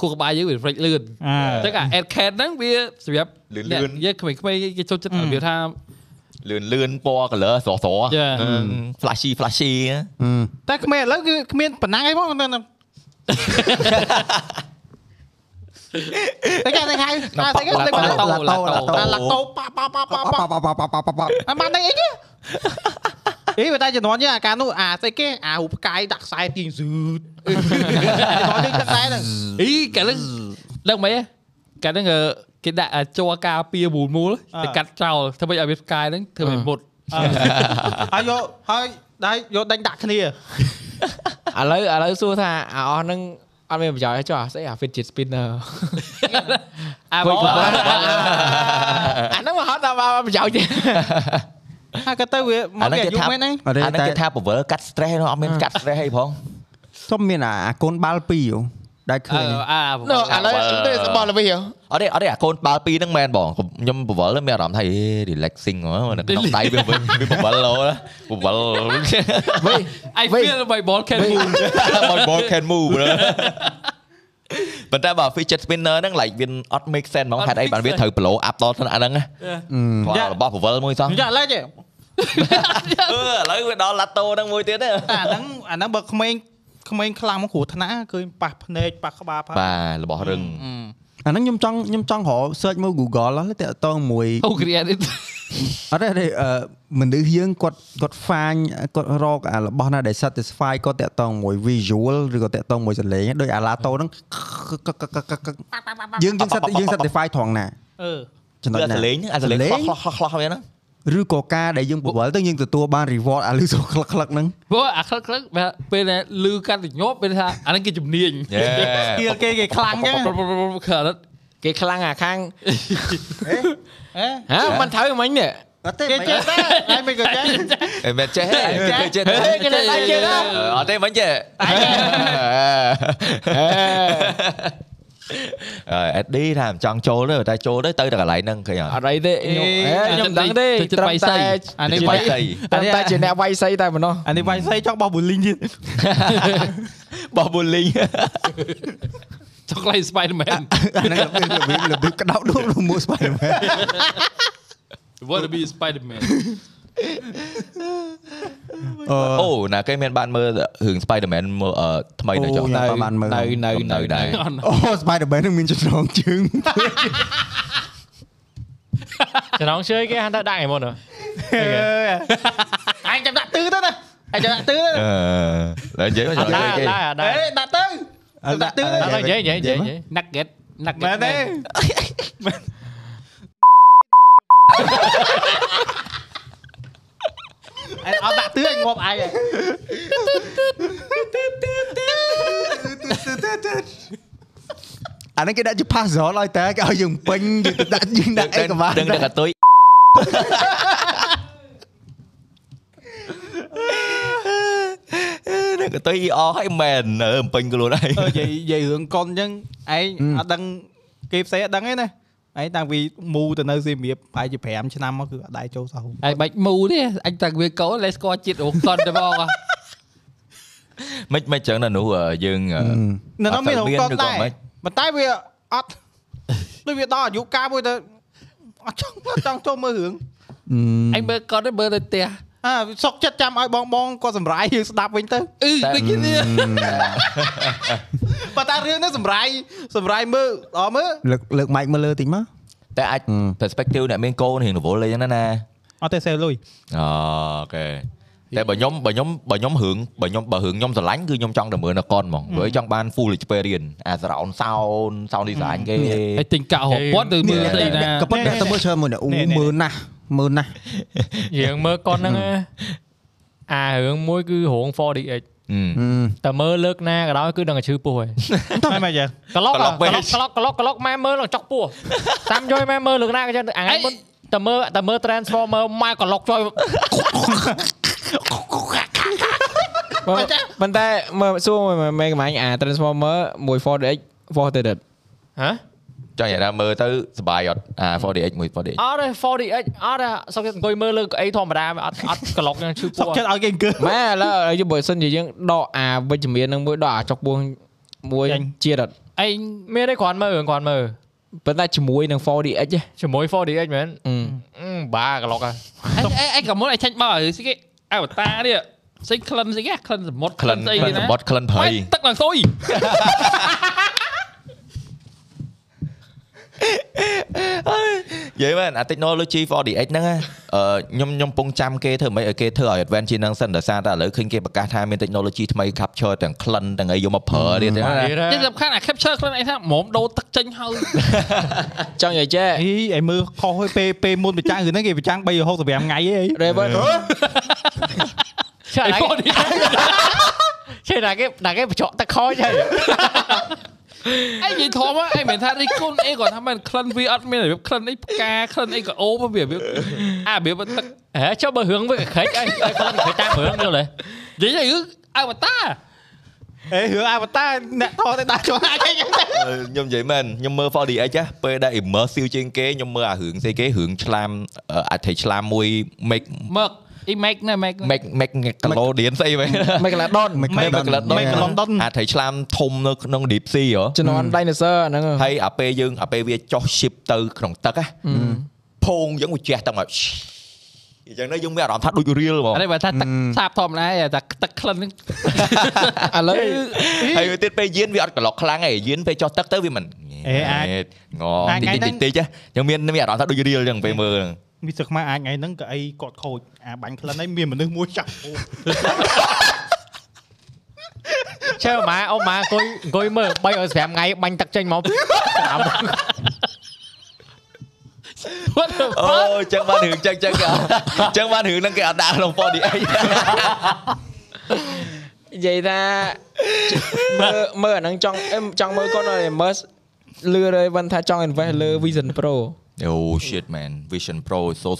S9: ខួរក្បាលយើងវារេចលឿន
S5: អើ
S9: អញ្ចឹងអា air can ហ្នឹងវាសម្រាប់អ្នកយើងក្មេងៗគេចូលចិត្តរបៀបថា
S3: លឿនលឿនពណ៌ color ស្រស់ស្រស់
S9: Yeah.
S3: អឺ flashy flashy ហ៎
S5: តែក្មេងឥឡូវគឺគ្មានប្រណាំងអី ផងតែតែគេតែ ហៅតែគេតែ
S1: ឡា
S5: ឡា
S1: តូ ឡាតូឡាតូ
S5: ឡាតូប៉ប៉ប៉ប៉ប៉
S1: ប៉ប៉ប៉ប៉ប៉ប៉
S5: អាបានដៃអីទេអីបើតែជំនាន់យើងអាការនោះអាស្អីគេអារូបផ្កាយដាក់ខ្សែទាញស៊ឺ តជំនាន់យើងដាក់ខ្សែហ្នឹង
S9: អីកាលហ្នឹងដឹងមិនហ៎កាលហ្នឹងអឺគេដាក់អាជ័រការពារមូលមូលតែកាត់ចោលធ្វើម៉េចឲ្យវាផ្កាយហ្នឹងធ្វើម៉េចមុត
S5: ហើយយកហើយដៃយកដេញដាក់គ្នា
S4: ឥឡូវឥឡូវសួរថាអាអស់ហ្នឹងអត់មានប្រយោជន៍ទេចុះអាស្អីអា fidget spinner
S9: អាមក
S4: អាហ្នឹងមកហត់ដល់មកប្រយោជន៍ទេ
S5: ហើយក៏ទៅវាមកពីអាយុមែនហ្នឹង
S1: អរិយ
S3: អាហ្នឹ
S1: តែ
S3: ងគេថាពវលកាត់ stress នោះអត់មានកាត់ stress អីផង
S1: សុំមានអាអាកូនបាល់ពីរហ៎ដែលឃើញ
S9: អា
S4: នោះឥឡូវទៅសបល់ល្វីហ៎
S3: អត់ទេអត់ទេអាកូនបាល់ពីរហ្នឹងមែនបងខ្ញុំពវលមានអារម្មណ៍ថាអេ relaxing ហ៎នៅក្នុងដៃវាវិញវាពវលឡូពវល
S4: វិញ
S9: អាយ feel my ball can move
S3: my ball can move ណាប៉ុន្តែបើ fidget spinner ហ្នឹង like វាអត់ make sense ហ្មងហេតុអីបានវាត្រូវ blow up ដល់ថ្នាក់ហ្នឹងណាគាត់របស់ពវលមួយសោះ
S5: យកឡើយទេ
S3: អឺឥឡូវវាដល់ lato ហ្នឹងមួយទៀតទេ
S5: អាហ្នឹងអាហ្នឹងបើក្មេងក្មេងខ្លាំងមកគ្រោះថ្នាក់ឃើញប៉ះភ្នែកប៉ះក្បាលប៉ះ
S3: បាទរបស់រឹង
S1: អាហ្នឹងខ្ញុំចង់ខ្ញុំចង់រក search មើល Google ឡោះតែតងមួយ
S9: អូ create it
S1: អត់ទេទេអឺមនុស្សយើងគាត់គាត់ហ្វាញគាត់រកអារបស់ណាដែល satisfy គាត់តាក់ទងមួយ visual ឬក៏តាក់ទងមួយសលេងដោយអាឡាតូហ្នឹងយើងយើង sat- យើង satisfy ត្រង់ណា
S5: អឺ
S1: ចំណុច
S3: គឺអាស
S1: ណា
S3: លេងហ្នឹងអាសលេងខ្លោះខ្លោះខ្លោះខ្លោះវាហ្នឹង
S1: ឬក៏ការដែលយើងពវល់ទៅយើងទទួលបាន reward អាលឺសូខ្លឹកខ្លឹកហ្នឹង
S9: ព្រោះអាខ្លឹកខ្លឹកពេលដែលលឺកាត់ទៅញាប់ពេលថាអាហ្នឹងគេជំនាញ
S3: យេ
S5: គៀលគេគេខ្លាំងចឹង
S9: ប្រុសប្រុសប្រុសខរត់
S4: គេខ្លាំងអាខាង
S5: ហ៎
S4: ហ៎មិនត្រូវមិញនេះ
S1: អត់ទេ
S5: គេចេះតែហើយមិនក៏ចេះ
S3: អេមិនចេះទេមិនចេះទេ
S4: គេនៅដៃគេណា
S3: អត់ទេមិនចេះអេអេឌីថាមិនចង់ចូលទេតែចូលទៅទៅតែកន្លែងហ្នឹងឃើញអ
S4: អ
S3: ត់
S4: ត់អីទេខ្ញុំអេខ្ញុំដឹងទេត្រឹម តែ
S5: អានេះ
S3: ស្បាយស្អី
S4: ត្រឹមតែជាអ្នកវាយសីតែប៉ុណ្ណោះ
S5: អានេះវាយសៃចង់បោះប៊ូលីងទៀត
S3: បោះប៊ូលីង
S9: ចុះខ្លៃ Spider-Man
S1: អាហ្នឹងរបៀបរបៀបរបៀបក្តោបដូចលមួស្បាយមែន
S9: want to be Spider-Man
S1: អូ
S3: អូណាគេមានបានមើលរឿង Spider-Man មើលអឺថ្មីនៅចុះ
S1: ខ្ញុំក៏បានមើល
S4: នៅនៅនៅ
S3: ដែរ
S9: អត់
S1: អូ Spider-Man ហ្នឹងមានចំណងជើង
S2: ចំណងជើងគេហាន់តែដាក់ឯមុនហ៎
S5: អញចាំដាក់ទឺទៅណាអញចាំដាក់ទឺទៅ
S3: អឺតែនិយាយមក
S2: អត់
S3: និ
S2: ដាល់អត់
S3: យាយគេ
S2: ដាល់អត់ដាល់
S5: ហេដាក់ទៅ ដាក់ទឺទៅ
S2: ដល់និយាយនិយាយនិយាយនិយាយ
S9: nugget nugget
S5: មែនទេ អញអត់ដាក់ទឿអញងាប់អ ញ
S1: អាហ្នឹងគេដាក់ជា puzzle ឲ្យតែគេឲ្យយើងពេញយើងទៅដាក់យើងដាក់អីក៏បាន
S3: ដឹងតែកតុយដឹងកតុយអស់ហើយមែនអឺពេញខ្លួនហើយ
S5: និយាយនិយាយរឿងកុនអញ្ចឹងឯងអត់ដឹងគេផ្សេងអត់ដឹងទេណាឯងតាំងពីមូទៅនៅសៀមរាបប្រហែលជា5ឆ្នាំមកគឺអត់ដែរចូលសោះហូប
S9: អាយបាច់មូទេអញតាំងវាកោលេស្គាល់ជាតិរងតន់ទៅបងអ
S3: មិនមិនចឹងណានោះយើង
S5: នៅនោះមានរងកុនដែរប៉ុន្តែវាអត់ដូចវាដល់អាយុកាលមួយទៅអត់ចង់ចង់ចូលមើលរឿង
S9: ញមើលកត់ទៅមើលទៅផ្ទះ
S5: អើសុកចិត្តចាំឲ្យបងបងៗគាត់សម្រាយ យើងស្ដាប់វិញទៅ
S9: អឺដូចគ្នា
S5: បើតែរឿងនេះសម្រាយសម្រាយមើលអមើល
S1: លើកលើក mic មកលើតិចមក
S3: តែអាច perspective អ្នកមានកូនរៀងរវល់អីចឹងណា
S5: អត់ទេសេលុយ
S3: អូខេតែបើខ្ញុំបើខ្ញុំបើខ្ញុំរឿងបើខ្ញុំបើរឿងខ្ញុំស្រឡាញ់គឺខ្ញុំចង់តែមើលនៅកុនហ្មងព្រោះចង់បាន full experience អា surround sound sound design គេ
S9: ហើយទិញកាក់ហោពាត់ទៅមើលស្អីណា
S1: ក៏ប៉ុន្តែទៅមើលច្រើនមួយនេះអូមើលណាស់មើលណាស់
S2: យើងមើលកុនហ្នឹងណាអារឿងមួយគឺរោង 4DX តែមើលលើកណាក៏ដោយគឺដឹងតែឈឺពោះហើយ
S5: មិនមកយើង
S2: ក្លុក
S3: ក្លុកវិញ
S2: ក្លុកក្លុកក្លុកម៉ែមើលដល់ចុកពោះ តាមយយម៉ែមើលលើកណាក៏ចឹងអាហ្នឹងមុនតែមើលតែមើល transformer ម៉ែក្លុកចុយ
S4: ប៉ុន្តែមើលសួរមេកំាញ់អា Transformer មួយ 4DX 4DX
S2: ហ៎
S3: ចង់និយាយថាមើលទៅសប្បាយអត់អា 4DX មួយ 4DX
S2: អត់ទេ 40x អត់ទេសុកចិត្តអង្គុយមើលលើអីធម្មតាអត់អត់ក្លុកចឹងឈឺពោះ
S5: ចិត្តឲ្យគេអង្គើ
S4: ម៉ែឥឡូវយើងបើសិនជាយើងដកអាវិជ្ជមាននឹងមួយដកអាចុកពោះមួយ
S5: ចេញ
S4: ជាតិអត់
S2: ឯងមានអីគ្រាន់មើលគ្រាន់មើល
S4: ប៉ុន្តែជាមួយនឹង 4DX ហ៎
S2: ជាមួយ 4DX មែន
S4: អឺ
S2: អឺបាក្លុកហ่ะ
S9: អេអេកុំមកឲ្យឆាញ់បើស្អីគេអវតារនេះស្អីក្លិនស្អីគេក្លិនសមុទ្រ
S3: ក្លិន
S9: ស្អី
S3: ក្លិ
S9: គេ
S3: នស
S9: ណា
S3: ម្បត្តិក្លិនព្រៃ
S9: ម៉េចទឹកឡើងស៊ុយ
S3: និយាយមែនអា technology 4DX ហ្នឹងណាអឺខ្ញុំខ្ញុំពងចាំគេធ្វើម៉េចឲ្យគេធ្វើឲ្យ advance ជាងហ្នឹងសិនដោយសារតែឥឡូវឃើញគេប្រកាសថាមាន technology ថ្មី capture ទាំងក្លិនទាំងអីយកមកប្រើទៀតហ្នឹងណា
S9: នេះសំខាន់អា capture ក្លិនអីថាហ្មងដូរទឹកចេញហើយ
S4: ចង់និយាយចេះ
S5: អីឲ្យមើលខុសហើយពេលពេលមុនប្រចាំងរឿងហ្នឹងគេប្រចាំង365ថ្ងៃឯង
S4: Raven
S2: ឆេណាគេឆេណាគេណាគេបញ្ចក់ទឹកខយហើយ
S9: អីនិយាយធំហ៎អីមិនថារីគុណអីគាត់ថាមិនក្លិនវាអត់មានរបៀបក្លិនអីផ្កាក្លិនអីក៏អូបវារបៀបអារបៀបទឹក
S2: ហេចុះបើរឿងវាកខ្រេចអីអីខ្លួនគេតាមរឿងយល់ទេ
S9: និយាយគឺអវតារ
S5: អេរឿងអាវតាអ្នកថតតែដាក់ចូលណាគេចឹងទៅ
S3: ខ្ញុំនិយាយមែនខ្ញុំមើល 4DX ណាពេលដែល immersive ជាងគេខ្ញុំមើលអារឿងស្អីគេរឿងឆ្លាមអឺអត្ថិឆ្លាមមួយ make
S9: មកអ៊ីមេកណែមេក
S3: make make Nickelodeon ស្អីមែន
S4: Megalodon
S3: មេកលដុន
S5: មេកឡុងដុន
S3: អាថៃឆ្លាមធំនៅក្នុង deep sea ហ៎
S4: ជំនាន់ dinosaur អាហ្នឹងហ៎
S3: ហើយអាពេលយើងអាពេលវាចុះ ship ទៅក្នុងទឹកណាភោងអញ្ចឹងវាជះទាំងមកអញ្ចឹងទៅយើងមានអារម្មណ៍ថាដូច real ហ្មង
S9: អរិបើថាទឹកសាបធម្មតាឯងតែទឹកក្លិនហ្នឹង
S4: ឥឡូវ
S3: ហើយវាទៀតពេលយានវាអត់ក្លុកខ្លាំងឯងយានពេលចុះទឹកទៅវាមិន
S5: អេអាច
S3: ងតិចតិចតិចចឹងមានមានអារម្មណ៍ថាដូច real អញ្ចឹងពេលមើល
S5: មីសឹកខ្មែរអាចថ្ងៃហ្នឹងក៏អីគាត់ខូចអាបាញ់ក្លិនហ្នឹងមានមនុស្សមួយ ចាប់អូ
S2: ឆេម៉ាអូម៉ាអង្គុយអង្គុយមើល3ឲ្យ5ថ្ងៃបាញ់ទឹកចេញមកតាម
S3: អូចឹងបានរឿងចឹងចឹងចឹងបានរឿងហ្នឹងគេអត់ដាក់ក្នុង 4DX
S4: និយាយថាមើលមើលអាហ្នឹងចង់អេចង់មើលគាត់ឲ្យ immerse លឺរយវិញថាចង់ invest លើ Vision Pro
S3: អូ shit man Vision Pro so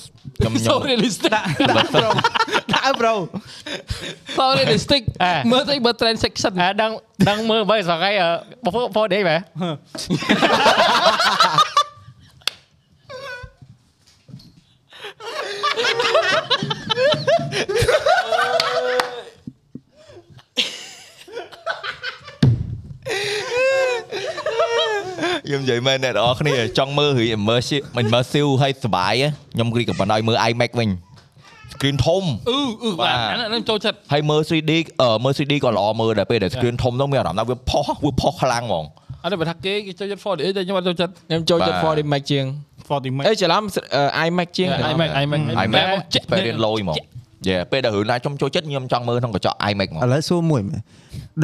S3: ខ្ញុំខ្ញុំ
S9: សូរីលីស្ទិក
S5: ដាក់អើប្រូ
S9: សូរីលីស្ទិកមើលទៅមើល transaction
S2: អាដឹងដឹងមើលបើស្អីបងបងដេកបែ
S3: ខ្ញុំនិយាយមែនអ្នកនរគ្នាចង់មើលរឿង immersive immersive ឲ្យសប្បាយខ្ញុំគ្រីក៏បណ្ដោយមើល IMAX វិញ screen ធំ
S9: អឺអឺ
S3: បា
S9: បាទ ទអាហ្នេះខ្ញុំចូលចិត្ត
S3: ហើយមើល 3D អឺមើល 3D ក៏ល្អមើលដែរពេលដែល screen ធំនោះមានអារម្មណ៍ថាវាផុសវាផុសខ្លាំងហ្មង
S9: អរិបើថាគេគេចូលចិត្ត 4D តែខ្ញុំអត់ចូលចិត្ត
S4: ខ្ញុំចូលចិត្ត
S3: បាទ
S4: 4D Max ជាង
S5: 40ម៉េ
S4: អេ
S5: ច
S4: ច្រឡំអឺ iMac ជាង
S9: អាយមេកអាយមេក
S3: IMAX ពេលរៀនលយហ្មងយេពេលដែលរឿងណាខ្ញុំចូលចិត្តខ្ញុំចង់មើលក្នុងកញ្ចក់ IMAX ហ្មង
S1: ឥឡូវសួរមួយមែន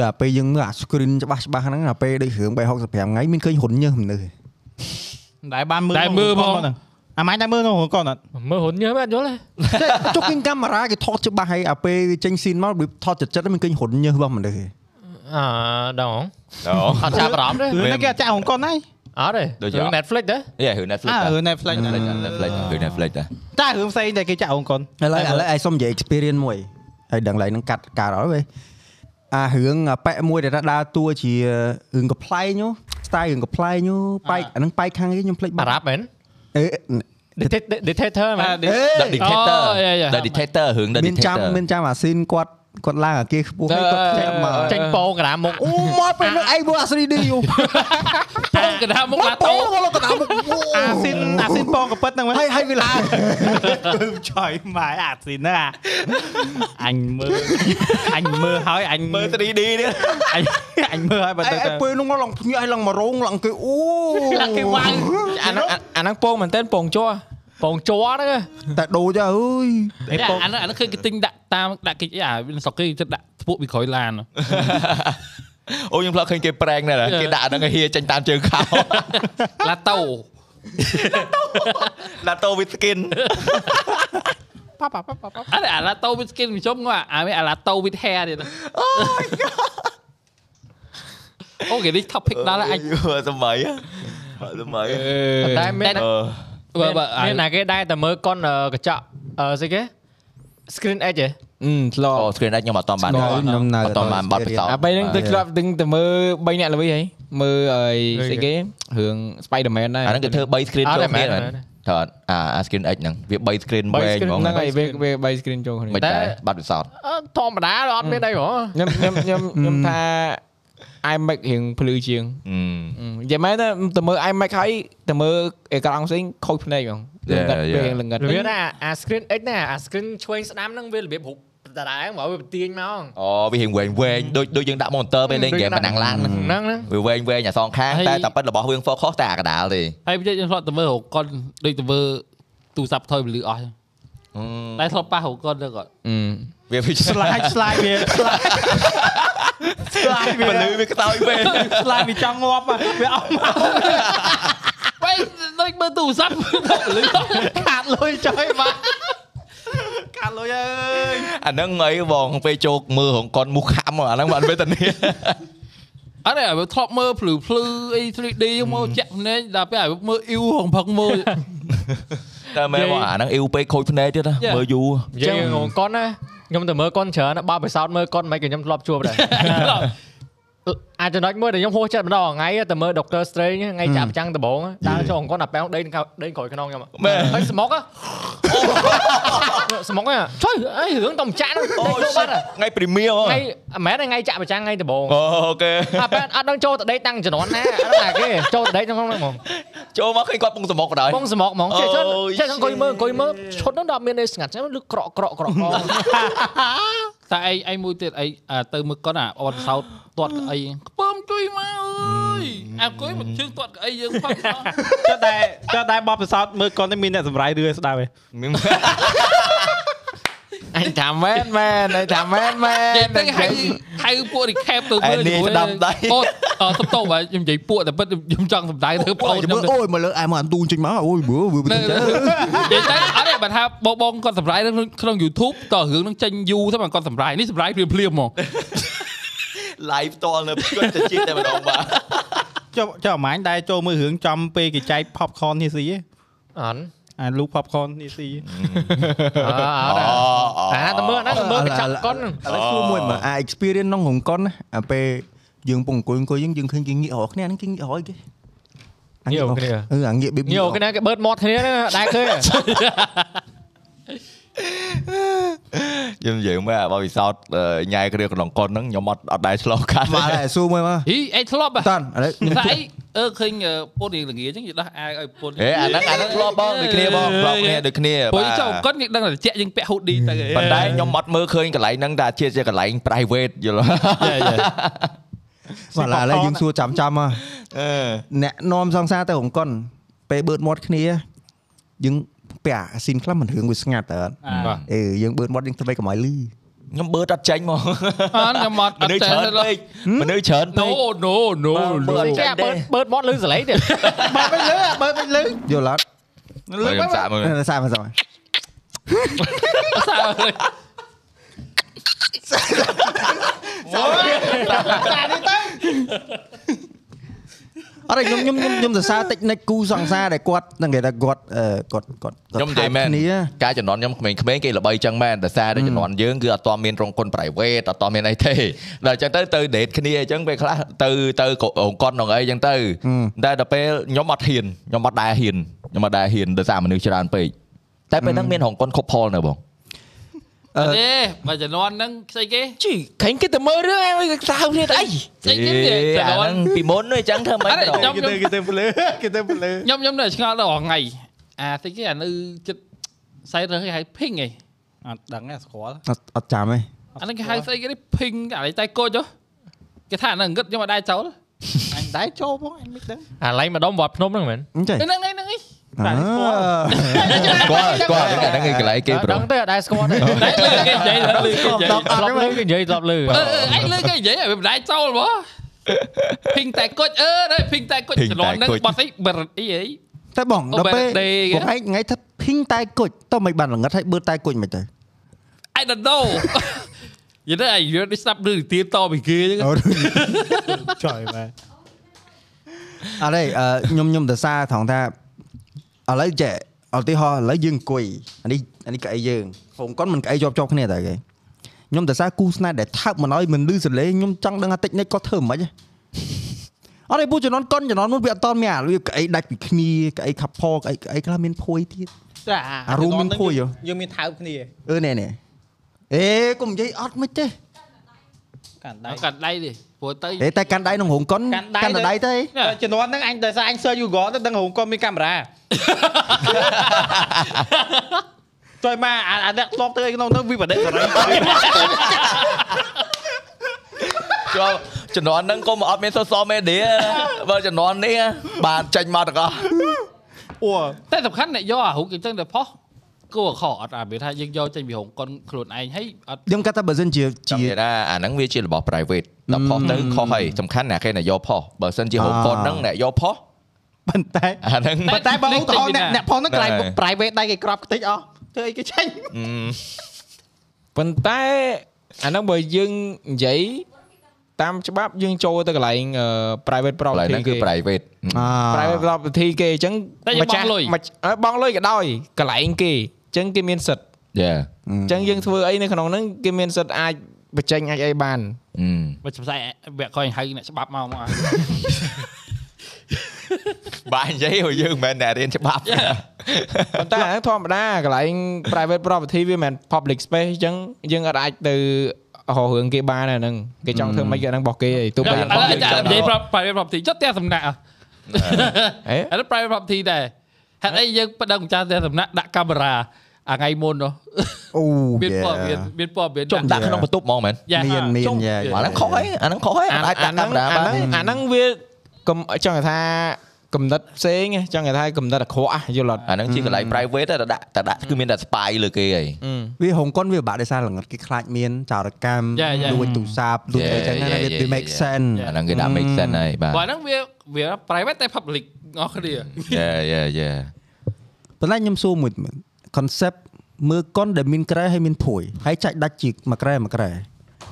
S1: ដល់ពេលយើងមើលអា screen ច្បាស់ច្បាស់ហ្នឹងដល់ពេលដូចរឿង365ថ្ងៃមានឃើញហ៊ុនញើសមនុស្សទេ
S5: មិនដែលបានមើល
S9: ដែលមើលផង
S5: ហ្នឹងអាម៉ាញ់ដែរមើលក្នុងរឿងកូនអត់
S2: មើលហ៊ុនញើមិនយល់ទេ
S1: ចុះឃើញកាមេរ៉ាគេថតច្បាស់ហើយដល់ពេលវាចេញស៊ីនមកដូចថតចិត្តចិត្តៗមិនឃើញហ៊ុនញើសរបស់មនុស្សទេ
S2: អ่าដឹង
S3: អូ
S2: អត់ចាប់អារម្មណ៍ទេ
S5: រឿងហ្នឹងគេអាចចាក់រឿងកូនហើយ
S2: អត់ទេរឿង Netflix ទេ
S3: យេរឿង Netflix
S5: អា
S3: ដែរ
S5: រឿង Netflix
S3: Netflix ដែរ Netflix ដែររឿង Netflix ដែរ
S5: តែរឿងផ្សេងតែគេចាក់រឿងកូន
S1: ឥឡូវឥឡូវឯងសុំនិយាយ experience មួយហើយដឹងឡើយនឹងកាត់ការអត់វិញអារឿងអាប៉ែកមួយដែលថាដើរតួជារឿងកំ pl ែងហ៎ style រឿងកំ pl ែងហ៎ប៉ែកអាហ្នឹងប៉ែកខាងគេខ្ញុំភ្លេច
S2: អារ៉ាប់មែន
S1: អេ
S2: Dictator មែន
S3: The Dictator
S9: អូយយយ
S3: The Dictator រឿង The
S1: មានចាំ
S3: Dictator
S1: មានចាំអាស៊ីនគាត់គាត់ឡើងអាគេខ្ពស់ហើយគាត់ចេះមក
S2: ចេញប៉ងក្រាមមុខ
S1: អូមកពេលនោះឯងមើលអា 3D យូ
S9: តែកណ្ដាលមុខឡាតូ
S1: កណ្ដាលមុខ
S5: អាស៊ីនអាស៊ីនពងកប៉ិតហ្នឹងមែន
S1: ហើយហើយ វាឡើង
S5: ឆយម៉ែអាស៊ីនណាអញមើលអញមើលហើយអញមើល
S3: 3D នេះ
S5: អញអញមើលហើយបើ
S1: ឯ
S5: ទៅ
S1: ងពេលនោះឡើងភ្ញាក់ឡើងមករោងឡើងគេអូ
S5: គេវ៉ៅ
S4: អាហ្នឹងអាហ្នឹងពងមែនតើពងជ័រ
S2: ប៉ងជ័រហ្នឹង
S1: តែដូរចាអើយ
S9: អាហ្នោះអាហ្នោះឃើញគេទិញដាក់តាមដាក់គេចអាស្រុកគេចិត្តដាក់ធ្វើពីក្រោយឡាន
S3: អូខ្ញុំផ្លត់ឃើញគេប្រេងដែរណាគេដាក់អាហ្នឹងឲ្យហៀចេញតាមជើងខោ
S9: ឡាតូ
S3: ឡាតូវីស្គិន
S5: ប៉ាប៉ាប៉ាប៉ាប៉ា
S9: អាអាឡាតូវិតស្គីនខ្ញុំជុំគាត់អាមានអាឡាតូវិតហែទៀតអូគេនេះ topic ដល់ហើយអាច
S3: សម័យសម័យ
S2: តែមាន
S9: បើបើអា
S2: មានណាគេដែរតែមើលកុនកញ្ចក់អឺស្អីគេ screen edge ហ៎
S4: អឺធ្លាប់
S3: អូ screen ដាច់ខ្ញុំអត់តបានអ
S1: ខ្ញុំ
S3: ត់តបានបាត់បសោ
S4: អាពេលហ្នឹងទៅធ្លាប់ទាំងទៅមើល3អ្នកល្វីហីមើលឲ្យស្អីគេរឿង Spider-Man ដែរ
S3: អាហ្នឹងគេធ្វើ3 screen
S2: អត់
S3: ចូល
S2: ទេ
S3: គ្នា
S2: មែ
S3: មែ
S2: ន
S3: ន
S2: មែន
S3: ត្រត់អាអា screen X ហ្នឹងវា3 screen វែងហ្មង
S4: ហ្នឹងហើយវាវា3 screen ចូលគ្នា
S3: មិនដែរបាត់ពិសោធន៍
S2: អឺធម្មតាអត់មានអីហ្មង
S4: ខ្ញុំខ្ញុំខ្ញុំខ្ញុំថា iMac រៀងភ្លឺជាង
S3: អឺ
S4: អឺនិយាយមែនទេទៅមើល iMac ហើយទៅមើលអេក្រង់ផ្សេងខូចភ្នែកហ្មង
S3: Yeah,
S4: លងិត
S3: yeah.
S4: ពេលលងិត
S2: វាណាអា screen edge ណាអា screen ឆ្វេងស្ដាំហ្នឹងវារបៀបរូបដដែលហ្មងវាបន្ទាញមក
S3: អូវារៀងវែងវែងដូចដូចយើងដាក់ monitor ពេលលេង game ប៉ណ្ណាំងឡានហ្នឹង
S2: ហ្នឹងហ្នឹង
S3: វាវែងវែងអាសងខាងតែតែប៉ិតរបស់វា focus តែអាកដាលទេ
S9: ហើយវាខ្ញុំធ្លាប់ទៅមើលរកកុនដូចទៅមើលទូរស័ព្ទថយពលឺអស់តែធ្លាប់ប៉ះរកកុនទៅគាត់
S4: អឺ
S3: វាវាឆ្លាត
S5: slide slide វា slide slide វា
S3: ពលឺវាខ្តោយពេក
S5: slide វាចង់ងាប់ហ่ะវាអស់មក
S9: បែរដូចមើលទូរ ស័ព្ទលឺ
S5: ខាតលុយចុយបាទខាតលុយអើយ
S3: អាហ្នឹងអីបងពេលជោគមើលរងកុនមូសខាំអាហ្នឹងបានវេទនា
S9: អត់ទេឲ្យវាធ្លាប់មើលភ្លឺភ្លឺអី 3D មកចាក់ភ្នែកដល់ពេលឲ្យវាមើលអ៊ីវហងផឹកមើល
S3: តែមែនបងអាហ្នឹងអ៊ីវពេកខូចភ្នែកទៀតណា
S9: Yeah.
S3: មើលយូរ
S2: និយើងងងកុនណាខ្ញុំទៅមើលកុនច្រើនណាបើបិសោតមើលកុនមិនក៏ខ្ញុំធ្លាប់ជួបដែរ អាចចំណុចមួយដែលខ្ញុំហួសចិត្តម្ដងថ្ងៃទៅមើល Doctor Strange ថ្ងៃចាប់ចាំងដំបងដើរចូលអង្គនអាប៉ែងដេញក្រោយដេញក្រោយខ្នងខ្ញុំ
S3: មែន
S2: ហើយស្មុកស្មុកជួយអីរឿងតំចាក់ហ្នឹង
S3: អូ
S2: ដេញចូល
S3: សិត
S2: បាត់
S3: ថ្ងៃ premier
S2: ថ្ងៃមិនមែនទេថ្ងៃចាក់ប្រចាំងថ្ងៃដំបង
S3: អូអូខេ
S2: អាប៉ែងអត់ដឹងចូលទៅដេញតាំងជំនាន់ណាអត់ដឹងណាគេចូលទៅដេញក្នុងហ្នឹងហ្មង
S3: ចូលមកឃើញគាត់ពងសមុកបណ្ដោយ
S2: បងសមកហ្មងចេះចេះ
S3: Oh,
S2: ចេះអង្គុយមើលអង្គុយមើលឈុតហ្នឹងដល់មានអីស្ងាត់ចឹងលឺក្រក់ក្រក់ក្រក់ក្រក់
S9: តែឯងឯងមួយទៀតឯងអាទៅមើលកុនអាអត់សោតទាត់ក្អីខ្ពើមជួយមកអើយអាគួយមកជើងទាត់ក្អីយើងផឹកអស់
S5: ចុះតែចុះតែបបប្រសោតមើលកូននេះមានអ្នកសម្រាយរឿស្ដាប់ឯង
S4: អញថាមែនមែនអញថាមែនមែន
S9: និយាយទៅហៅហៅពួក recap ទៅមើល
S3: ឯនេះស្ដាប់ដៃ
S9: អូអត់ទៅបើខ្ញុំនិយាយពួកតែពិតខ្ញុំចង់សម្ដែងទៅបងខ្ញុំ
S1: មើលអូយមើលលើអែមអានទូនចេញមកអូយមើលវា
S9: នៅ
S1: ទៅ
S9: និយាយទៅអត់ទេបើថាបងបងគាត់សម្ដែងនៅក្នុង YouTube តើរឿងហ្នឹងចេញយូរទៅបើគាត់សម្ដែងនេះសម្ដែងព្រាមព្រាមហ្មង
S3: live ផ្ទាល់នៅគាត់ទៅជិះតែម្ដងបាទ
S5: ចុះចុះអាម៉ាញដែរចូលមើលរឿងចំពេលគេចែក popcorn នេះស៊ីឯង
S2: អត់
S5: អាលូ popcorn នេះស៊ី
S2: អត់អត់អាតើមើលហ្នឹងមើលកញ្ចក់កុន
S1: ឥឡូវគួរមួយមើលអា experience ក្នុងហុងកុនណាអាពេលយើងពងអង្គុយអង្គុយយើងយើងឃើញគេងាករកគ្នាហ្នឹងគេងាករកគេអាងាករកគ្នាអឺអាងាក baby
S2: ញោគ្នាគេបឺតមាត់គ្នាហ្នឹងដែរឃើញ
S3: ខ្ញុំនិយាយមកអាបបិសោតញ៉ែគ្រឿងកន្លងកុនហ្នឹងខ្ញុំអត់អត់ដែរឆ្លោះកាត់
S1: បាទហើយសួរមួយមក
S9: ហីឯងធ្លាប់ហ៎
S1: តាន់ឥ ឡូវខ្ញុំ
S9: តែឯងអឺឃើញអឺពុនរៀងល្ងាចឹងយដោះអាវឲ្យពុន
S3: ហេអាហ្នឹងអាហ្នឹងធ្លាប់បងដូចគ្នាបងធ្លាប់គ្នាដូចគ្នា
S9: ពួក
S3: បាទ
S9: ចៅអង្គត់យើងដឹងតែជាក់យើងពាក់ហូឌីទៅ
S3: ប៉ុន្តែខ្ញុំអត់មើលឃើញកន្លែងហ្នឹងតែជាជាកន្លែង private យល់
S1: បាទឥឡូវយើងសួរចាំចាំមក
S3: អឺ
S1: អ្នកនាំសង្សារទៅហុងកុនពេលបឺតមាត់គ្នាយើងពាក់អាស៊ីនខ្លះមិនរឿងវាស្ងាត់តើអត់
S9: បាទ
S1: អឺយើងបឺតមាត់យើងធ្វើកម្រៃលឺ
S3: ខ្ញុំបឺតអត់ចាញ់មក
S9: អត់ខ្ញុំអត់អ
S3: មនុស្ស
S9: ត់
S3: ច្រើន
S9: ឡូ
S3: ពេកមនុស្សច្រើនពេ
S9: ណូ
S3: ក
S9: ណូណូ
S3: បើអត់
S2: គេ
S3: ចាញ់
S2: បឺ
S3: ទេ
S2: តបឺតមាត់លឺសលេងទៀត
S5: បើមិនលឺអាបើមិនលឺ
S1: យល់អត់
S3: លើខ្ញុំសាកមើល
S1: សាមសាម
S9: សា
S1: អរខ្ញុំខ្ញុំខ្ញុំសរសើរតិចនិចគូសង្សារដែលគាត់ហ្នឹងគេថាគាត់អឺគាត់គាត់គាត់
S3: ខ្ញុំនិយាយមែន
S1: គ្នា
S3: ការចំនួនខ្ញុំក្មេងៗគេល្បីចឹងមែនតែសារតែចំនួនយើងគឺអត់ទាន់មានរោងកុន private អត់ទាន់មានអីទេ ដល់ចឹងទៅទៅ date គ្នាអញ្ចឹងពេលខ្លះទៅទៅរោងកុនហ្នឹងអីចឹងទៅតែដល់ពេលខ្ញុំអត់ហ៊ានខ្ញុំអត់ដែរហ៊ានខ្ញុំអត់ដែរហ៊ានដោយសារមនុស្សច្រើនពេកតែពេលហ្នឹងមានរោងកុនខុបផលនៅបង
S1: អឺ
S9: ទេបើជំនាន់ហ្នឹងស្អីគេ
S4: ជីឃើញគេទៅមើលរឿងអីគេសើគ្នាទៅអី
S9: ស្អីគេទេ
S3: អា
S9: ជំនា
S3: ហ្នឹ
S9: ន់
S3: ងពីមុនហ្នឹងអញ្ចឹងធ្វើមិន
S9: អត់ទេ
S3: ដល់
S9: ខ្ញុំ
S5: គេទៅគេទៅពលឺគេទៅពលឺ
S9: ខ្ញុំខ្ញុំនៅឆ្ងល់ដល់ថ្ងៃអាស្អីគេអានៅចិត្តសៃរើសគេហៅភីងឯង
S5: អត់ដឹងទេស្គាល់
S1: អត់អត់ចាំទេ
S9: អាហ្នឹងគេហៅស្អីគេនេះភីងអានេះតែកូចហ៎គេថាអាហ្នឹងងឹតខ្ញុំអត់ដែរចូល
S5: អញដែរចូលផងអញមិនដឹង
S2: អាឡៃម្ដុំវត្តភ្នំហ្នឹងមែន
S1: អញ្ចឹង
S9: ហ្នឹងហ្នឹងហ្នឹង
S5: តែស្គាល់
S3: ស្គាល់ស្គាល់ហ្នឹងអាហ្នឹងឯងកន្លែងគេប្រុស
S2: ដឹងទេអត់ដែរស្គាល់ទេ
S9: តែលើគេនិយាយលើគេនិយាយ
S2: ធ្លាប់លឺគេនិយាយធ្លាប់លឺ
S9: អឺអឺឯងលើគេនិយាយឲ្យវាមិនដាច់ចូលបងភីងតែគុចអឺដល់ភីងតែគុចច្រឡំនឹងបាត់អីបរិទ្ធអីអី
S1: តែបងដល់ពេល
S9: Overnight day
S1: បងឯងថ្ងៃថាភី ងតែគុជតោះមិនបានល្ងឹតឲ្យបឺតតែគុជមិនទៅ
S9: I don't know យល់ទេអាយយល់ស្ដាប់រឿងនិទានតពីគេចឹង
S10: trời mà
S1: អរេអឺខ្ញុំខ្ញុំទៅសារថងថាឥឡូវចេះឧទាហរណ៍ឥឡូវយើងអង្គុយអានេះអានេះកៅអីយើងហូមគាត់មិនកៅអីជាប់ជាប់គ្នាតើគេខ្ញុំទៅសារគូស្នេហ៍ដែលថើបមិនឲ្យមិនលឺសលេងខ្ញុំចង់ដឹងថាតិចនិចគាត់ធ្វើមិនហិចអរេពូចំនួនកុនចំនួនមុនវាអត់តមានអារបៀបកៅអីដាច់ពីគ្នាកៅអីខាប់ផកៅអីកៅអីខ្លះមានភួយទៀត
S5: ចា
S1: អារូមមានភួយហ៎
S5: យើងមានថើបគ្នា
S1: អឺណែនេះអេកុំនិយាយអត់មិនទេ
S5: កាន់ដៃ
S9: ដល់កាត់ដៃទេព្រោះទៅ
S1: អេតែកាន់ដៃក្នុងរោងកុនកាន់តែដៃទៅ
S5: តែជំនាន់ហ្នឹងអញដោយសារអញ search Google ទៅដឹងរោងកុនមានកាមេរ៉ា ជួយមកអាអាអ្នកធ្លាប់ទៅអីក្នុងហ្នឹងវាបដិសរៃ
S3: ជាប់ជំនាន់ហ្នឹងក៏មិនអត់មាន social media បើជំនាន់នេះបានចេញមកទាំងអស់
S5: អូ
S9: តែសំខាន់អ្នកយកអារូបគេចឹងតែផុសគួរខអត់អាវាថាយើងយកចេញពីរោងកុនខ្លួនឯងហើយអត់
S1: ខ្ញុំគាត់ថាបើសិនជា
S3: ចាំ
S1: ជា
S3: និយាយថាអាហ្នឹងវាជារបស់ private ដល់ផុសទៅខុសហើយសំខាន់ណាស់គេណាយកផុសបើសិនជាហូប
S1: អ่า
S3: ផុសហ្នឹងអ្នកយកផុស
S5: ប៉ុន្តែ
S3: អាហ្នឹង
S5: ប៉ុន្តែបើឧទាហរណ៍អ្នកអ្នកផងហ្នឹងកន្លែង
S3: ដែរ
S5: private ដៃគេក្របខ្ទេចអស់ធ្វើអីគេចាញ់
S3: អឺ
S4: ប៉ុន្តែអាហ្នឹងបើយើងនិយាយតាមច្បាប់យើងចូលទៅកន្លែងអឺ private
S3: កន្លែង
S4: property
S3: ហ្នឹងគឺ
S4: គេ
S3: private
S1: អា
S4: private property គេអញ្ចឹង
S9: តែយើងបង់លុយ
S4: ម្ចាស់អឺបងលុយក៏ដោយកន្លែងគេអញ្ចឹងគេមានសិទ្ធិ
S3: យ៉ា
S4: អញ្ចឹងយើងធ្វើអីនៅក្នុងហ្នឹងគេមានសិទ្ធិអាចបញ្ចេញអាចអីបាន
S9: មកផ្សាយវគ្គក្រោយហៅអ្នកច្បាប់មកមក
S3: បាទនិយាយឲ្យយើងមិនមែនអ្នករៀនច្បាប់
S4: ប៉ុន្តែអាហ្នឹងធម្មតាកន្លែង private property វាមិនមែន public space អញ្ចឹងយើងអត់អាចទៅរករឿងគេបានអាហ្នឹងគេចង់ធ្វើម៉េចអាហ្នឹងរបស់គេឯងទោះបីយើង
S9: ឥឡូវ
S4: បោះ
S9: និយាយ private property ចុះផ្ទះសំណាក់អ่ะ
S4: អេ
S9: ឥឡូវ private property ដែរហេតុអីយើងបដិងម្ចាស់ផ្ទះសំណាក់ដាក់កាមេរ៉ាអាថ្ងៃមុននោះ
S1: អូ
S9: មានព័ត៌មានមានព័ត៌មាន
S3: ចុះដាក់ក្នុងបន្ទប់ហ្មងមែន
S9: យ៉ា
S1: មានមាន
S9: ចុះ
S1: យ៉ា
S3: អាហ្នឹងខុសហើយអាហ្នឹងខុសហើយ
S4: អា
S3: អត់អាច
S4: អា
S3: ដាក់
S4: ហ្នឹ
S3: កា
S4: ង
S3: មេរ៉ា
S4: អា
S3: បាន
S4: ហ្នឹងអាហ្នឹងវាកំចង់ថាកំណត់ផ្សេងឯងចង់ថាកំណត់អក្រក់យល់អត់
S3: អាហ្នឹងជាកន្លែង private តែដាក់តែដាក់គឺមានតែ spy លើគេហើយ
S1: វាហុងកុនវាពិបាកដោយសារល្ងិតគេខ្លាចមានចោរកម្មលួចទូរស័ព្ទលួចអីចឹងណាវាវា make sense
S3: អាហ្នឹងគេដាក់ make sense ហើយបាទ
S9: បើហ្នឹងវាវា private តែ public អស់គ្នា
S3: យ៉ាយ៉ាយ៉ា
S1: ប៉ុន្តែខ្ញុំសួរមួយមើល concept មើលកុនដែលមានក្រែហើយមានភួយហើយចាច់ដាច់ជាមួយក្រែមួយក្រែ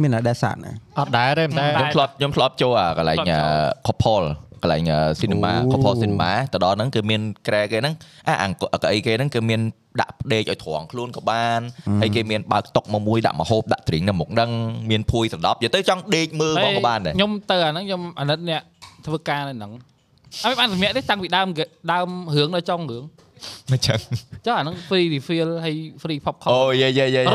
S1: មានអាដែលសាក់ណា
S2: អត់ដែរទេតែ
S3: ខ្ញុំធ្លាប់ខ្ញុំធ្លាប់ចូលអាកន្លែងអឺ couple កន្លែងអឺ cinema couple cinema ទៅដល់ហ្នឹងគឺមានក្រែគេហ្នឹងអាអង្គកៅអីគេហ្នឹងគឺមានដាក់ផ្ដេកឲ្យត្រង់ខ្លួនក៏បានហើយគេមានបើកតុកមកមួយដាក់មហូបដាក់ drink នៅមុខហ្នឹងមានភួយសណ្ដប់និយាយទៅចង់ដេកមើលហ្មងក៏បានដែរ
S9: ខ្ញុំទៅអាហ្នឹងខ្ញុំអាណិតអ្នកធ្វើការនៅហ្នឹងអត់បានសម្ញាក់ទេតាំងពីដើមដើមរឿងដល់ចុងរឿង
S3: មិនចឹង
S9: ចុះអាហ្នឹង free refill ហើយ free popcorn
S3: អូយេយេយេ
S9: រឡូ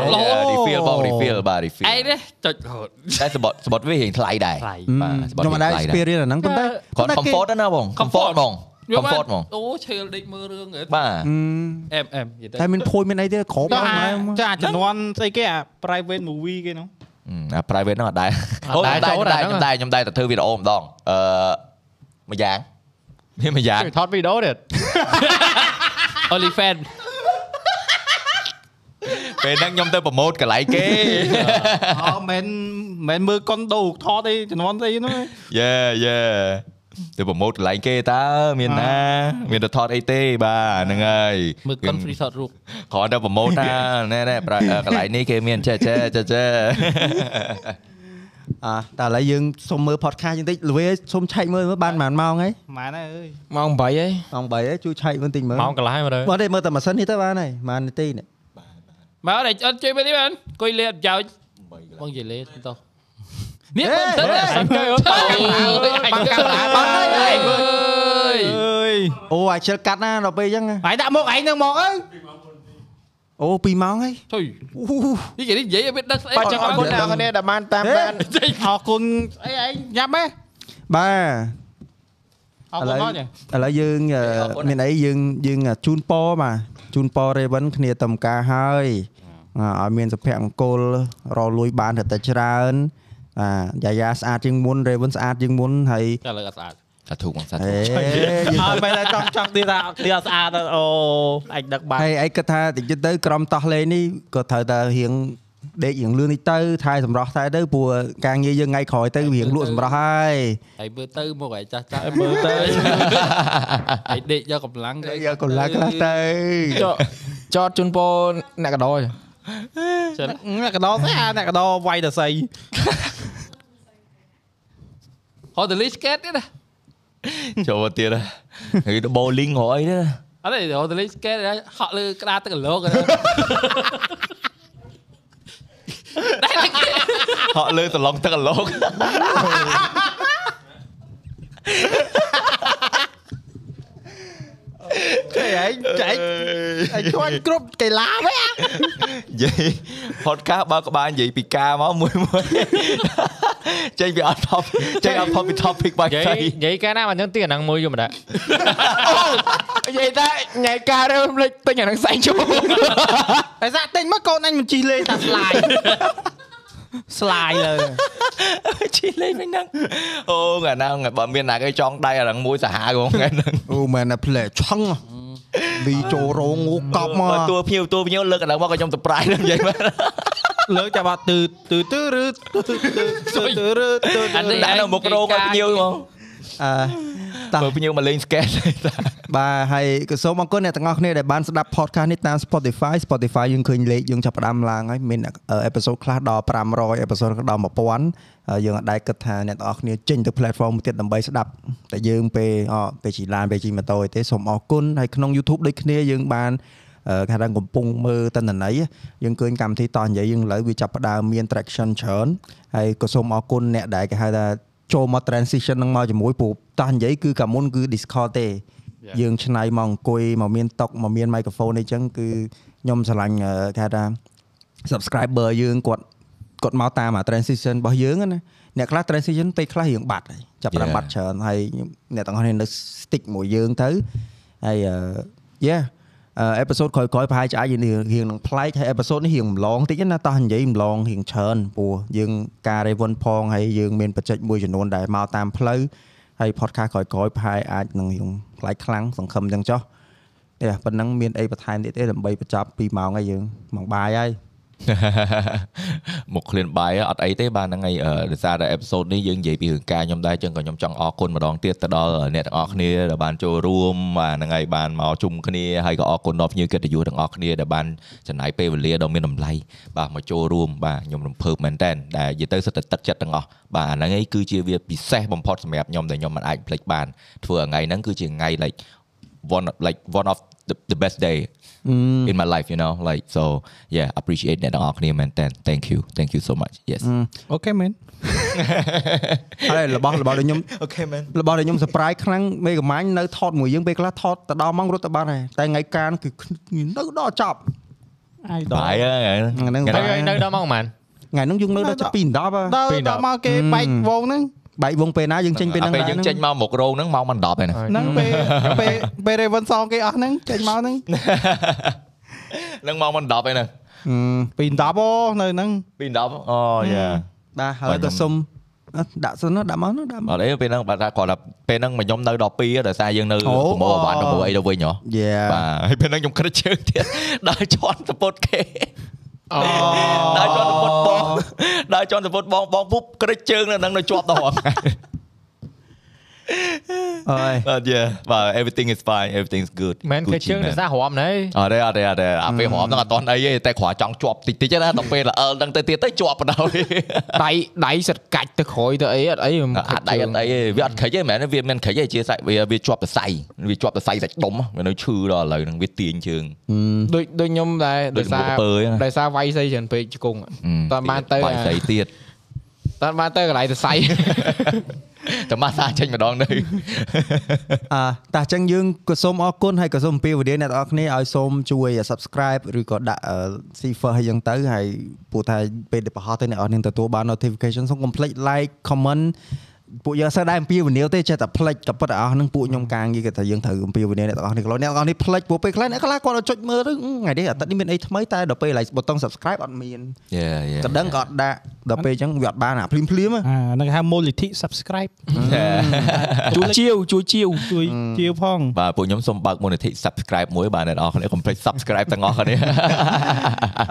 S3: refill បង refill បាទ refill
S9: ឯងនេះចុចរហូត
S3: តែសបត់សបត់វារៀងថ្លៃដែរ
S9: ថ្លៃ
S3: បាទសបត់
S1: ខ្ញុំ
S3: វា
S1: អាដែល
S3: ថ្លៃដែរ
S1: experience អាហ្នឹងប៉ុន្តែ
S3: គាត់ comfort ណាបង comfort
S9: comfort
S3: ហ្មង comfort ហ្មង
S9: អូឆេលដេកមើលរឿងហ៎
S3: បាទ
S9: អែមអែមនិយាយទៅ
S1: តែមានភួយមានអីទៀតក្រប
S5: ចុះ
S1: ហ្នឹង
S5: អា
S1: ម៉ែ
S5: ចុះអាជំនាន់ស្អីគេអា private movie គេហ្នឹង
S3: អា private ហ្នឹងអត់ដែរ
S2: អ
S3: អូ
S2: ត់
S3: ខ្ញុំ
S2: ដែរ
S3: ដែរ
S2: ចូល
S3: ខ្ញុំ
S2: ដែរ
S3: ដែរ
S2: ហ្នឹង
S3: ខ្ញុំដែរខ្ញុំដែរតែធ្វើវីដេអូម្ដងអឺមួយយ៉ាងមានមួយយ៉ាង
S2: ជួយថតវីដេ អូទៀត
S9: OnlyFans
S3: ពេលហ្នឹងខ្ញុំទៅប្រម៉ូតកន្លែងគេ
S5: អូមិនមិនមើលកុនដូថតអីជំនាន់ស្អីហ្នឹងឯង
S3: យេយេទៅប្រម៉ូតកន្លែងគេតើមានណា មានទៅថតអីទេបាទហ្នឹងហើយ
S9: មើល Confree Shot រូប
S3: គ្រាន់តែប្រម៉ូតណាណែណែប្រអឺកន្លែងនេះគេមានចេះចេះចេះចេះ
S1: អាតែឥឡូវយើងសុំមើល podcast បន្តិចល្វេសុំឆែកមើលមើលបានប៉ុន្មានម៉ោងហើយ
S5: ម៉ែនហើយអើយ
S4: ម៉ោង8ហើយ
S1: ម៉ោង3ហើយជួយឆែកមើលបន្តិចមើល
S2: ម៉ោងកន្លះហើយមើល
S1: បាទទេមើលតែម៉ាស៊ីននេះទៅបានហើយម៉ាននាទីនេះ
S9: មកអត់អត់ជួយមើលនេះបានអុយលេអត់ចោចបងនិយាយលេទៅនេះមើលទៅ
S2: សាច់គេអត់
S9: បងកាមេរ៉ាបងអើយមើល
S5: អើយ
S1: អូអាជិលកាត់ណាដល់ពេលអញ្ចឹង
S5: ហើយដាក់មកឯងហ្នឹងមកអើយ
S1: អូ2ម៉ោងហើយ
S9: ជួយនេះនិយាយឲ្យវាដឹងស្អី
S4: បាទចឹងអរគុណដល់គ្នាដែលបានតាមដាន
S5: អរគុណអីឯងញ៉ាំហ៎
S1: បាទ
S5: អ
S1: ឥ
S5: រគុ
S1: ឡូវ
S5: ណផងចឹង
S1: ឥឡូវយើងអឺមានអីយើងយើងជូនពរបាទជូនពរ Raven គ្នាតំការហើយអ่าឲ្យមានសុភមង្គលរលួយបានតែច្រើនបាទយាយាស្អាតជាងមុន Raven ស្អាតជាងមុនហើយ
S9: តែលើអត់ស្អាត
S3: សាធុបងសាធុ
S1: ហេ
S5: អត់មិនតែចង់ចង់ទីថាទីស្អាតទៅអូអញដឹកបាន
S1: ហើយឯងគិតថាតិចទៀតទៅក្រុមតោះលេងនេះក៏ត្រូវតែរៀងដេករៀងលឿននេះទៅថែសម្រស់តែទៅព្រោះការងារយើងថ្ងៃក្រោយទៅរៀងលក់សម្រស់ហើយ
S9: ហើយមើលទៅមកឲ្យចាស់ចាស់មើល ទៅឲ្យដេកយកកម្លាំង
S1: យកកន្លះខ្លះទៅ
S2: ចុះ
S4: ចតជូនពរអ្នកកដោច
S9: ចឹង
S5: អ្នកកដោស្អីអាអ្នកកដោវាយតសៃ
S9: ហត់ទៅលេងស្កេតទៀតណា
S3: ចូលមកទៀតហ្នឹងទៅ bowling រកអីទៅ
S9: អត់ទេរត់ទៅលេងស្កេតហើយហក់លើក្តារទឹកកលោកហ្នឹងដែរតែគេ
S3: ហក់លើសឡងទឹកកន្លោក
S5: គេឯងចែកឯងជួយគ្រប់កីឡាវិញអា
S3: និយាយ podcast បើក្បាលនិយាយពីការមកមួយមួយ ចេញពីអត់ top ចេញអត់ top ពី topic បា
S2: និ
S3: ក់
S2: យាយ
S3: ទៅ
S2: និយាយកាលណាមកនឹងទីអាហ្នឹងមួយយកម្ដង
S4: និយាយតែញ៉ៃការរើផ្លេចទិញអានឹងសែងជូន
S5: ឯសាក់ទិញមកកូនអញមិនជិះលេងតែស្លាយស្លាយលើ
S3: ជិះលេងវិញហ្នឹង អូថ្ងៃណាថ្ងៃបើមានណាគេចង់ដៃអាហ្នឹងមួយសាហា វហ្មងថ្ងៃហ្នឹង
S1: អូមែនតែផ្លែឆឹងវីចូលរងងូកប់មក
S3: បើតួភៀវតួភៀវលើកអាហ្នឹងមកក៏ខ្ញុំ surprise នឹងនិយាយមក
S5: លើកចាប់បាត់ទឺទឺទឺឬទឺទឺទឺទឺឬទឺទឺ
S9: អានេះ
S3: ដាក់ នៅមុខរោងឲ្យភៀវហ្មង
S1: អឺតោះ
S3: បើភៀវមកលេង skate តា
S1: បាទហើយក៏សូមអរគុណអ្នកទាំងអស់គ្នាដែលបានស្ដាប់ podcast នេះតាម Spotify Spotify យើងឃើញលេខយើងចាប់ផ្ដើមឡើងហើយមានអេពីសូតខ្លះដល់500អេពីសូតដល់1000ហើយយើងអាចដែរគិតថាអ្នកទាំងអស់គ្នាចេញទៅ platform មួយទៀតដើម្បីស្ដាប់តែយើងពេលអពេលជិះឡានពេលជិះម៉ូតូអីទេសូមអរគុណហើយក្នុង YouTube ដូចគ្នាយើងបាន អឺគេថាកំពុងមើលតន្ន័យយើងឃើញកម្មវិធីតោះនិយាយយើងឥឡូវវាចាប់ផ្ដើមមាន traction ច្រើនហើយក៏សូមអរគុណអ្នកដែលគេហៅថាចូលមក transition នឹងមកជាមួយព្រោះតោះនិយាយគឺកាលមុនគឺ Discord ទេ យើងឆ្នៃមកអង្គុយមកមានតុកមកមាន microphone អីចឹងគឺខ្ញុំស្រឡាញ់អឺគេហៅថា subscriber យើងគាត់គាត់មកតាមអា transition របស់យើងហ្នឹងណាអ្នកខ្លះ transition ពេលខ្លះរៀងបាត់ហើយចាប់ផ្ដើមបាត់ច្រើនហើយខ្ញុំអ្នកទាំងអស់គ្នានៅ stick មួយយើងទៅហើយអឺ yeah អេពីសូតក្រោយៗប្រហែលជាអាចរៀងរៀងនឹងប្លែកហើយអេពីសូតនេះរៀងម្លងតិចណាតោះនិយាយម្លងរៀងច្រើនព្រោះយើងការ Raven ផងហើយយើងមានបច្ចេកមួយចំនួនដែលមកតាមផ្លូវហើយ podcast ក្រោយៗប្រហែលអាចនឹងរៀងប្លែកខ្លាំងសង្ឃឹមចឹងចុះតែប៉ុណ្ណឹងមានអីបន្ថែមទៀតទេដើម្បីបញ្ចប់2ម៉ោងហើយយើងមកបាយ ហើយ
S3: មកឃ្លានបាយអត់អីទេបាទហ្នឹងហើយអឺដោយសារតែ episode នេះយើងនិយាយពីរឿងការខ្ញុំដែរចឹងក៏ខ្ញុំចង់អរគុណម្ដងទៀតទៅដល់អ្នកទាំងអស់គ្នាដែលបានចូលរួមបាទហ្នឹងហើយបានមកជុំគ្នាហើយក៏អរគុណដល់ភ្ញៀវកិត្តិយសទាំងអស់គ្នាដែលបានចំណាយពេលវេលាដ៏មានតម្លៃបាទមកចូលរួមបាទខ្ញុំរំភើបមែនតើដែលនិយាយទៅសិតតែទឹកចិត្តទាំងអស់បាទអាហ្នឹងហើយគឺជាវាពិសេសបំផុតសម្រាប់ខ្ញុំដែលខ្ញុំមិនអាចភ្លេចបានធ្វើឲ្យថ្ងៃហ្នឹងគឺជាថ្ងៃ like one like one of the, the best day in my life you know like so yeah appreciate អ្នកទាំងអស់គ្នាមែនតើ thank you thank you so much yes
S5: អូខេមែន
S1: ហើយរបស់របស់ដូចខ្ញុំ
S3: okay man
S1: របស់ដែលខ្ញុំ surprise ខ្លាំងមេកម៉ាញ់នៅថតមួយយើងពេលខ្លះថតទៅដល់ម៉ោងរត់ទៅបានហើយតែថ្ងៃកានគឺនៅដល់ចប់
S5: អាយដ
S3: បាយហើយ
S1: ថ្ងៃហ្នឹង
S2: ទៅឲ្យនៅដល់មកប៉ុន្មាន
S1: ថ្ងៃហ្នឹងយើងនៅដល់ ចាប់ពី10ហ៎
S5: ល់ដល់មកគេបែកវងហ្នឹង
S1: បែកវងពេលណាយើងចេញពេលហ្នឹ
S3: អា
S1: ង
S3: ពេលយើងចេញមកមុខរោងហ្នឹងម៉ោងមិន10ហើយណា
S5: ហ្នឹងពេលពេលពេល Raven Song គេអស់ហ្នឹងចេញមកហ្នឹង
S3: ហ្នឹងម៉ោងមិន10ហើយណា
S5: ពី10អូនៅហ្នឹង
S3: ពី10អូយ៉ា
S1: បាទហើយក៏សុំដាក់សិនដាក់មកដាក់មក
S3: អត់អីពេលហ្នឹងបាទថាគាត់ថាពេលហ្នឹងមកខ្ញុំនៅដល់2ដល់សារយើងនៅប្រមូលអវ៉ាន់ប្រមូលអីទៅវិញហ៎
S1: Yeah
S3: បាទ ហើយពេលហ្នឹងខ្ញុំគ្រឹះជើង ទៀតដើរជន់សពុតគេ
S5: អូ
S3: ដើរជន់សពុតបង ដើរជន់សពុតបងបងពុបគ្រឹះជើងនៅហ្នឹងនៅជាប់ដល់ហ្នឹង
S1: អើយ
S3: But yeah, but everything is fine, everything's good.
S2: មិនគេ
S3: Gucci
S2: ជើង
S3: man.
S2: រសាររំណែ
S3: អរេអរេអរេអាពេលរំហ្នឹងអត់តន់អីទេតែគ្រាន់ចង់ជាប់តិចតិចទេណាដល់ពេលល្អលហ្នឹងទៅទៀតទៅជាប់បណ្ដោយ
S4: ដៃដៃសិតកាច់ទៅក្រោយទៅអីអត់អី មិនខិ
S3: អា
S4: ត
S3: ដៃអត់អីទេវាអត់ខិចទេមែនទេវាមិនខិចទេជាសាច់វាវាជាប់សរសៃវាជាប់សរសៃសាច់ដុំវានៅឈឺដល់ឥឡូវហ្នឹងវាទាញជើង
S4: ដូចដូចខ្ញុំដែរ
S3: ដូច
S4: ដោយសា
S3: មុ
S4: រ
S3: ខពើអីណា
S4: ដោយសារវាយសៃច្រើនពេកជង្គង់ តើបានទៅ
S3: បាយ
S4: អា
S3: ស្អីទៀត
S4: តើបានទៅកន្លែងទៅសៃ
S3: តែម៉ាសាចេញម្ដងទៅ
S1: អ่าតោះអញ្ចឹងយើងក៏សូមអរគុណហើយក៏សូមអំពាវនាវអ្នកទាំងអស់គ្នាឲ្យសូមជួយ subscribe ឬក៏ដាក់ cipher ឲ្យយើងទៅហើយព្រោះថាពេលដែលប្រហោះទៅអ្នកទាំងអស់គ្នាទទួលបាន notification សូមកុំភ្លេច like comment ពួកយើងអត់សូវដែរអំពាវនាវទេចេះតែភ្លេចក៏ប៉ុន្តែអស់ហ្នឹងពួកខ្ញុំការងារគេថាយើងត្រូវអំពាវនាវអ្នកទាំងអស់គ្នាខ្លួនអ្នកទាំងអស់នេះភ្លេចព្រោះពេលខ្លះអ្នកខ្លះគាត់ឲ្យចុចមើលទៅអឺថ្ងៃនេះអាទិត្យនេះមានអីថ្មីតែដល់ពេល like button subscribe អត់មាន
S3: Yeah yeah.
S1: កណ្ដឹងក៏អត់ដាក់ដល់ពេលអញ្ចឹងវាអត់បានអាភ្លាមភ្លាមៗហ៎
S5: អាហ្នឹងគេហៅមូលនិធិ subscribe
S4: ជួយជាវជួយជាវ
S5: ជួយជាវផង
S3: បាទពួកខ្ញុំសូមបើកមូលនិធិ subscribe មួយបាទអ្នកនរគ្នាកុំភ្លេច subscribe ទាំងអស់គ្នា
S5: ឥ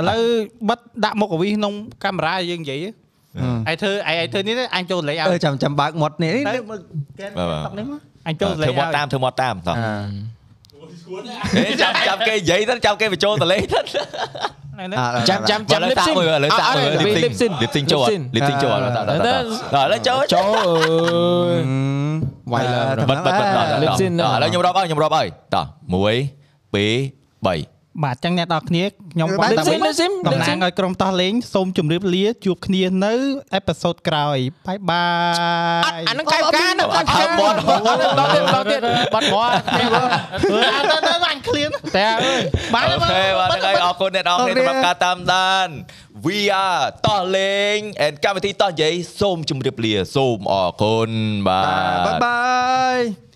S5: ឡូវបិទដាក់មុខអវីក្នុងកាមេរ៉ាយើងនិយាយឯងធ្វើឯងឯងធ្វើនេះទេអញចូលលេងអើ
S1: អឺចាំចាំបើកមាត់នេះ
S5: ទៅ
S1: នេះមើលគេ
S3: បាទបាទ
S1: តុកនេះមក
S5: អញចូលលេង
S3: ធ្វើមក
S5: ឲ្យ
S3: តាមធ្វើមកតាមតោះ
S1: អា
S3: ចាំចាំគេនិយាយទៅចាំគេបញ្ចូលតលេងទៅ
S4: ចាំចាំចាំ
S3: ចាំលើ
S4: lip
S3: តាក់
S4: sync
S3: មើលឥឡូវតាក់មើល
S4: អ่ะអ่ะ
S3: À, lip
S4: lip
S3: sync
S4: sync
S3: lip sync ចូលអត់
S4: sync
S3: lip sync ចូលអត់តាក់តាក់តាក់ឥឡូវចូល
S4: ចូលអើយ
S1: វាយ
S4: Why
S1: លើ
S4: love
S3: បិទបិទបិទដល់
S4: lip
S3: ដល់
S4: sync
S3: ឥឡូវខ្ញុំរាប់ហើយខ្ញុំរាប់ហើយតោះ1 2 3
S5: បាទអញ្ចឹងអ្នកនរគ្នាខ្ញុំ
S1: បា
S5: បាទ នតែមួយ
S4: lip sync
S5: តំណាងឲ្យក្រុមតោះលេងសូមជម្រាបលាជួបគ្នានៅអេផ isode ក្រោយបាយបា
S4: អា
S5: យ
S4: នឹងកាយការនឹងកាយ
S3: ហើយ
S4: ការ
S3: បន
S4: ដល់ទៀតដល់ទៀតបាត់ម ក
S5: អើទៅទៅបាញ់ឃ្លៀន
S4: តែអើយ
S5: បាទ
S3: អូខេបាទថ្ងៃអរគុណអ្នកនរគ្នាសម្រាប់ការតាមដាន VR តោះលេង and កម្មវិធីតោះនិយាយសូមជម្រាបលាសូមអរគុណបាទ
S1: បាទបាយបាយ